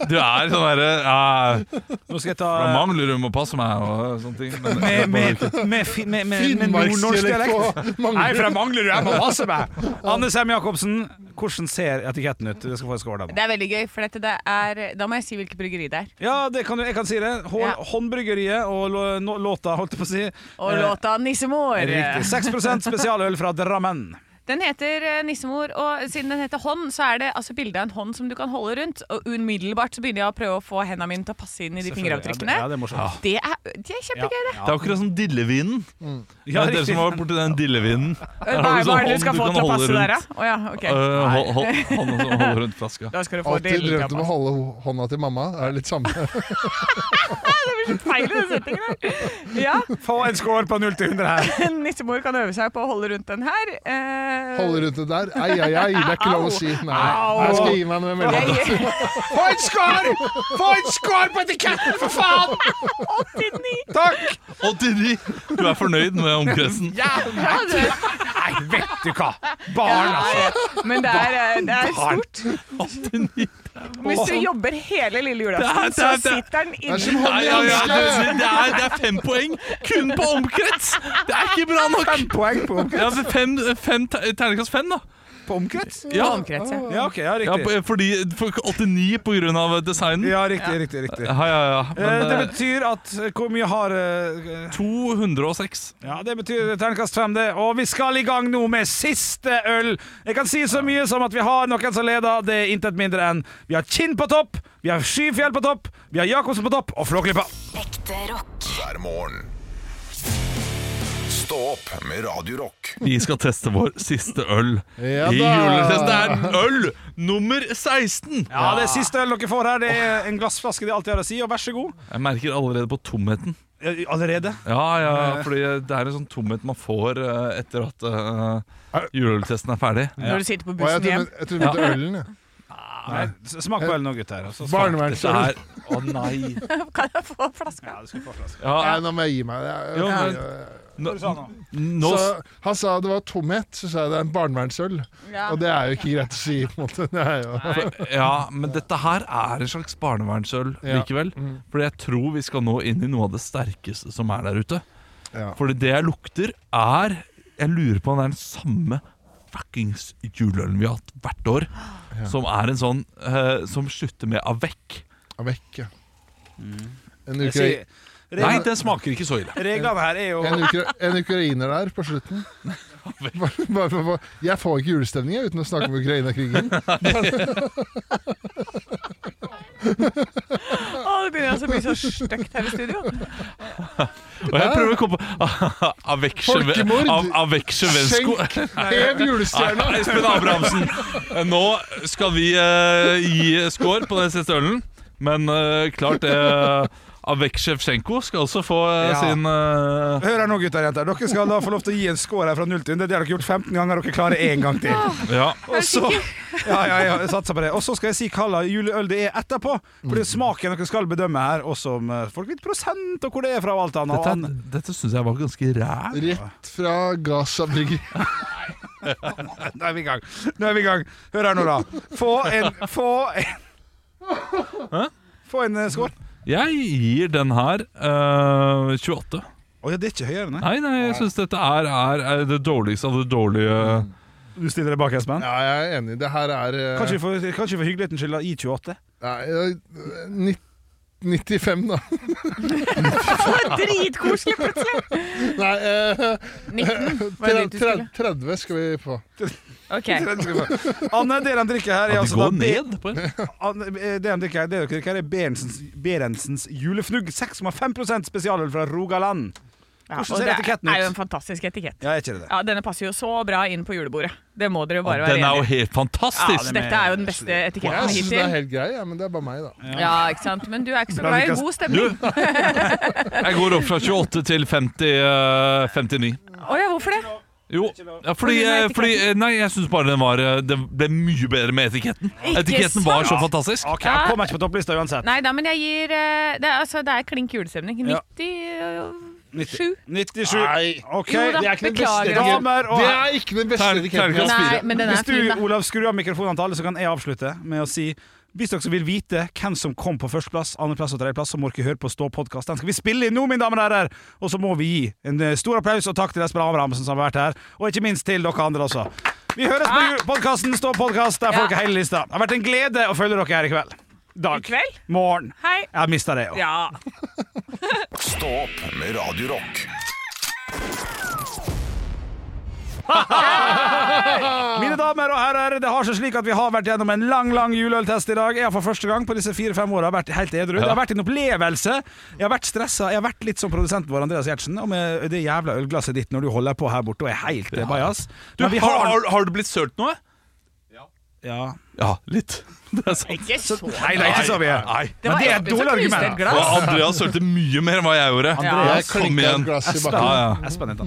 S3: Du er sånn derre ja,
S2: Nå skal jeg
S3: Fra
S2: ta
S3: Manglerud må passe meg og sånne ting. Men,
S2: med, med, med, fi- med, med, med nordnorsk dialekt.
S5: Finnmarksdialekt og mange
S2: Nei, fra Manglerud. Jeg må passe meg! Anne Sem Jacobsen, hvordan ser etiketten ut? Du skal få en score, da.
S4: Det er veldig gøy, for dette, det er, da må jeg si hvilket bryggeri det er.
S2: Ja, det kan, du- jeg kan si det. Hå,
S4: Ja.
S2: Håndbryggeriet og lå- nå- låta, holdt jeg på å si.
S4: Og
S2: Eh,
S4: låta 'Nissemor'.
S2: Riktig. 6 spesialøl fra Drammen.
S4: Den heter eh, Nissemor, og siden den heter hånd, så er det altså bilde av en hånd som du kan holde rundt. Og umiddelbart så begynner jeg å prøve å få hendene mine til å passe inn i de fingeravtrykkene.
S2: Ja, det- ja, det er morsomt.
S4: Det er, det er kjempegøy, det.
S3: Det er akkurat som Dillevinen.
S2: Ja,
S3: dere
S2: riktig.
S3: som var borti den dillevinen.
S4: Hva
S3: Der har du
S4: er
S3: sånn
S4: hva er det du skal
S3: hånd
S4: få
S3: kan
S4: til å
S3: holde
S4: passe der, da?
S3: rundt.
S4: Å ja, ok.
S2: Øh,
S3: Eh, hold, hold, han som holder rundt flaska.
S4: Da skal du få det
S5: Alltid
S4: like
S5: drømt om å holde ho- hånda til mamma. Det er litt samme.
S4: Det blir så feil i den settingen der. Ja,
S2: Få en score på 0 til 100 her.
S4: nissemor kan øve seg på å holde rundt den her. Eh,
S5: Holde rundt det der. Ai, ai, ai. Det er ikke lov å si. Nei,
S4: Au.
S5: jeg skal gi meg med mellom.
S4: Jeg,
S2: Få en score! Få en score på etiketten, for faen!
S4: 89!
S3: 89! Du er fornøyd med omkretsen?
S4: Ja,
S2: altså.
S4: det,
S2: Nei, vet du hva! Barn, altså.
S4: men det er, eh, det er
S2: Barn.
S4: stort.
S3: 89.
S4: Hvis du jobber hele lille
S3: Det er-
S4: julaften,
S3: det
S4: så
S3: er- det er-
S4: sitter den
S5: Det er
S4: inne.
S5: som
S3: Nei, ja, ja,
S5: håndjernskap.
S3: det, det, er, det er fem poeng kun på omkrets! Det er ikke bra nok!
S2: Fem poeng på, omkrets-
S3: Ja, men fem, fem, te- Terningkast fem, da.
S2: på omkrets.
S3: Mm. Ja,
S4: Omkrets, ja.
S2: Ja, ok, ja,
S3: ja
S2: riktig.
S3: på- fordi for 89 på grunn av designen.
S2: Ja,
S3: Ja,
S2: riktig, riktig, riktig.
S3: ja, ja.
S2: Eh,
S3: Men
S2: det
S3: eh,
S2: betyr at eh, Hvor mye har eh,
S3: 206.
S2: Ja, det betyr terningkast fem, det. Og vi skal i gang nå med siste øl. Jeg kan si så mye som at vi har noen som leder. Det er intet mindre enn Vi har Kinn på topp, vi har Skyfjell på topp, vi har Jacobsen på topp og Flåklypa.
S6: Ekte rock.
S1: hver morgen. Stå opp med Radio Rock.
S3: Vi skal teste vår siste øl
S5: Ja
S3: i
S5: da.
S3: juletesten. Det er øl nummer 16!
S2: Ja, det siste øl dere får her, det er en glassflaske de alltid har å si, og vær så god.
S3: Jeg merker allerede på tomheten.
S2: Eh, Allerede?
S3: Ja, ja, fordi det er en sånn tomhet man får eh, etter at uh, juleøltesten er ferdig.
S4: Når du sitter på
S5: Å, Jeg
S4: bussen hjem.
S5: trodde jeg trodde du mente ølen. jeg.
S2: Nei, s- smak på ølen nå, gutter. og så-
S3: Dette
S5: Barnevernsøl.
S3: er Å nei!
S4: Kan jeg få flaska?
S2: Ja, du skal få flaske.
S3: Ja,
S5: Nei, nå må jeg gi meg. Jeg-
S3: Jo,
S5: jeg-
S3: nå,
S2: Hva sa han nå?
S3: nå,
S5: Så han sa det var tomhet, så sa jeg det er en barnevernsøl.
S4: Ja.
S5: Og det er jo ikke greit å si. på en måte. Det er jo.
S3: ja, men dette her er en slags barnevernsøl
S5: Ja. Mm.
S3: likevel. Fordi jeg tror vi skal nå inn i noe av det sterkeste som er der ute.
S5: Ja.
S3: Fordi det jeg lukter, er Jeg lurer på om det er den samme fuckings juleølen vi har hatt hvert år. Som er en sånn eh, som slutter med avec.
S5: Ja, Vekk, ja. En,
S2: Jeg
S5: ukra
S2: sier-
S3: Nei,
S2: Reglene,
S3: den smaker ikke så ille.
S2: reglene her er jo
S5: en, ukra en ukrainer der på slutten. Bare, bare, for- jeg får ikke julestemning jeg, uten å snakke om Ukraina-krigen.
S4: Å, det begynner altså å bli så stygt her i studio.
S3: Og jeg prøver å komme på Avec
S5: Folkemord!
S3: Chevensko.
S5: Skjenk! Hev julestjerna!
S3: Espen Abrahamsen, Eh, nå skal vi eh, gi score på den siste ølen. Men eh, klart uh, Avec Shevchenko skal også få eh,
S2: Ja.
S3: sin eh,
S2: Hør her nå, gutter og jenter. Dere skal da få lov til å gi en score her fra 0 til 100. Det har dere gjort 15 ganger. Dere klarer én gang til.
S3: Ja.
S2: Og så, ja, ja, ja, jeg satser på det. Og så skal jeg si hva slags juleøl det er etterpå. For
S3: Mm.
S2: det er smaken dere skal bedømme her, og som eh, folk vet prosent og hvor det er fra og alt annet.
S3: Dette, dette syns jeg var ganske ræv.
S5: Rett fra Gaza Brygge.
S2: Og- Nå er vi i gang. Nå er vi i gang. Hør her nå, da. Få en Få en, få en eh, score.
S3: Jeg gir den her eh, 28.
S2: Å ja, det er ikke høyere, nei.
S3: Nei, nei, jeg syns dette er, er, er det dårligste av det dårlige.
S2: Du stiller deg bak, Espen?
S5: Ja, jeg er enig. Det her er eh,
S2: Kanskje vi for, kanskje for hyggelighetens skyld da, i 28?
S5: nei, eh, nitt- 95, da.
S4: Dritkoselig plutselig!
S5: Nei, eh,
S4: 19 var det
S5: 30,
S4: dit du skulle.
S5: 30 skal vi på.
S4: Ok.
S2: Anne, det de drikker her, er
S3: At de
S2: altså da
S3: går
S2: Be-
S3: ned på en
S2: Anne, eh, det de drikker her, det dere drikker her er Berentsens, Berentsens julefnugg. 6,5 spesialøl fra Rogaland.
S4: Ja,
S2: Hvordan
S4: og
S2: ser
S4: det
S2: etiketten
S4: er jo
S2: ut?
S4: en fantastisk etikett.
S2: Ja, er ikke det det?
S4: Ja, Denne passer jo så bra inn på julebordet. Det må dere jo bare være
S3: Den er jo
S4: enige i.
S3: helt
S4: Ja,
S3: fantastisk!
S4: dette er jo den beste etiketten
S5: Jeg syns det er
S4: hittil.
S5: helt grei, ja, men det er bare meg, da.
S4: Ja, ikke sant? Men du er ikke så
S2: Bra,
S4: glad i
S2: Lukas.
S4: god
S3: Du,
S4: stemning.
S3: jeg går opp fra 28 til 50, eh, 59.
S4: Å ja, hvorfor det?
S3: Jo, ja, fordi,
S4: På grunn av
S3: eh, fordi eh, Nei, jeg syns bare den var eh, Det ble mye bedre med etiketten.
S4: Ikke
S3: Etiketten var så
S4: sant?
S3: fantastisk.
S2: Ok, jeg kommer ikke på topplista uansett.
S4: Nei da, men jeg gir eh, Det er, altså, det er klink julestemning. eh,
S2: Ja.
S4: 97.
S2: 97.
S5: Nei.
S2: Ok,
S4: Jo da,
S2: det er ikke den
S4: beklager.
S2: beste damer og
S5: Det er ikke den beste
S3: Ter-
S5: etiketten. jeg
S3: terkast.
S5: har.
S4: Nei, men den
S2: Hvis
S4: er fin,
S2: du,
S4: da.
S2: Olav, skrur av mikrofonene til alle, så kan jeg avslutte med å si hvis dere vil vite hvem som kom på førsteplass, andreplass og tredjeplass, så må dere høre på Stå-podkast. Den skal vi spille inn nå, mine damer og herrer! Og så må vi gi en eh, stor applaus og takk til Espen Abrahamsen som har vært her, og ikke minst til dere andre også. Vi høres på podkasten Stå-podkast, der får
S4: Ah. Ja.
S2: dere hele lista. Det har vært en glede å følge dere her i kveld. Dag.
S4: I kveld?
S2: Morgen.
S4: Hei.
S2: Jeg har mista det jo.
S4: Ja.
S1: Stå opp med Radio Rock.
S2: Mine damer og herrer, det har seg slik at vi har vært gjennom en lang lang juleøltest i dag. Jeg har for første gang på disse fire-fem åra vært helt edru. Det har vært en opplevelse. Jeg har vært stressa. Jeg har vært litt som produsenten vår, Andreas Gjertsen, og med det jævla ølglasset ditt når du holder på her borte og er helt eh, bajas.
S3: Du,
S2: Men
S3: har,
S2: vi har-
S3: har, har du blitt sølt noe?
S2: Ja.
S3: Ja, litt. Det er sant.
S4: Ikke så
S2: Nei, det er ikke så vi er.
S3: Nei.
S2: Men det er et
S4: Espen som
S2: dårlig
S4: knuste
S2: argument.
S4: et glass.
S3: Og Andreas sølte mye mer enn hva jeg gjorde.
S5: Jeg
S3: Andreas, kom
S5: klinka et
S3: igjen.
S5: glass i
S2: Espen.
S5: bakken.
S3: Ja, ja.
S2: Espen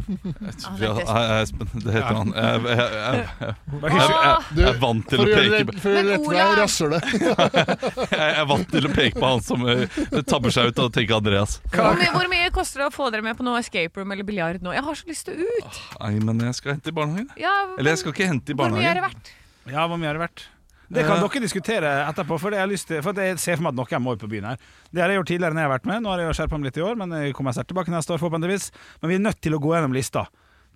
S2: heter han.
S3: Ja, ja, Espen, det heter han. Jeg, jeg, jeg, jeg,
S2: Bare hysj.
S3: jeg, jeg er vant til å
S5: For å gjøre
S3: peke
S5: det- for å
S4: Men
S5: gjøre det rett vei,
S4: Olav-
S5: rasshølet.
S3: på Jeg er vant til å peke på han som eh, tabber seg ut og tenker Andreas.
S4: Hvor mye, hvor mye koster det å få dere med på noe escape room eller biljard nå? Jeg har så lyst til å ut!
S3: Nei, men jeg skal hente i barnehagen. jeg.
S4: Ja,
S3: Eller jeg skal ikke hente i
S4: hvor mye er det
S3: barnehagen.
S4: verdt?
S2: Ja, hvor mye har det vært? Eh. Det kan dere diskutere etterpå, for, det jeg, har lyst til, for det jeg ser for meg at noen må ut på byen her. Det har jeg gjort tidligere når jeg har vært med. Nå har jeg skjerpa meg litt i år, men jeg kommer sterkt tilbake neste år, forhåpentligvis. Men vi er nødt til å gå gjennom lista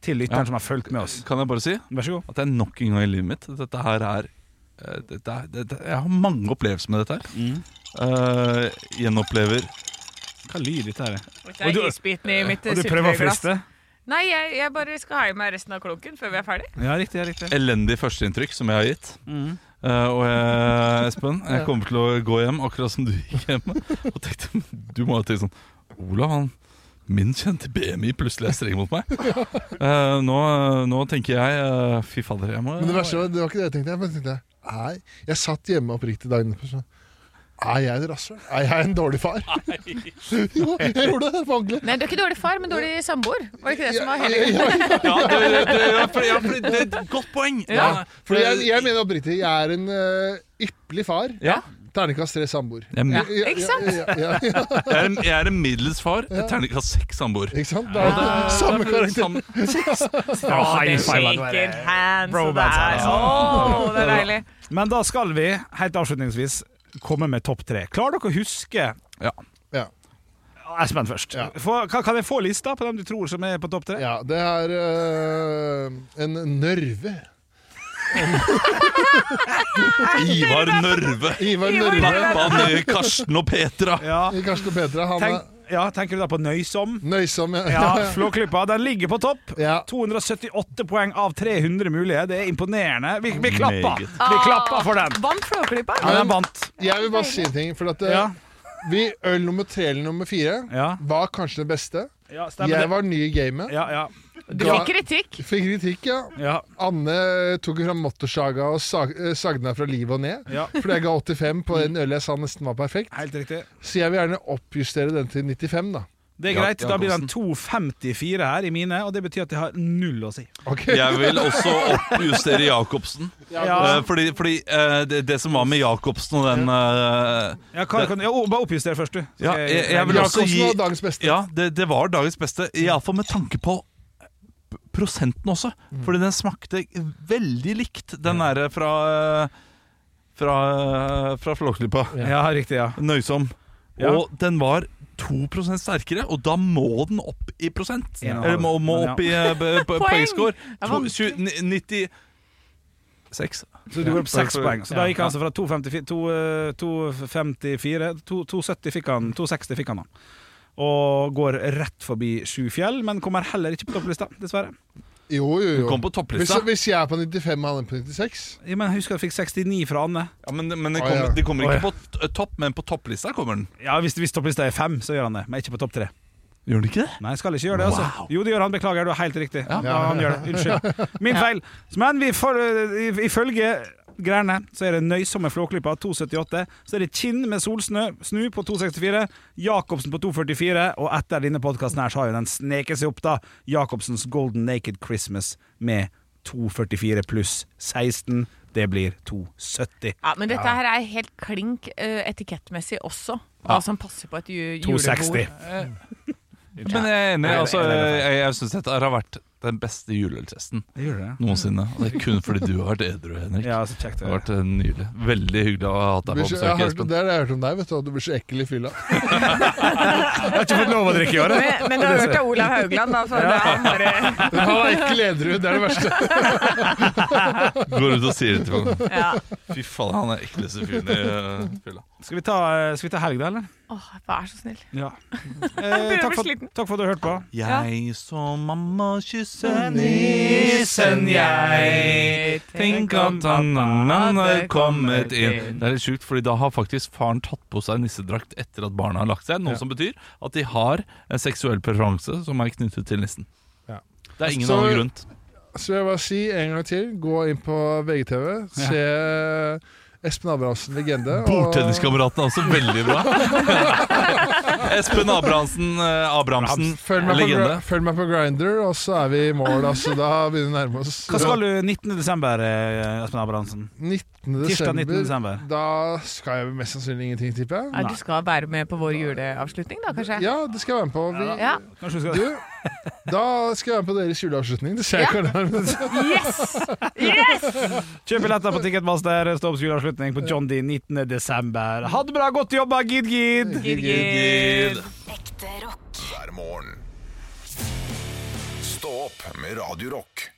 S2: til lytteren
S3: Ja.
S2: som har fulgt med oss.
S3: Kan jeg bare si
S2: Vær så god.
S3: at det er nok en gang i livet mitt. Dette her er eh, dette, er- dette, Jeg har mange opplevelser med dette her.
S5: Mm.
S3: Eh, gjenopplever
S2: Hva lyder dette
S3: eh,
S2: her?
S4: Det
S2: Og du-
S4: er isbiten i mitt eh,
S2: Og du prøver å
S4: syltetøyglass.
S2: friste?
S4: Nei, jeg, jeg bare skal ha i meg resten av klunken før vi er ferdig.
S2: Ja, riktig. ja, riktig
S3: elendig førsteinntrykk som jeg har gitt.
S2: Mm.
S3: Eh, og jeg, Espen, jeg kommer til å gå hjem akkurat som du gikk hjem. Og tenkte, du må jo tenke sånn Olav, han min kjente BMI plutselig er streng mot meg. Eh, nå, nå tenker jeg eh, Fy fader, jeg må
S5: Men det verste var, det var ikke det jeg tenkte. Jeg, bare tenkte nei, jeg satt hjemme oppriktig dagen etterpå sånn Er jeg et rasshøl? Er jeg en dårlig far? jo, jeg gjorde det. på ordentlig.
S4: Nei, du er ikke dårlig far, men dårlig samboer. Var det ikke det som var hele
S3: ja, det, det, det, ja, for, ja, for, det er et godt poeng.
S4: Ja.
S5: Fordi jeg, jeg mener oppriktig, jeg er en eh, ypperlig far.
S3: Ja.
S5: Terningkast tre samboer.
S3: Jeg, er, mi-
S5: Ja,
S4: ikke sant?
S5: Ja, ja, ja, ja,
S3: jeg, er, en- jeg er en middels far. Jeg terningkast seks samboer.
S5: ikke sant? Det er jo
S3: Det er-
S5: samme
S3: det er
S5: karakter.
S3: samme-
S4: Det shaker hands, og det
S2: Bromance,
S4: er Åh, det er deilig.
S2: Men da skal vi, helt avslutningsvis, komme med topp tre. Klarer dere å huske
S3: Ja.
S5: Ja,
S2: Espen først.
S5: Ja.
S2: Få- kan, kan jeg få lista på dem du tror som er på topp tre?
S5: ja, det er eh, en Nørve.
S3: Ivar Nørve.
S5: Ivar Nørve.
S3: Pappaen i Karsten og Petra.
S2: Ja.
S5: I Karsten og Petra. Han er
S2: Tenk, ja, tenker du da på Nøysom?
S5: nøysom. Ja,
S2: Ja, Flåklypa. Den ligger på topp.
S5: Ja.
S2: 278 poeng av 300 mulige. Det er imponerende. Vi, vi klapper!
S3: Meget.
S2: Vi klapper for den.
S4: Vant Flåklypa?
S2: Ja, den vant.
S5: Jeg vil bare si en ting. For at, eh,
S2: Ja,
S5: vi, øl nummer tre eller nummer fire
S2: Ja.
S5: var kanskje den beste.
S2: ja stemmer
S5: Jeg
S2: det.
S5: var ny i gamet.
S2: Ja, ja,
S4: Du
S5: Ga-
S4: fikk kritikk.
S5: Fikk kritikk, ja.
S2: ja,
S5: Anne tok jo fram motorsaga og sag, eh, sagna fra livet og ned.
S2: ja.
S5: Fordi jeg ga 85 på en øl jeg sa nesten var perfekt.
S2: Helt riktig.
S5: Så jeg vil gjerne oppjustere den til 95, da.
S2: Det er
S3: Ja,
S2: greit. Da blir den
S3: Jacobsen.
S2: 2,54 her i mine, og det betyr at jeg har null å si.
S5: Ok?
S3: Jeg vil også oppjustere Jacobsen. Eh, fordi fordi eh, det, det som var med Jacobsen og den eh,
S2: Ja, hva, kan, ja, oh, bare oppjuster først, du. Skal
S3: Ja, jeg- jeg vil også-
S5: Jacobsen
S3: gi-
S5: var dagens beste.
S3: Ja, det, det var dagens beste. Iallfall med tanke på p- prosenten også.
S5: Mm.
S3: Fordi den smakte veldig likt den derre fra eh, Fra, eh, fra Flåklypa.
S2: Ja, riktig. ja
S3: Nøysom.
S2: Ja.
S3: Og den var 2 sterkere, og da må den opp i prosent.
S2: En og en halv.
S3: Eller må, må opp i eh, b- b-
S4: Poeng!
S3: poengscore.
S4: er
S3: To- tjue- ni- 90 Seks.
S2: Så du går opp seks
S3: Ja.
S2: poeng. Så da gikk han altså fra 2,54 to, eh, 2,54 to- 2,70 fikk han 2,60 fikk han da. Og går rett forbi sju fjell, men kommer heller ikke på topplista, dessverre.
S5: Jo, jo,
S3: Du
S5: jo.
S3: kom på
S5: Hvis,
S3: topplista.
S5: hvis jeg er på 95 og han er på 96
S2: Ja, men jeg husker jeg fikk 69 fra Anne.
S3: Ja, men men det
S5: Å,
S3: kommer,
S5: ja.
S3: de kommer
S2: Å,
S3: ikke på t- eh, topp, men på topplista kommer den.
S2: Ja, Hvis, hvis topplista er fem, så gjør han det, men ikke på topp tre.
S3: Gjør den ikke det?
S2: Nei, jeg skal ikke gjøre det, altså. Jo, det gjør han. Beklager, du er helt riktig. Ja, han gjør det. Unnskyld. Min feil. Men vi får, eh, i- ifølge greiene så er det Nøysomme Flåklypa 278. Så er det Kinn med solsnø Snu på 264. Jacobsen på 244. Og etter denne podkasten her så har jo den sneket seg opp, da. Jacobsens Golden Naked Christmas med 244 pluss 16. Det blir 270.
S4: Ja, men dette her er helt klink eh, etikettmessig også. Hva som passer på et ju- julebord.
S2: 260.
S3: Men jeg er enig. Altså, jeg jeg syns dette her har vært den beste juleøltesten
S2: Gjorde det?
S3: noensinne. Og det er kun fordi du har vært edru, Henrik.
S2: Ja, så kjekt.
S3: Det
S2: å
S3: har
S2: høre.
S3: vært eh, nydelig. Veldig hyggelig å ha hatt deg
S5: Blir
S3: på
S5: ikke- jeg har
S3: besøk,
S5: hørt,
S3: Espen.
S5: Det er det jeg har hørt om deg, vet du. At du blir så ekkel i fylla.
S2: Jeg har ikke fått lov å drikke i år. jeg.
S9: Men, men du har hørt av Olav Haugland, da. For det er bare,
S5: Men Han er ikke lederud, det er det verste.
S3: Går ut og sier det til folk.
S4: Ja.
S3: Fy faen, han er ekleste fyren i eh, fylla.
S2: Skal vi ta, skal vi ta helg, da, eller?
S4: Åh, vær så snill.
S2: Ja. Eh, takk, for,
S4: sliten.
S2: takk for at du hørte på.
S3: Jeg så mamma kysse nissen, jeg. Tenk at han hadde kommet inn. Det er litt sjukt, fordi da har faktisk faren tatt på seg nissedrakt etter at barna har lagt seg. Noe som betyr at de har en seksuell preferanse som er knyttet til nissen.
S5: Ja.
S3: Det er ingen
S5: Så-
S3: annen grunn.
S5: Så jeg vil bare si en gang til, gå inn på VGTV, se eh, Espen Abrahamsen legende. og-
S3: Bordtenniskameratene er også veldig bra. Espen Abrahamsen, eh, Abrahamsen
S5: Følg meg, på,
S3: legende.
S5: Gri- følg meg på Grinder, og så er vi i mål. Altså, da begynner vi å nærme oss.
S2: Hva skal du 19. desember, eh, Espen Abrahamsen?
S5: 19.
S2: Tirsdag 19.
S5: desember.
S2: desember.
S5: Da skal jeg mest sannsynlig ingenting, tipper jeg.
S4: Nei, du skal være med på vår juleavslutning, da, kanskje?
S5: Ja, det skal jeg være med på. Vi,
S4: Ja.
S2: Kanskje vi skal
S5: du, da skal jeg være med på deres juleavslutning. Det ser jeg ikke hvordan det er.
S4: Yes! Yes!
S2: Kjøp billetter på Ticketmaster. Stå opp juleavslutning på John D. 19. desember. Ha det bra, godt jobba, gid, gid!
S4: Gid, gid.
S6: Ekte rock.
S1: hver morgen. Stå opp med Radio Rock.